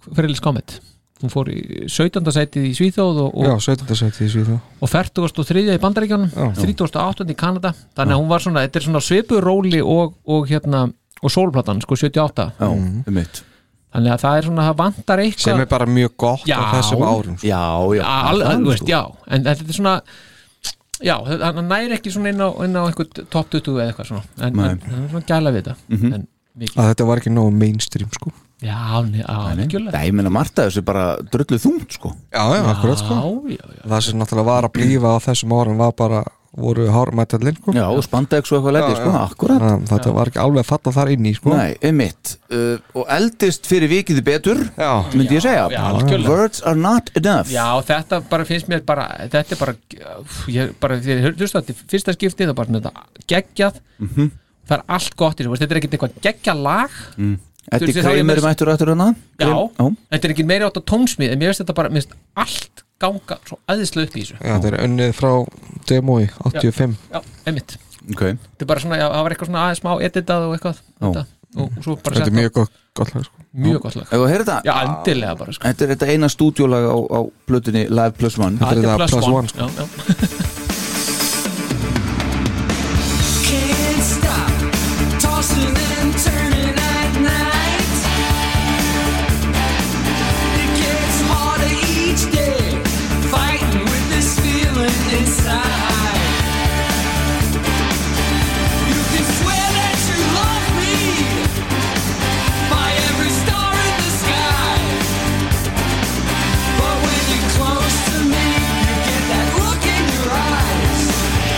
D: Fyrirlis Comet hún fór í 17. setið í Svíþjóð og,
E: Já,
D: og
E: 17. seti í Svíþá
D: og 43. í bandaríkjónum 38. í Kanada þannig að hún var svona, þetta er svona svipur róli og, og hérna, og sólplatan sko 78
C: Já, einmitt
D: þannig að það er svona, það vantar eitthvað
E: Mhm. sem er bara mjög gott
D: Já.
E: á þessum árum sko.
C: Já, já,
D: Al- al- al- veist, já, en þetta er svona já, hann næri ekki svona inn á, inn á einhvern top 20 eða eitthvað svona en,
E: Nei.
D: en það er svona gæla við þetta
E: Mhm.
D: en, mikið-
E: að þetta var ekki nógu mainstream sko
D: já, ne- á, algjörlega
C: Það ég meina Marta þessu bara drullu þungt sko
E: Já, já, akkurat sko
D: já, já.
E: Það sem náttúrulega var að blífa á þessum árum var bara, voru hármætallinn sko
C: Já, og spandex og eitthvað leiti sko, akkurat
E: Það, Þetta var ekki alveg að falla þar inn í sko
C: Nei, einmitt uh, Og eldist fyrir vikiði betur
E: já.
C: Myndi ég segja
D: Já, já, algjörlega.
C: Words are not enough
D: Já, þetta bara finnst mér bara þetta er bara, ég, bara þegar ég hlusta þetta í fyrsta skipti, það er bara svona þetta geggjað,
C: Mhm.
D: það er allt gott í þessu, veist, þetta er ekkert eitthvað geggjað lag
C: mm.
D: Þú veist,
C: Eddi
D: þá er ég
C: Kramer
D: með-
C: mættur hérna? aftur hana
D: Já, þetta er ekkert meiri átt á tónsmið en mér finnst þetta bara, mér finnst allt ganga svo aðeinslega upp í þessu
E: Já, þetta er önnið frá demói 85
D: Já, já, einmitt,
C: okay.
D: þetta er bara svona, já, það var eitthvað svona aðeins smá editað og eitthvað þetta, og, og svo bara
E: Þetta er
D: sett á-
E: mjög gott, gott lag sko
D: mjög gott lag
C: Ef þú heyrið þetta?
D: Já, endilega bara sko.
C: Þetta er þetta eina stúdíólag á, á plötunni Live Plus One
D: Þetta er Plus One,
C: sko.
D: já, já.
B: Can't stop tossing and turning at night. It gets harder each day, fighting with this feeling inside. You can swear that you love me by every star in the sky. But when you're close to me, you get that look in your eye.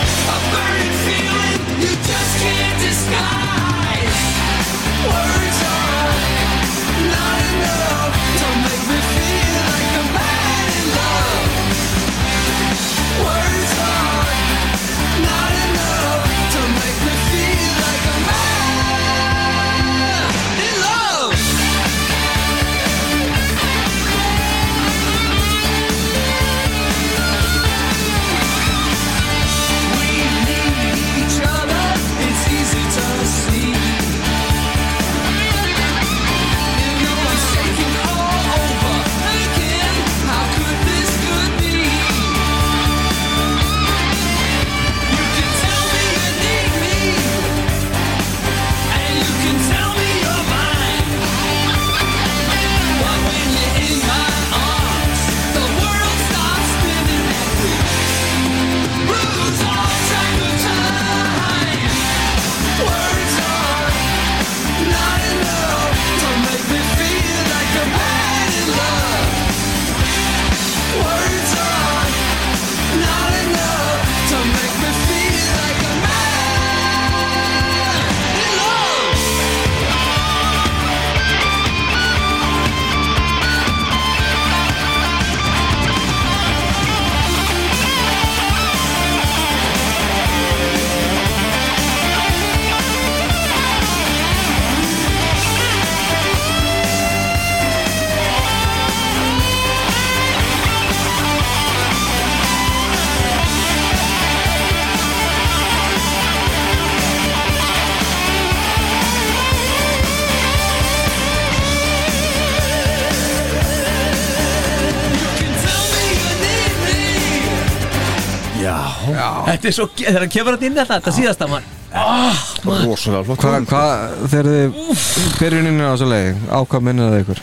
C: Já,
D: Þetta er svo, ge- þegar hann kemur hann inn þetta, þetta síðasta mann oh,
C: rosalega flott
E: Hvað, hva, þegar þið byrjuninni á þessu leiði, á hvað minnir það ykkur?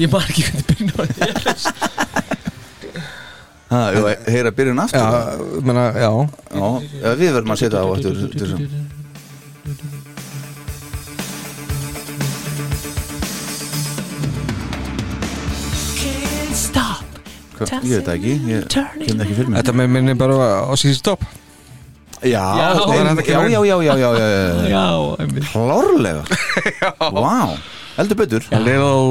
D: Ég maður ekki hvernig byrjun á þetta
C: Ha, ef að heyra byrjun aftur Já, menna, já. já Við verðum að setja á aftur til þessum.
B: Can't
D: stop.
C: Hva- Ég veit það ekki, ég kem það ekki fyrir mig
E: Þetta með minni bara á síðan stopp
C: Já,
E: Já,
C: já,
E: það er hægt að
C: já,
E: kemur inn.
C: já, já, já, já, já,
E: Já,
C: Klárlega Vá, heldur betur
E: A little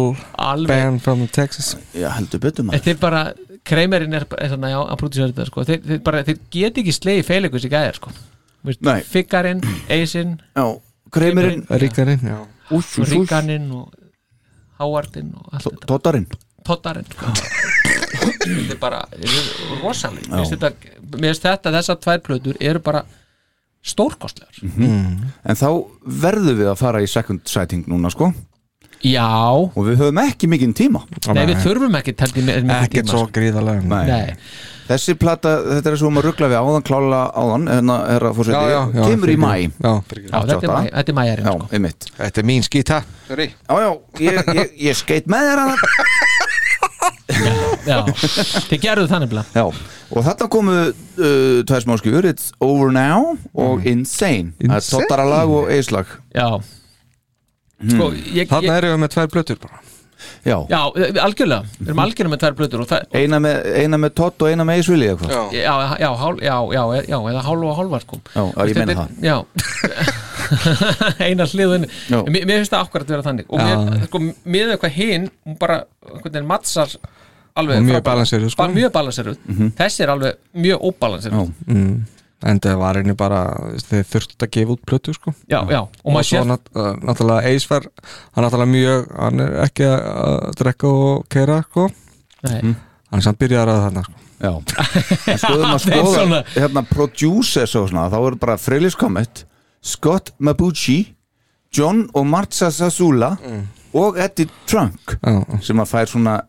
D: Alveg.
E: band from Texas
C: Já, heldur betur maður
D: Þetta er bara, kreimerinn er, bara- er svona, já, að brúti sér þetta sko. þeir, þeir, bara, þeir get ekki slegið feilegus í gæðir sko. Vist,
C: Nei.
D: Figgarinn, Eysinn
C: Já, Kramerinn.
E: Ríkarinn, já
C: Úss, úss, úss.
D: Ríkarinn og Hávardinn og allt þetta
C: Tóttarinn
D: Tottarinn sko. Þetta er bara rosaleg
C: Já.
D: Mér finnst þetta, mér finnst þetta, þessar tvær plötur eru bara stórkostlegar
C: Mhm.
E: Mm.
C: En þá verðum við að fara í second sighting núna sko
D: Já Og
C: við höfum ekki mikinn tíma
D: Nei, við þurfum ekki teldi með mikið
C: Ekkert
D: tíma,
C: svo
D: sko.
E: gríðarlega
D: Nei.
C: Þessi plata, þetta er svo um að ruggla við áðan klála áðan hérna, herra fórseti,
E: Já, já, já,
C: kemur í
E: fyrirgefðu.
C: mæ
E: Já,
C: Já,
D: þetta er maí- þetta er mæjarinn,
C: sko. einmitt.
E: Þetta er mín skýta Sorry
C: Já, já, ég, ég, ég skeit með þér að
D: Já, þið gerðu þannig blá
C: Já, og þarna komu uh, tvær smá skifur, It's Over Now og Insane, Það er
E: Insane.
C: tóttara lag og Hmm. eislag
D: Mhm. Já Sko, ég-
E: Þarna
D: ég-
E: erum við með tvær blötur bara
C: Já,
D: Já, við- algjörlega, við erum algjörlega með tvær plötur og það
C: Eina, með, eina með tótt og eina með eisvili eitthvað
D: Já, sko. já, já, hál- já, já, já, eða hálf og hálfar sko.
C: Já, já, ég
D: Þetta
C: meina
D: er- Já, eina hliðun
C: Já.
D: Mér mér finnst það akkurat vera þannig og
E: Já.
D: mér, sko, með eitthvað hinn hún bara, einhvern veginn matsar alveg
E: Og mjög
D: frábært.
E: balanseruð, sko.
D: Bara Mjög balanseruð,
E: Mhm.
D: þessi er alveg mjög óbalanseruð
E: mm. En það var einnig bara þið þurftu að gefa út plötu sko
D: Já, já, og maður
E: svo
D: sér-
E: nat uh, náttúrulega Ace var hann náttúrulega mjög, hann er ekki að drekka og keira sko
D: Nei.
E: Mhm. Hann er samt byrjar að þarna sko
C: Já En skoðum að
E: Það er
C: skoða
E: svona.
C: hérna producers og svona, þá er bara Freylis Comet, Scott Mabuchi John og Marza Sazula
E: Mm.
C: og Eddie Trunk sem að fær svona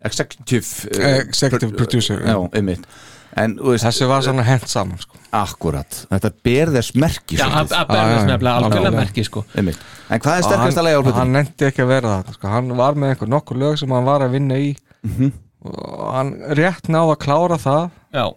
C: executive eh,
E: Executive
C: pro-
E: producer, já.
C: já, einmitt en, þú veist,
E: Þessi var svona hent saman sko
C: Akkurat, þetta ber þess merki
E: Já,
C: svolítið.
E: að- að ber þess nefnilega
C: Já,
E: algjörlega
C: já.
E: merki, sko.
C: Einmitt. En hvað er
E: Og
C: sterkast að
E: hann-
C: leiða á
E: og Hann
C: hlutinni?
E: nefndi ekki að vera það sko. Hann var með einhver nokkur lög sem hann var að vinna í
C: Mhm.
E: og hann rétt náði að klára það
D: Já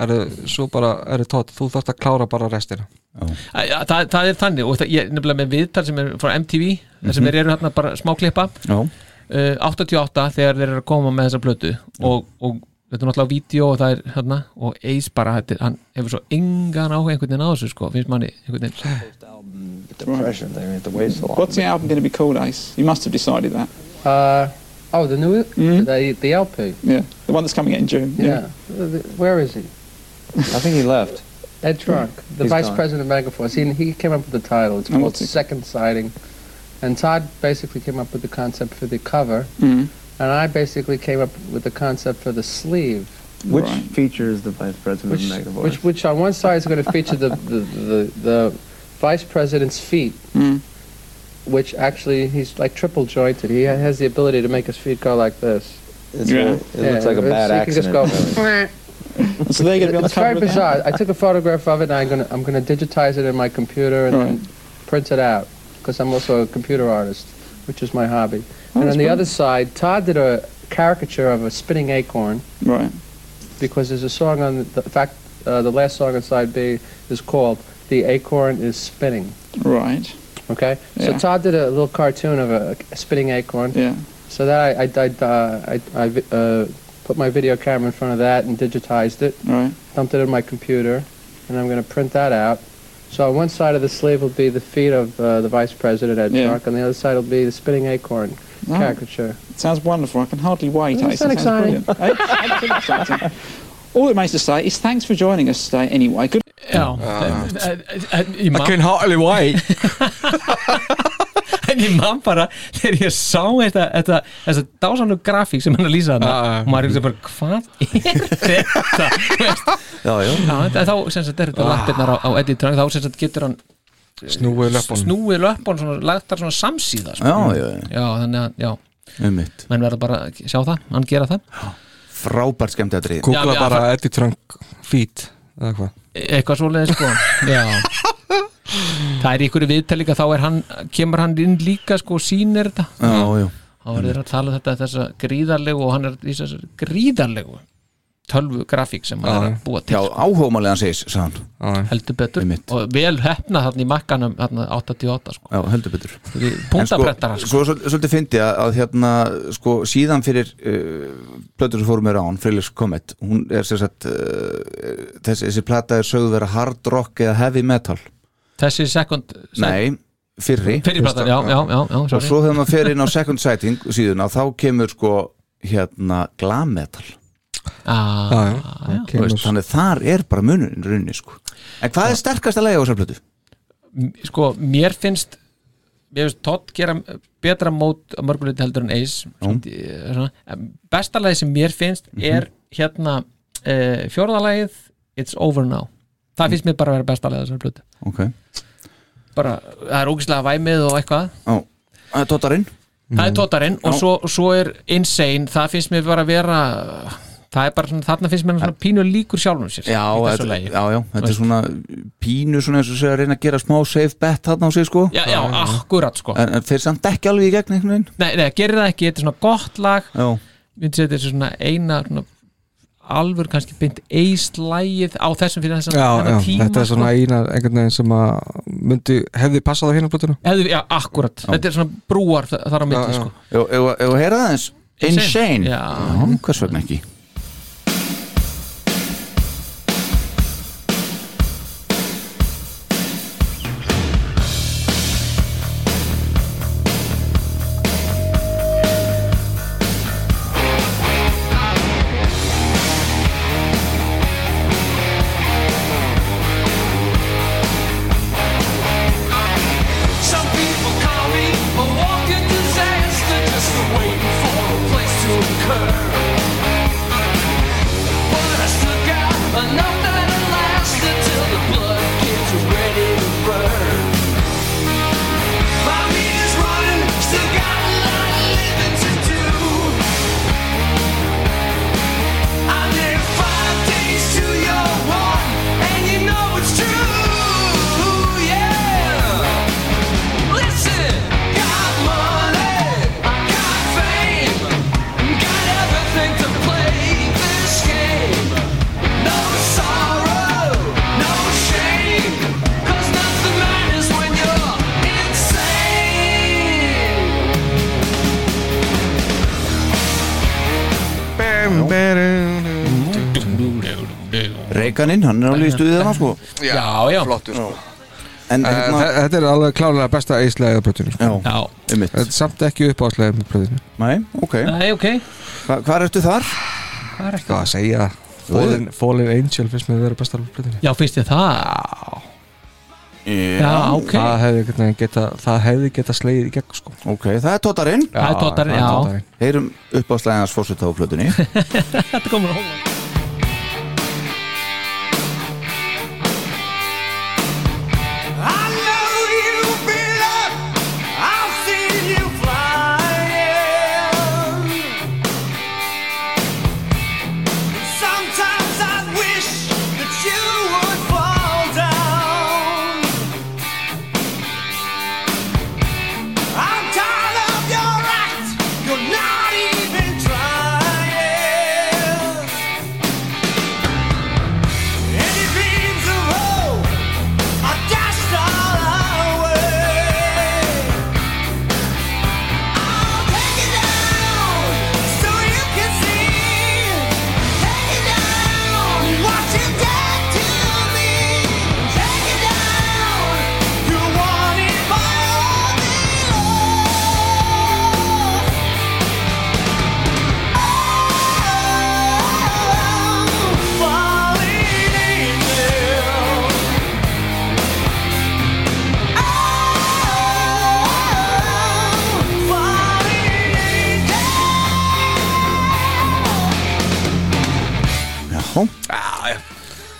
E: Eru, svo bara, eru tótt, þú þarft að klára bara restina
D: Æ, já, það, það er þannig og það, ég, nefnilega með viðtal sem er frá MTV þar sem
E: Mhm.
D: þeir eru hérna bara smáklippa
C: Já.
D: uh, 88 þegar þeir eru að koma með þessa plötu og, og þetta er náttúrulega vídeo og það er hérna og Ace bara, þetta er- hann hefur svo engan áhuga einhvern veginn á þessu sko, finnst manni einhvern veginn
O: The pressure there at the waistline.
P: What's the album going to be called, Ace? You must have decided that.
O: Uh, oh, the new the, the LP.
P: Hmm? Yeah, the one that's coming out in June.
O: Yeah. Where is he? I think he left. Ed Trunk, the
P: Hmm. He's
O: vice
P: gone.
O: president of Megaforce. He, he came up with the title. It's
P: And
O: called
P: what's it-
O: Second Sighting. And Todd basically came up with the concept for the cover.
P: Mm.
O: And I basically came up with the concept for the sleeve.
Q: Which feature is the vice president
O: Which,
Q: of Megaforce?
O: which, which on one side is going to feature the, the, the, the vice president's feet,
P: Hmm.
O: which actually he's like triple jointed. He has the ability to make his feet go like this.
Q: It's Yeah. really- it looks like a
O: it's-
Q: bad
O: he can just
Q: accident.
O: go-
P: So they're gonna be on the
O: it's
P: cover
O: very
P: of the
O: bizarre.
P: album?
O: I took a photograph of it, and I'm gonna I'm gonna digitize it in my computer and
P: Right.
O: then print it out because I'm also a computer artist, which is my hobby.
P: Oh,
O: and
P: that's
O: on the
P: brilliant.
O: other side, Todd did a caricature of a spinning acorn
P: Right.
O: because there's a song on the, the in fact uh, the last song on side B is called "The Acorn Is Spinning."
P: Right.
O: Okay,
P: Yeah.
O: so Todd did a little cartoon of a, a spinning acorn.
P: Yeah.
O: So that I I I, uh, I, I vi- uh, put my video camera in front of that and digitized it.
P: Right.
O: Dumped it in my computer, and I'm going to print that out. So on one side of the sleeve will be the feet of uh, the vice president at
P: Yeah.
O: Trump, and the other side will be the spinning acorn
P: Oh.
O: caricature.
P: It sounds wonderful. I can hardly wait.
O: Doesn't
P: Ace.
O: sound
P: It sounds
O: exciting.
P: brilliant. Eh? Absolutely exciting. All it remains to say is thanks for joining us today anyway. Good.
D: Já,
P: I can
E: Ah. hardly wait
D: En ég man bara þegar ég sá þetta, þetta þessa dásanlu grafík sem hann er að lýsa þarna og maður er hugsa bara, hvað er þetta?
C: Já, já
D: Já, þetta, þá sem sagt er þetta
E: Ah.
D: lappirnar á, á Eddie Trunk þá sem sagt getur hann
E: Snúið löpunum.
D: Snúið löpunum, svona, lagtar svona samsíða sko.
C: Já, já, já.
D: já, þannig að, já
C: Einmitt.
D: menn verða bara að sjá það, hann gera það
C: frábært skemmtadri
E: Googla bara Eddie Trunk feet eða hvað
D: eitthvað svoleiðis sko já það er í ykkur viðtælinga þá er hann kemur hann inn líka sko og sýnir þetta
C: Já, já.
D: þá er þeir að tala um þetta þessa gríðarlegu og hann er í þessar gríðarlegu tölvu grafík sem hann er að búa til
C: Já, áhómalega segis, sagði
E: hann
D: Heldur betur og vel hefna þarna í makkanum þarna 88 sko
C: Já, heldur betur
D: Punktaprentar
C: En sko, sko, svol- svolítið fyndi að, að hérna sko, síðan fyrir uh, plötur sem fórum með rán, Freelix Comet hún er sér sagt uh, þessi, þessi plata er sögðu vera hard rock eða heavy metal
D: þessi second
C: Nei, fyrri
D: Fyrri platan, já, já, já, já,
C: Og
D: sorry.
C: svo þegar maður fer inn á second sighting síðuna þá kemur sko hérna glam metal
D: ah,
C: já, já, já. Veist, Þannig þar er bara munurinn runni sko En hvað er sterkasta lagi á þessar plötu?
D: M- sko, mér finnst mér finnst Todd gera betra mót að mörguleiti heldur en Ace samt í- eh, svona. En besta lagi sem mér finnst
C: Mhm.
D: er hérna uh, fjórðalagið It's Over Now það finnst mér bara að vera besta lagið á þessari plötu
C: Ok,
D: bara, það er ógislega væmið og eitthvað
C: á, það er Tóttarinn
D: það er tótarinn og
C: Mhm. Já.
D: svo, svo er Insane, það finnst mér bara að vera það er bara svona, þarna finnst mér hann svona pínu líkur sjálfum sér
C: Já,
D: í þessu
C: þetta,
D: lagi
C: já, já, þetta er
D: Veist.
C: svona pínu svona eins og segja að reyna að gera smá safe bet þarna á sig sko
D: já, já, akkurat sko
C: En, en þeir samt ekki alveg í gegn einhvern veginn
D: nei, nei, gerir það ekki, þetta er svona gott lag
C: Já,
D: myndi segja þetta er svona eina svona, alvör kannski beint eislægið á þessum fyrir þessum
E: Já, já,
D: þennan tíma,
E: þetta er svona
D: sko.
E: eina einhvern veginn sem að myndi hefði passað á hérna plötuna
D: Hefði- já, akkurat, þetta er svona brúar þa- þar á
E: Já,
D: milli
E: já.
D: sko.
C: Jú, ef ef að heyra aðeins
D: Insane.
C: Insane
D: Já.
C: hvers vegna ekki
N: Some people call me a walking disaster, just waiting for a place to occur. But I stuck out enough that it lasted till the blood gets ready to burn. My meter's running, still got a lot of living to do. I live five days to your one, and you know it's true, yeah. Listen, got money, got fame, got everything to play this game. No sorrow, no shame, 'cause nothing matters when you're insane.
C: Reikanin, hann er alveg í stuðið hann sko
D: Já, já
E: Flottur sko
C: En
E: Eh,
C: hérna-
E: þe- Þetta er alveg klárlega besta eislega á plötunni sko.
D: Já,
C: einmitt.
E: Þetta er Samt ekki uppáðslega með plötunni
C: Nei, ok
D: Nei, ok
C: Hva, Hvað ertu þar?
D: Hvað er
E: Hvað að segja Fallen, Fallen Angel finnst mér að vera besta á plötunni
D: Já, finnst þið það? Já, ok.
E: Það hefði geta, geta, það hefði geta slegið í gegn sko
C: Ok, það er Tóttarinn
D: Það er Toddarinn, já.
C: Heyrum upp á slæðans fórsvita á plötunni
D: Þetta komur á hóla
B: I know you've been up. I've seen you flying. Sometimes I wish that you would fall down. I'm tired of your act. You're not even trying. Any beams of hope. I dashed all away. I'll take it down so you can see. Take it down what you did to me. Take it down, you wanted more than love. Oh, falling angel.
C: Já, já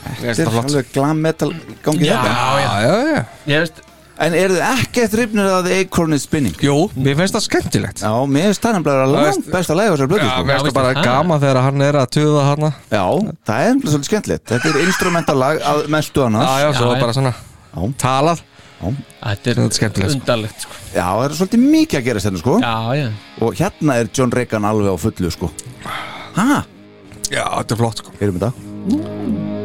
C: Þetta
E: það
C: er
E: flott.
C: alveg glam metal gangi hérna.
D: Já,
C: þetta
D: já.
E: já, já.
D: Ég veist,
C: En eru þið ekkert rifnir að The Acorn is Spinning?
E: Jú, mér finnst það skemmtilegt
C: Já, mér finnst það nefnilega
E: Já,
C: langt
E: veist-
C: besta læg á þessari blödu
E: Já,
C: sko.
E: mér finnst það bara gaman þegar hann er að tuða hana
C: Já, það er nefnilega svolítið skemmtilegt Þetta er instrumental lag að mestu annars
E: Já, já, svo bara svona
C: já.
E: talað
C: Já.
D: Þetta
E: er skemmtilegt sko.
D: Undarlegt sko.
C: Já, það er svolítið mikið að gera þetta sko
D: Já, já
C: Og hérna er John Reagan alveg á fullu sko Hæ?
E: Já, þetta er flott sko
C: Erum þetta?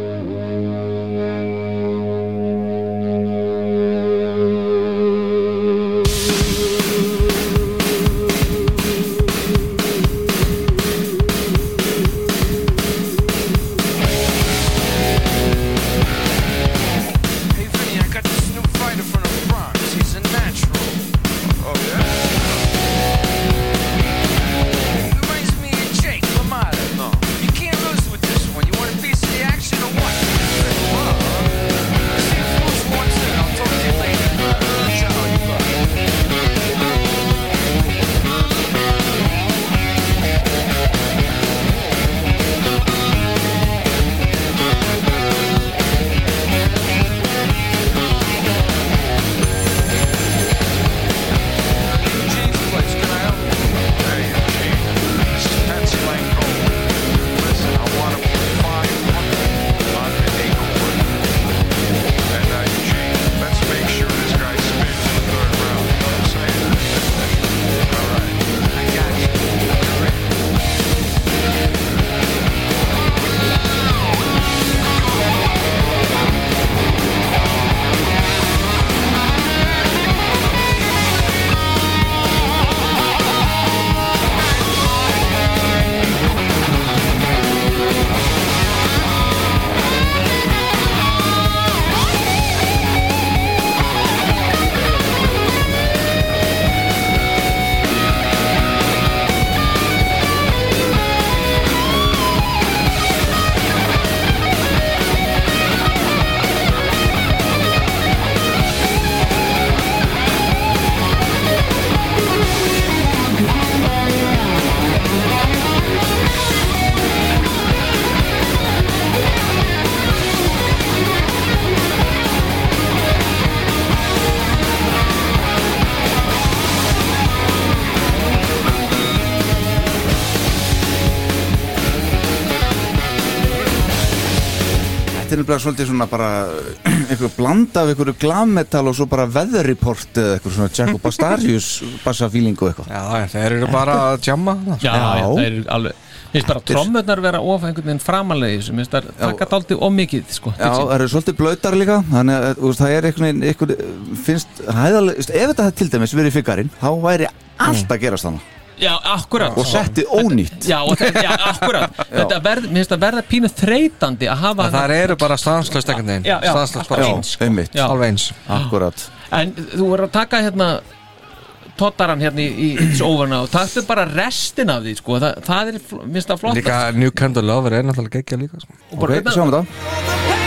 B: Hey Vinny, I got this new fighter from the Bronx. He's a natural. Oh yeah. Reminds me of Jake LaMotta. No, you can't lose with this one. You want a piece of the action or what? Well, see if Bruce wants it. I'll talk to you later. Ciao, you
C: Þetta er nefnilega svolítið svona bara einhver blanda af einhverju glammetal og svo bara weather report eða eitthvað svona Jaco Bastarius bassafílingu eitthvað
E: Já, þeir eru bara að jamma þarna, sko.
D: Já, já, það er alveg Mér finnst bara trommurnar vera of einhvern veginn framanlega í þessu Mér finnst það taka daldi of mikið sko,
C: Já, það eru svolítið blöytar líka þannig að þú veist, það er einhvern veginn einhvern, finnst hæðaleg, þú veist, ef þetta hefði til dæmis verið figgarinn þá væri allt að gerast þannig
D: já akkurat
C: og settið ónýtt
D: Já, og það- já akkurat Þetta verð, Mér finnst það verða pínu þreytandi að hafa
E: Það eru bara stanslöst ekkert neginn
D: Já, já,
E: Stanslöst bara
D: allt eins, sko.
C: einmitt,
D: Já.
E: Alveg eins
C: Akkurat
D: En þú voru að taka hérna Tottaran hérna í, í It's Over Now Taktu bara restin af því sko Það, það er, fl- mér finnst það flott
E: Líka New Kind of Lover er náttúrulega geggja líka sko.
D: Og bara hérna-
C: sjáum þetta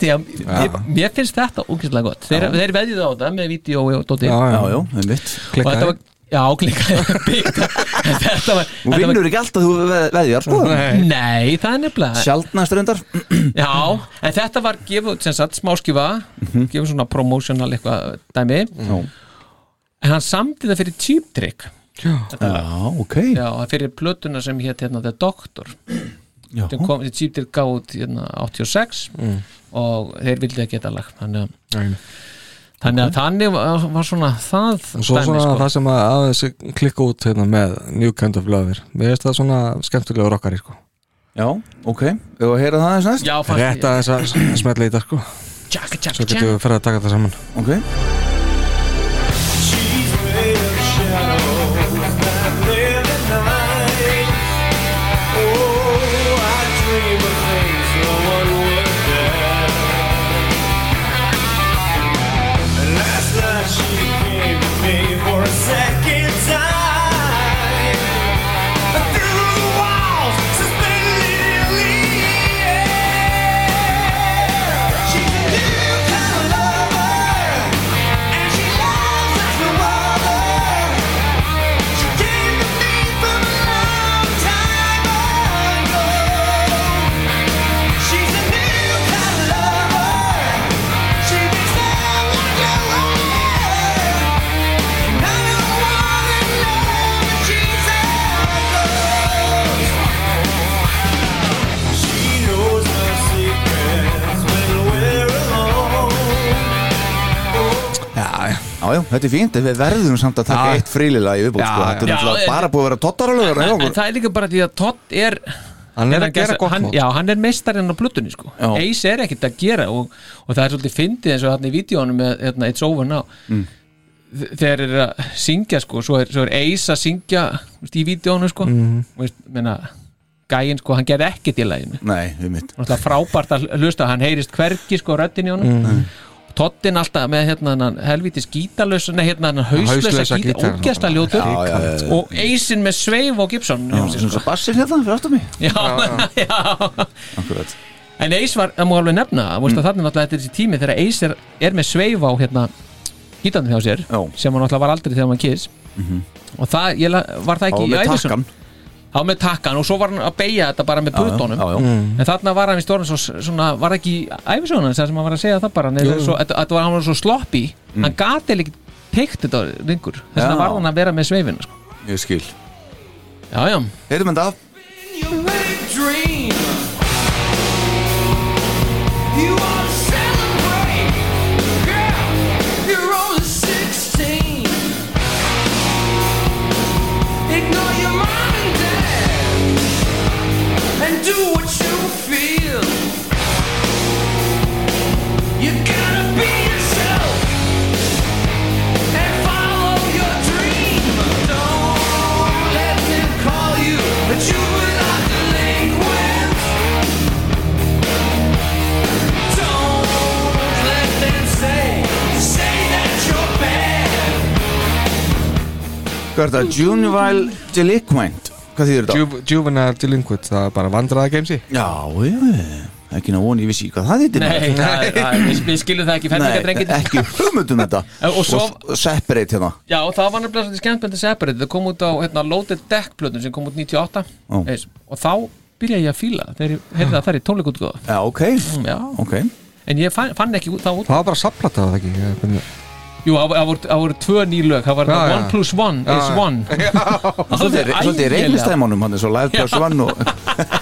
D: Því að ég- Mér finnst þetta ógeðslega gott Þeir,
C: Já.
D: þeir veðjuð á þetta með vídeo og dóti
C: Já, já, einmitt
D: Og þetta var, já, klikkaði byggt. Þetta var
C: Þú
D: þetta var-
C: vinnur ekki alltaf þú veð- veðjar sko
D: Nei, það er nefnilega
C: Sjaldnast reyndar
D: Já, en þetta var gefið út sem sagt smáskifa
C: Mhm.
D: gefið svona promotional eitthvað dæmi en hann samdi það fyrir Cheap Trick
C: Já, ok
D: Já, það fyrir plötuna sem hétt hérna The Doctor sem kom, þeir Jeep Deer gáð út hérna, 86
E: Mm.
D: og þeir vildi ekki þetta lag þannig að
E: Nei.
D: Þannig að þannig var var svona það
E: Og svo
D: dæmi,
E: svona
D: sko.
E: það sem að aðeins klikka út hérna með New Kind of Lover Mér finnst það svona skemmtilega rockari sko
C: Já, ok, hefur að heyra það aðeins næst?
D: Já, fannst
E: Rétt aðeins að smetla í þetta sko
D: Tjaka, tjaka,
E: Svo getum við fyrir að taka það saman
C: Ok
E: Já,
C: já, þetta er fínt, en við verðum samt að taka eitt frílilega í viðbútt
D: Já,
C: sko. Þetta er
D: já.
C: náttúrulega
D: Já, en-
C: bara búið að vera tottaralögur
D: en, en það er líka bara því að Todd er
E: Hann er að gera
D: gesa-
E: gott
D: hann,
E: mót.
D: Já, hann er meistarinn á plötunni sko
E: Já.
D: Ace er ekkert að gera og, og það er svolítið fyndið eins og þarna í vídjónum með hérna, It's Over Now
C: Mm.
D: Þ- þegar er að syngja sko svo er, svo er Ace að syngja veist, í vídjónu sko
C: Mhm.
D: og veist, menna, gæinn sko, hann gerði ekkert í læginu
C: Nei, við mitt
D: og það er frábært að hlusta hann heyrist hvergi sko röddin í honum
C: Mhm.
D: Toddin alltaf með hérna þennan helvítis gítalösa, nei hérna hann hauslösa
E: Hauslausa
D: gítar,
E: gítar.
D: ógæsta ljótur
E: Já, já, já, já.
D: og eisin með sveif og Gibson já,
C: sem svo bassir hérna fyrir aftur mig
D: já, já,
C: Akkurat
D: en Ace var, það má alveg nefna mm. þannig náttúrulega þetta er þessi tími þegar Ace er, er með sveif á hérna gítarnum hjá sér
C: já.
D: sem hann náttúrulega var aldrei þegar hann kiss og það, ég, la- var það
C: Á,
D: ekki í
C: með
D: æfisun
C: takkan.
D: á með takkan og svo var hann að beigja þetta bara
C: Já,
D: með
C: já,
D: putónum
C: já, Mm. já.
D: en þarna var hann í stórn svo, svona, var það ekki æfisunum sem hann var að segja það bara
C: Jú,
D: neður,
C: jú. Mm.
D: svo, þetta, þetta var, hann var svo sloppy hann gati ekki teikt þetta ringur þess
C: Já.
D: vegna var hann að vera með sveifinu sko.
C: Ég skil
D: Já, já
C: Heitum þetta af
B: Dream. You ought to celebrate, girl. You're only 16. Ignore your mom and dad and do what you feel. You gotta be yourself and follow your dream. Don't let them call you a juvenile delinquent. Don't let them say, say that you're bad.
C: Hvað er þetta? Juvenile Delinquent Hvað þýður þetta?
E: Ju- Juvenile Delinquent, það er bara vandraða gamesi
C: Já, já, ekki ná voni, ég vissi ekki hvað það þýttir
D: Nei, það er- það er- við- við skiljum það ekki fermingadrengir
C: ekki hugmyndum þetta
D: Og svo-
C: s- separate hérna
D: Já, og það var nefnilega svolítið skemmt með þetta separate Það kom út á hérna, Loaded Deck plötun sem kom út 98
C: Já.
D: eins, Og þá byrjaði ég að fíla það Þegar ég heyrði að það er í tónleikutgóða
C: Já, ok,
D: Já,
C: ok
D: en ég fann, fann ekki út það út
E: Það var bara saplata það ekki ég finn-
D: Jú, það það voru, það voru tvö nýlög Það var
E: Já,
D: það
E: já.
D: One plus one
E: Já,
D: is
E: já.
D: one
C: Svolítið svolítið
D: ægilega.
C: reynistæmanum hann er svo live plus
D: Já.
C: one og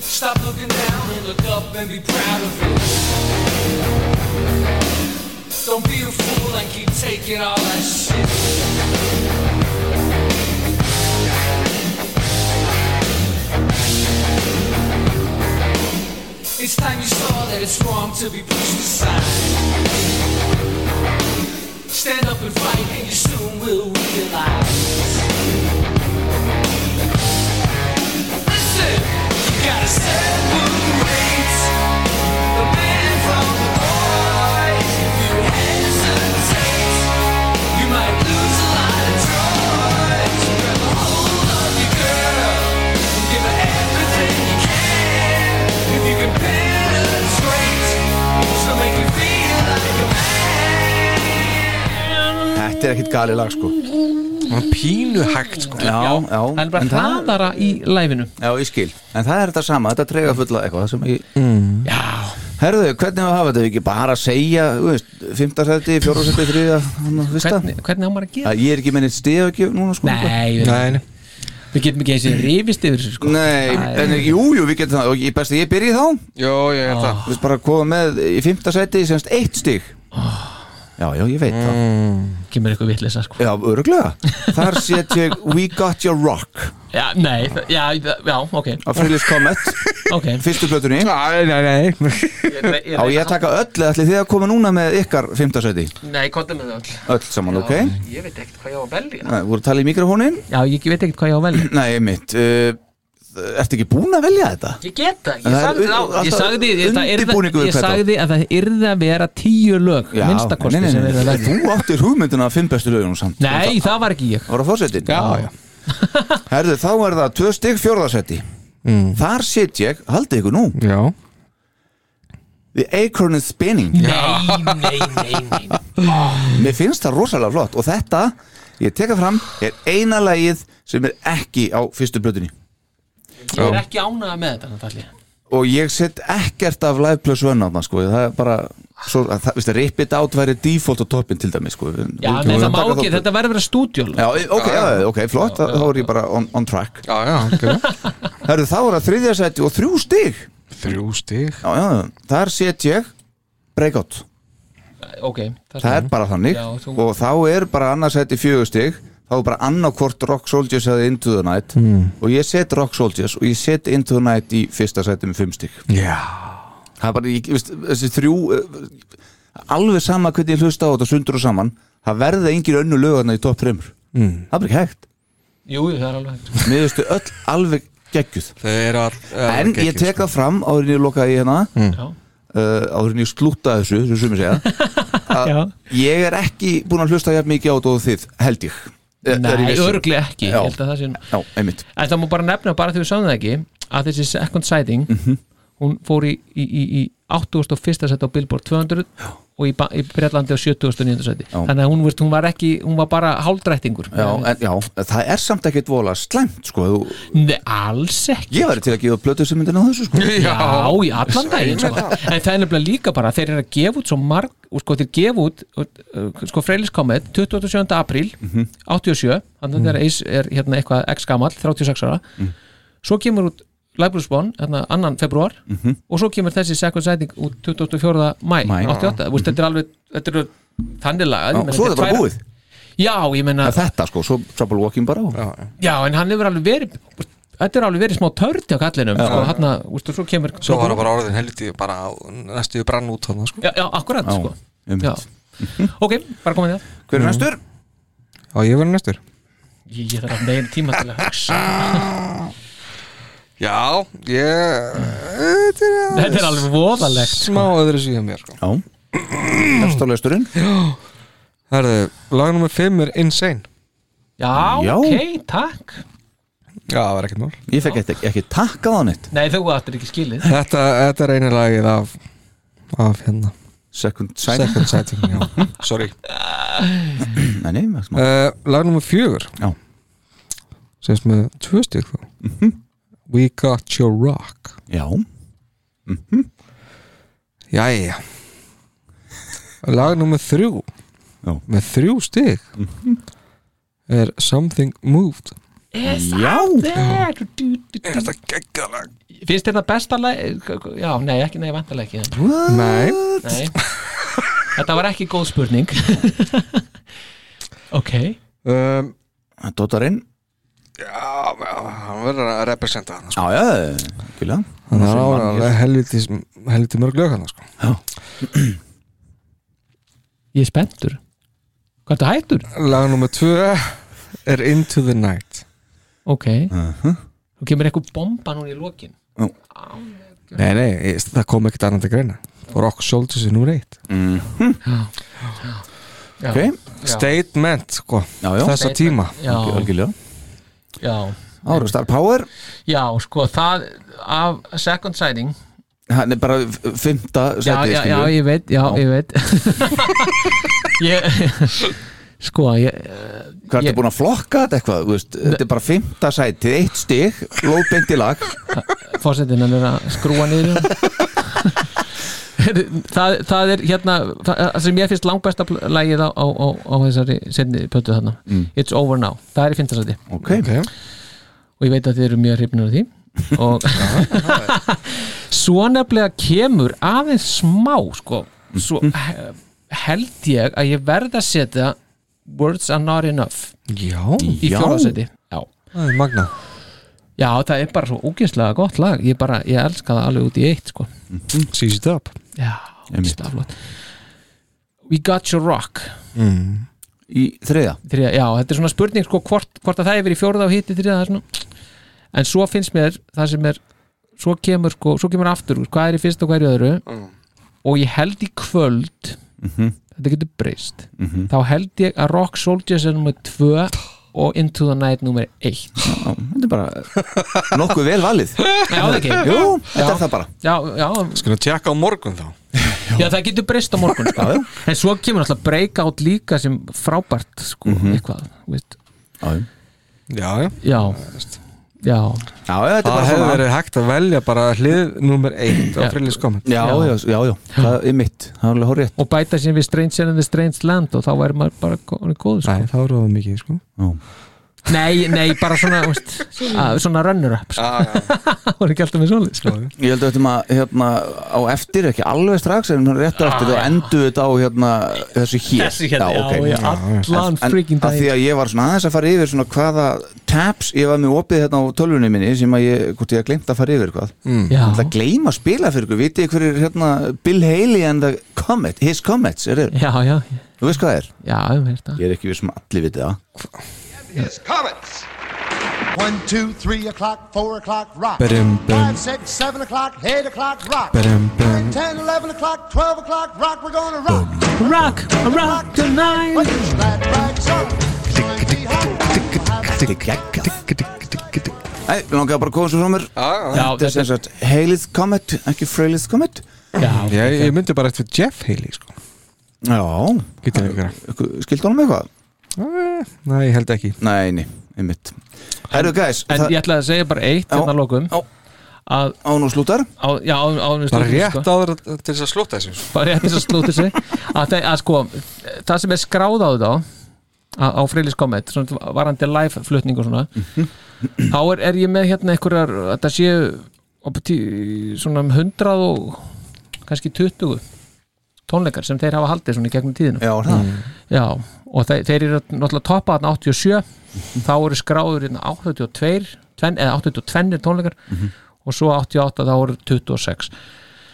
B: Stop looking down and look up and be proud of it. Don't be a fool and keep taking all that shit. It's time you saw that it's wrong to be pushed aside. Stand up and fight and you soon will realize. Listen, you gotta separate the man from the boy. If you hesitate, you might lose a lot of joy. So grab a hold of your girl and give her everything you can. If you can penetrate, she'll make you feel like a man.
C: Þetta er ekkit gali lag sko
E: Hann pínu hægt sko
C: Já, já
D: Hann er bara hraðara í læfinu
C: Já, ég skil, en það er þetta sama, þetta trega fulla eitthvað sem ég Já Herðu, hvernig á að hafa þetta, Ef ekki bara að segja, þú veist, 15 seti, 4 seti, 3
D: Hvernig, hvernig á maður að gera
C: Ég er ekki mennið stið ekki núna sko
D: Nei, við-
C: nei,
D: Við getum ekki eins og rifist yfir þessu sko
C: Nei,
D: Það
C: en jú, jú, við getum það og ég best að ég byrja þá
E: Jó, ég er
D: Ah.
C: Þú veist bara að koma með í 15 seti, semst eitt stig Já, já, ég veit það
D: Ah. Mm. Kemur eitthvað vitleysa sko
C: Já, öruglega Þar set ég We Got Your Rock
D: Já, nei, það- já, það- já, ok
C: á Frilis Comet
D: okay.
C: Fyrstu plötunni
E: Nei, nei, nei
C: Á ég að taka öll eða ætlið þið að koma núna með ykkar 15 seti
D: Nei, konta með öll
C: Öll saman, ok?
D: Ég veit ekkert hvað ég á að velja
C: Nei, voru að tala í mikrofónin?
D: Já, ég veit ekkert hvað ég á að velja
C: Nei, mitt uh, Ertu ekki búin að velja þetta?
D: Ég get það,
C: Það
D: ég
C: er
D: sagði
C: un-
D: það á Ég
C: alltaf
D: sagði, ég, það
C: undirbúningur
D: yrði,
C: við
D: ég
C: Petra.
D: sagði að það yrði að vera tíu lög
C: Já,
D: minnstakosti
C: nei, nei,
D: sem
C: nei,
D: verið að velja
C: Þú áttir hugmyndina að fimm bestu lögunum samt
D: Nei, það var ekki ég
C: Það voru að fórsetin Já, já Herðu, þá er það tvö stygg fjórðasetti mm. Þar sit ég, haldið ykkur nú
E: Já
C: The Acorn is Spinning
D: Nei, nei, nei, nei
C: Mér finnst það rosalega flott og þetta, ég teka fram, er eina lagið sem er ekki á fyrstu blöðunni
D: Ég er ekki ánægða með þetta, Natalja
C: og ég set ekkert af live plus one á það sko, það er bara svo, að það, viðst, rip it out væri default á toppin til dæmi sko Við-
D: Já,
C: við-
D: nei,
C: við-
D: það má
C: taka
D: ekki,
C: þá-
D: þetta verður að vera stúdjól
C: Já, ok, já, ok, flott, þá þá er ég bara on, on track
E: Já, já, ok
C: Herru, þá er það þriðja seti og þrjú stig
E: Þrjú stig
C: Já, já, þar set ég breakout
D: Ok,
C: Það er bara þannig
D: Já, þú-
C: og þá er bara annars seti fjögur stig þá er bara annarkvort Rock Soldiers eða Into the Night
E: Mm.
C: og ég set Rock Soldiers og ég set Into the Night í fyrsta seti með fimm stig
E: Já
C: Það er bara, ég, veist, þessi þrjú eh, alveg sama hvernig ég hlusta á þetta sundur og saman, það verða engin önnu lögarna í topp fremur,
E: Mm.
C: það er bara ekki hægt
D: Jú, það er alveg hægt
C: Mér veistu öll alveg geggjuð
E: all,
C: En ég tek það fram áður en ég lokaði í hérna
D: sko. Já.
C: uh, áður en ég slúta þessu, sem sumir segja að ég er ekki búin að hlusta jafn mikið á þetta og þið, held ég Eh, er ég
D: Nei,
C: viss um.
D: örgli ekki, ég
C: Já,
D: held að það sé
C: já einmitt
D: En það má bara nefna, bara þegar við sáum það ekki að þessi second sighting hún fór í, í, í, í 81. seti á Billboard 200 og í, Ba- í Breitlandi á 79. seti þannig að hún, veist, hún var ekki, hún var bara hálfdrættingur
C: Já, en, já, það er samt ekkert vola slæmt sko, þú...
D: Nei, alls ekki
C: Ég væri til að gefa blötu sem myndin á þessu sko.
D: Já, í allan daginn sko. En það er nefnilega líka bara, þeir eru að gefa út svo marg, og sko þeir gefa út uh, sko Freylis Comet, 27. apríl
C: Mhm.
D: 87, þannig að
P: Mhm.
D: þegar Ace er hérna eitthvað x gamall, 36 ára
C: Mhm.
D: svo kemur út Library Spawn hérna, annan februar og svo kemur þessi second sighting út 24. mæ,
C: Mhm. Maí.
D: 88, Þú veist, þetta er alveg þetta er þannig
C: Já,
D: lagað ég meina,
C: svo er
D: þetta
C: það bara
D: tvær-
C: búið.
D: Já, ég meina
C: Að Þetta sko, svo Trouble Walking bara á
D: Já, en hann hefur alveg verið Þetta er alveg verið smá törn hjá kallinum
E: Já.
D: sko, hann að, úrstu, svo kemur
E: Svo var það bara orðin helviti bara næstu í brann út þarna sko
D: Já, já akkurat,
E: Já,
D: sko já. Ok, bara komið þér
C: Hver er næstur?
E: Já, ég verður næstur
D: Ég, ég þarf að meira tíma til að hugsa
E: Já, ég Þetta er,
D: Þetta er alveg voðalegt, sko.
E: Smá öðru síðan mér sko.
C: Já Hestálausturinn
E: Herðu, lag nummer 5 er Insane
D: Já,
E: Já.
D: ok, takk
E: Já, það var ekkert mál
C: Ég fekk ekki, ekki takk á það neitt
D: Nei, þú áttir ekki skilið
E: þetta, þetta er einu lagið af af hérna
C: Second
D: Sighting.
E: Second Sighting, já Sorry
C: Nei, nei, uh,
E: Eh, Lag nummer fjögur
C: Já
E: Sérst með tvö stík þá We Got Your Rock
C: Mhm. Já Mhm.
E: Jæja Lag nummer þrjú
C: já. Mhm.
E: með þrjú stík er Something Moved
D: Yes,
E: Já.
D: out there. Du- du- du-
E: Þetta geggjala
D: Finnst þér það besta lag Já, nei, ekki, nei, vantarlega ekki
E: Nei.
D: Nei Þetta var ekki góð spurning Ok
E: um,
C: Dóttarinn
E: Já, hann verður að representa sko. hann
C: Já, já, kvíla
E: Það er alveg helviti, helviti mörg lög hann sko.
D: Ég er spenntur Hvað þetta hættur?
E: Lag nummer tvö er Into the Night
D: Ok Þú kemur eitthvað bomba núna í lokin
E: Nei, nei, ég- það kom ekkert annað til greina Rock Soldiers er nummer eitt
C: mm.
D: Já.
E: Ok.
D: Já.
E: Statement, sko
C: Já, já.
E: Þessa
D: Statement,
E: tíma
D: já. Algjör- algjörlega. Já
C: Ára Star Power
D: Já, sko, það af Second Sighting
C: Hann er bara f- fimmta
D: Já,
C: sæti,
D: já, já,
C: skilur.
D: ég veit, já,
C: Já.
D: ég veit ég, Sko, ég eh,
C: hvað ertu búin að flokka þetta eitthvað, þú veist, þetta er bara fymta sætið, eitt stig, lóðbeint í lag
D: Fósettin hann er að skrúa niður það, það er hérna það það sem ég finnst langbesta pl- lagið á, á, á, á þessari setni plötu þarna
C: Mm.
D: It's Over Now, það er í fintasæti
C: okay.
D: og ég veit að þið eru mjög hrifnir af því og svo nefnilega kemur aðeins smá sko, svo
E: Mhm.
D: he- held ég að ég verð að setja Words are not enough
E: Já,
D: í
E: Já.
D: fjórðasæti Já
E: Það er magna
D: Já, það er bara svo ógeðslega gott lag ég, bara, ég elska það alveg út í eitt sko.
C: Mhm.
E: Seize it up
D: Já, ógeðslega flott We got your rock
E: mm.
C: Í þriða?
D: þriða, já, þetta er svona spurning sko, hvort, hvort að það hefur í fjórða og hitti þriða það er svona. en svo finnst mér það sem er, svo kemur, sko, svo kemur aftur úr, hvað er í fyrst og hvað er í öðru
E: Mm.
D: og ég held í kvöld
C: Mhm.
D: þetta getur breyst
C: Mhm.
D: þá held ég að Rock Soldiers er nummer 2 og Into the Night nummer 1
C: þetta er bara nokkuð vel valið
D: Já, það ekki
C: Jú, þetta er það bara
D: Já, já,
E: Skulum tjekka á morgun þá
D: já, það getur breyst á morgun sko. En svo kemur alltaf breakout líka sem frábært sko,
C: Mhm.
D: eitthvað þú veist.
E: Já, já
D: Já, já
C: Já, já, þetta
E: Það
C: er bara
E: hefði
C: svona-
E: verið hægt að velja bara hlið nummer eitt á
D: Já.
E: frilliskomin
C: Já, já, já, já, það er mitt Það er alveg horrið
D: og bæta sér við Stranger in the Strange Land og þá væri maður bara komin góð sko.
E: Nei, þá er það mikið sko
D: nei, nei, bara svona þú veist, að, svona runner-up sko. það voru ekki alltaf með svolít sko.
C: Ég held að þetta maður hérna, á eftir ekki alveg strax en rétt á eftir þá endur þetta á hérna, þessu hér
D: Ah. Þessu hérna, já,
C: ok.
D: já, allan
C: En-
D: freaking
C: en að Því að ég var svona aðeins að fara yfir svona hvaða taps ég var með opið hérna á tölvunni minni sem að ég, hvort ég hafði gleymt að fara yfir hvað
E: Mm.
D: Já.
C: Það gleyma að spila fyrir ykkur, vitið þið hverju hérna Bill Haley and the Comet, His Comets, er þið?
D: Já, já
C: Þú veist hvað það er?
D: Já, ég veist það
C: Ég er ekki við sem allir vitið það
B: It's comets. One, two, three o'clock, four o'clock, rock.
C: Ba-dum, bum.
B: Five, six, seven o'clock, eight o'clock, rock.
C: Ba-dum, bum.
B: Ten, eleven o'clock, twelve o'clock, rock. We're gonna rock.
D: Rock, rock tonight.
B: Put your glad rags on. Join me home.
C: Æ, við langaði bara að koma svo frá mér
E: já.
C: Þetta er sem sagt Haley's Comet, ekki Fraley's Comet
D: Já,
E: ég, ég myndi bara eftir Jeff Haley sko
C: Já
E: Getur ykkur
C: Skildi honum eitthvað?
E: Nei, ég held ekki
C: Nei, nei, einmitt Herru guys
D: en ég ætlaði að segja bara eitt hérna að lokum að
C: án og slútar
D: á, já, án, án og
E: Bara
D: slútar
E: rétt
D: sko.
E: áður að- til þess að slúta þessu sko.
D: bara rétt þess að slúta sig að, það, að sko, það sem er skráð á þetta á, á Freilis Comet svona varandi live flutning og svona þá er, er ég með hérna einhverjar þetta séu upp í tí- svona um 100 og kannski 20 tónleikar sem þeir hafa haldið svona í gegnum tíðinu
C: Já, það.
D: Já, og þeir, þeir eru náttúrulega toppa þarna 87 þá eru skráður hérna 82 tven, eða 82 tónleikar
C: Mhm.
D: og svo 88 þá eru 26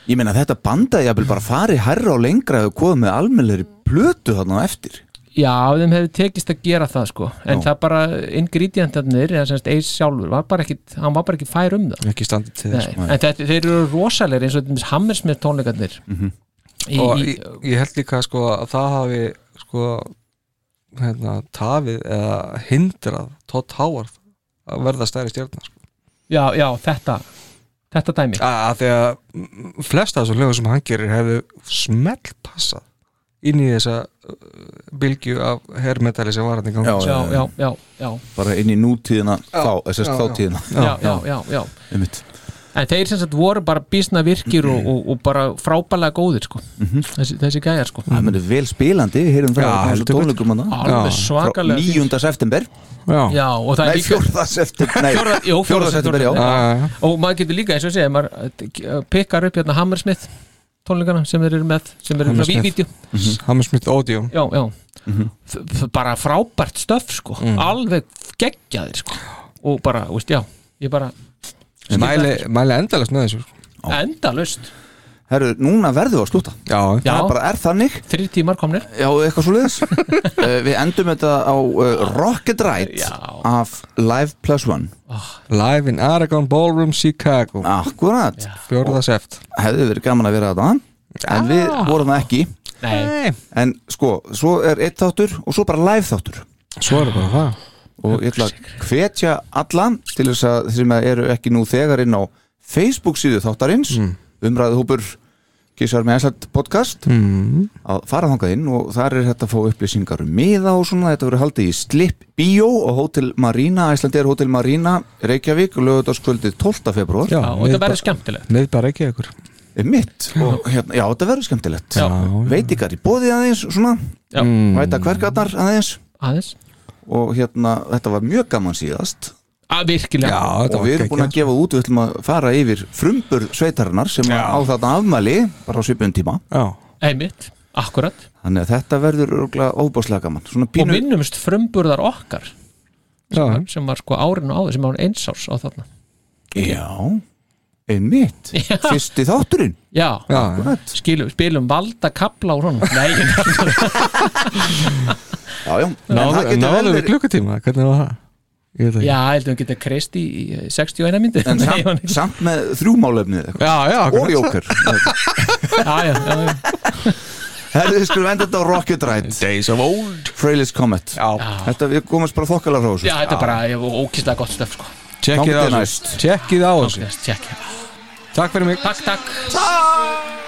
C: Ég meina þetta bandaði jafnvel bara farið herra og lengra og komið með almennleiri plötu þarna á eftir
D: Já, þeim hefði tekist að gera það sko en
C: Já.
D: það bara ingredientarnir eða semst eis sjálfur, var bara ekki, hann var bara ekki fær um það
E: Ekki standið til
D: Nei,
E: þess
D: en þetta, þeir eru rosalegir eins og til dæmis Hammersmith tónleikarnir
E: Mhm.
D: í,
E: og
D: í,
E: ég, ég held líka sko að það hafi sko hérna, tafið eða hindrað Todd Howard að verða stærri stjórna sko.
D: já, já, þetta þetta dæmi
E: að, að Ah, því að mm, flest af þessum lögum sem hann gerir hefðu smelt passað inn í þessa uh, bylgju af herrmetali sem var hann í gangi
D: já, já, já, já,
C: Bara inn í nútíðina þá, eh, þess að
D: já, já.
C: þáttíðina
D: Já, já, já, já.
C: Einmitt
D: en þeir sem sagt voru bara bísna virkir
E: Mhm.
D: og, og, og bara frábælega góðir sko þessi, þessi gæjar sko
C: Það mennur vel spilandi, við heyrum það á
D: Já,
C: þessu
D: heldur betur.
C: tónleikum þarna.
D: Alveg
C: Já.
D: svakalega
C: Frá 9. september
D: Já, og það er
C: Nei,
D: líka-
C: 4. september Nei,
D: Fjórða- jú,
C: 4. september, já
D: og maður getur líka eins og segja maður pikkar upp hérna Hammersmith tónleikana sem þeir eru með sem eru með
E: Hammersmith.
D: vídeo
E: Mhm. Hammersmith Odeon
D: já, já
C: Mhm.
D: F- f- bara frábært stöf sko alveg geggjaðir sko og bara, veist, já, ég bara
E: mæli, mæli endalast með þessu sko.
D: endalust
C: Herru, núna verðum við að slúta
E: Já,
C: Það bara er þannig
D: Þrý tímar komnir
C: Já, eitthvað svo leiðis Við endum þetta á uh, Rocket Ride af Live Plus One
D: Ah.
E: Live in Aragon Ballroom Chicago
C: Akkurat
E: Fjórða seft
C: Hefði verið gaman að vera þetta En við vorum það ekki
D: Nei.
C: En sko, svo er eitt þáttur og svo bara live þáttur
E: Svo er bara það
C: og ég ætla að hvetja alla til þess að þeir sem eru ekki nú þegar inn á Facebook síðu þáttarins umræðuhúpur Gísar með þessart podcast
E: mm.
C: að fara þangað inn og þar er þetta að fá upplýsingar um miða og svona, þetta verður haldið í Slip Bio og Hotel Marina Æslandir Hotel Marina, Reykjavík lögutaskvöldið 12. februar
D: Já, og þetta verður skemmtilegt
E: Við bara ekki ykkur
C: Mitt, og hérna, já þetta verður skemmtilegt já, Veitingar í bóði aðeins svona
D: já.
C: Væta hvergarnar aðeins
D: Aðeins
C: Og hérna, þetta var mjög gaman síðast
D: að Ah, virkilega
C: og við erum búin að gefa út við ætlum að fara yfir frumburð sveitarinnar sem á þarna afmæli bara á svipum tíma
E: Já.
D: einmitt, akkurat
C: þannig að þetta verður óbáslega gaman Svona
D: og
C: pínu,
D: minnumst frumburðar okkar sem var, sem var sko árinu áður sem var einsárs á þarna
C: já, einmitt fyrsti þátturinn
D: já,
C: Já.
D: skilum, spilum valda kapla úr honum nei,
C: já, já,
E: Náðu náðu við klukkutíma, hvernig var það? Ég veit það ekki.
D: já, heldum við geta krist í í 61 myndi
C: en samt, samt með þrjúmálefni
E: já, já,
C: og
D: akkurat.
C: jóker
D: já, já, já, já.
C: Herðu, við skulum enda þetta á Rocket Ride Days of Old Freylis Comet já. Þetta, við komumst bara þokkala frá þessu
D: já, þetta er bara ég- ókýrslega gott stöf sko.
C: Checkið á þessu.
E: Checkið á þessu
D: Checkið
E: Takk fyrir mig
D: Takk, takk
C: Takk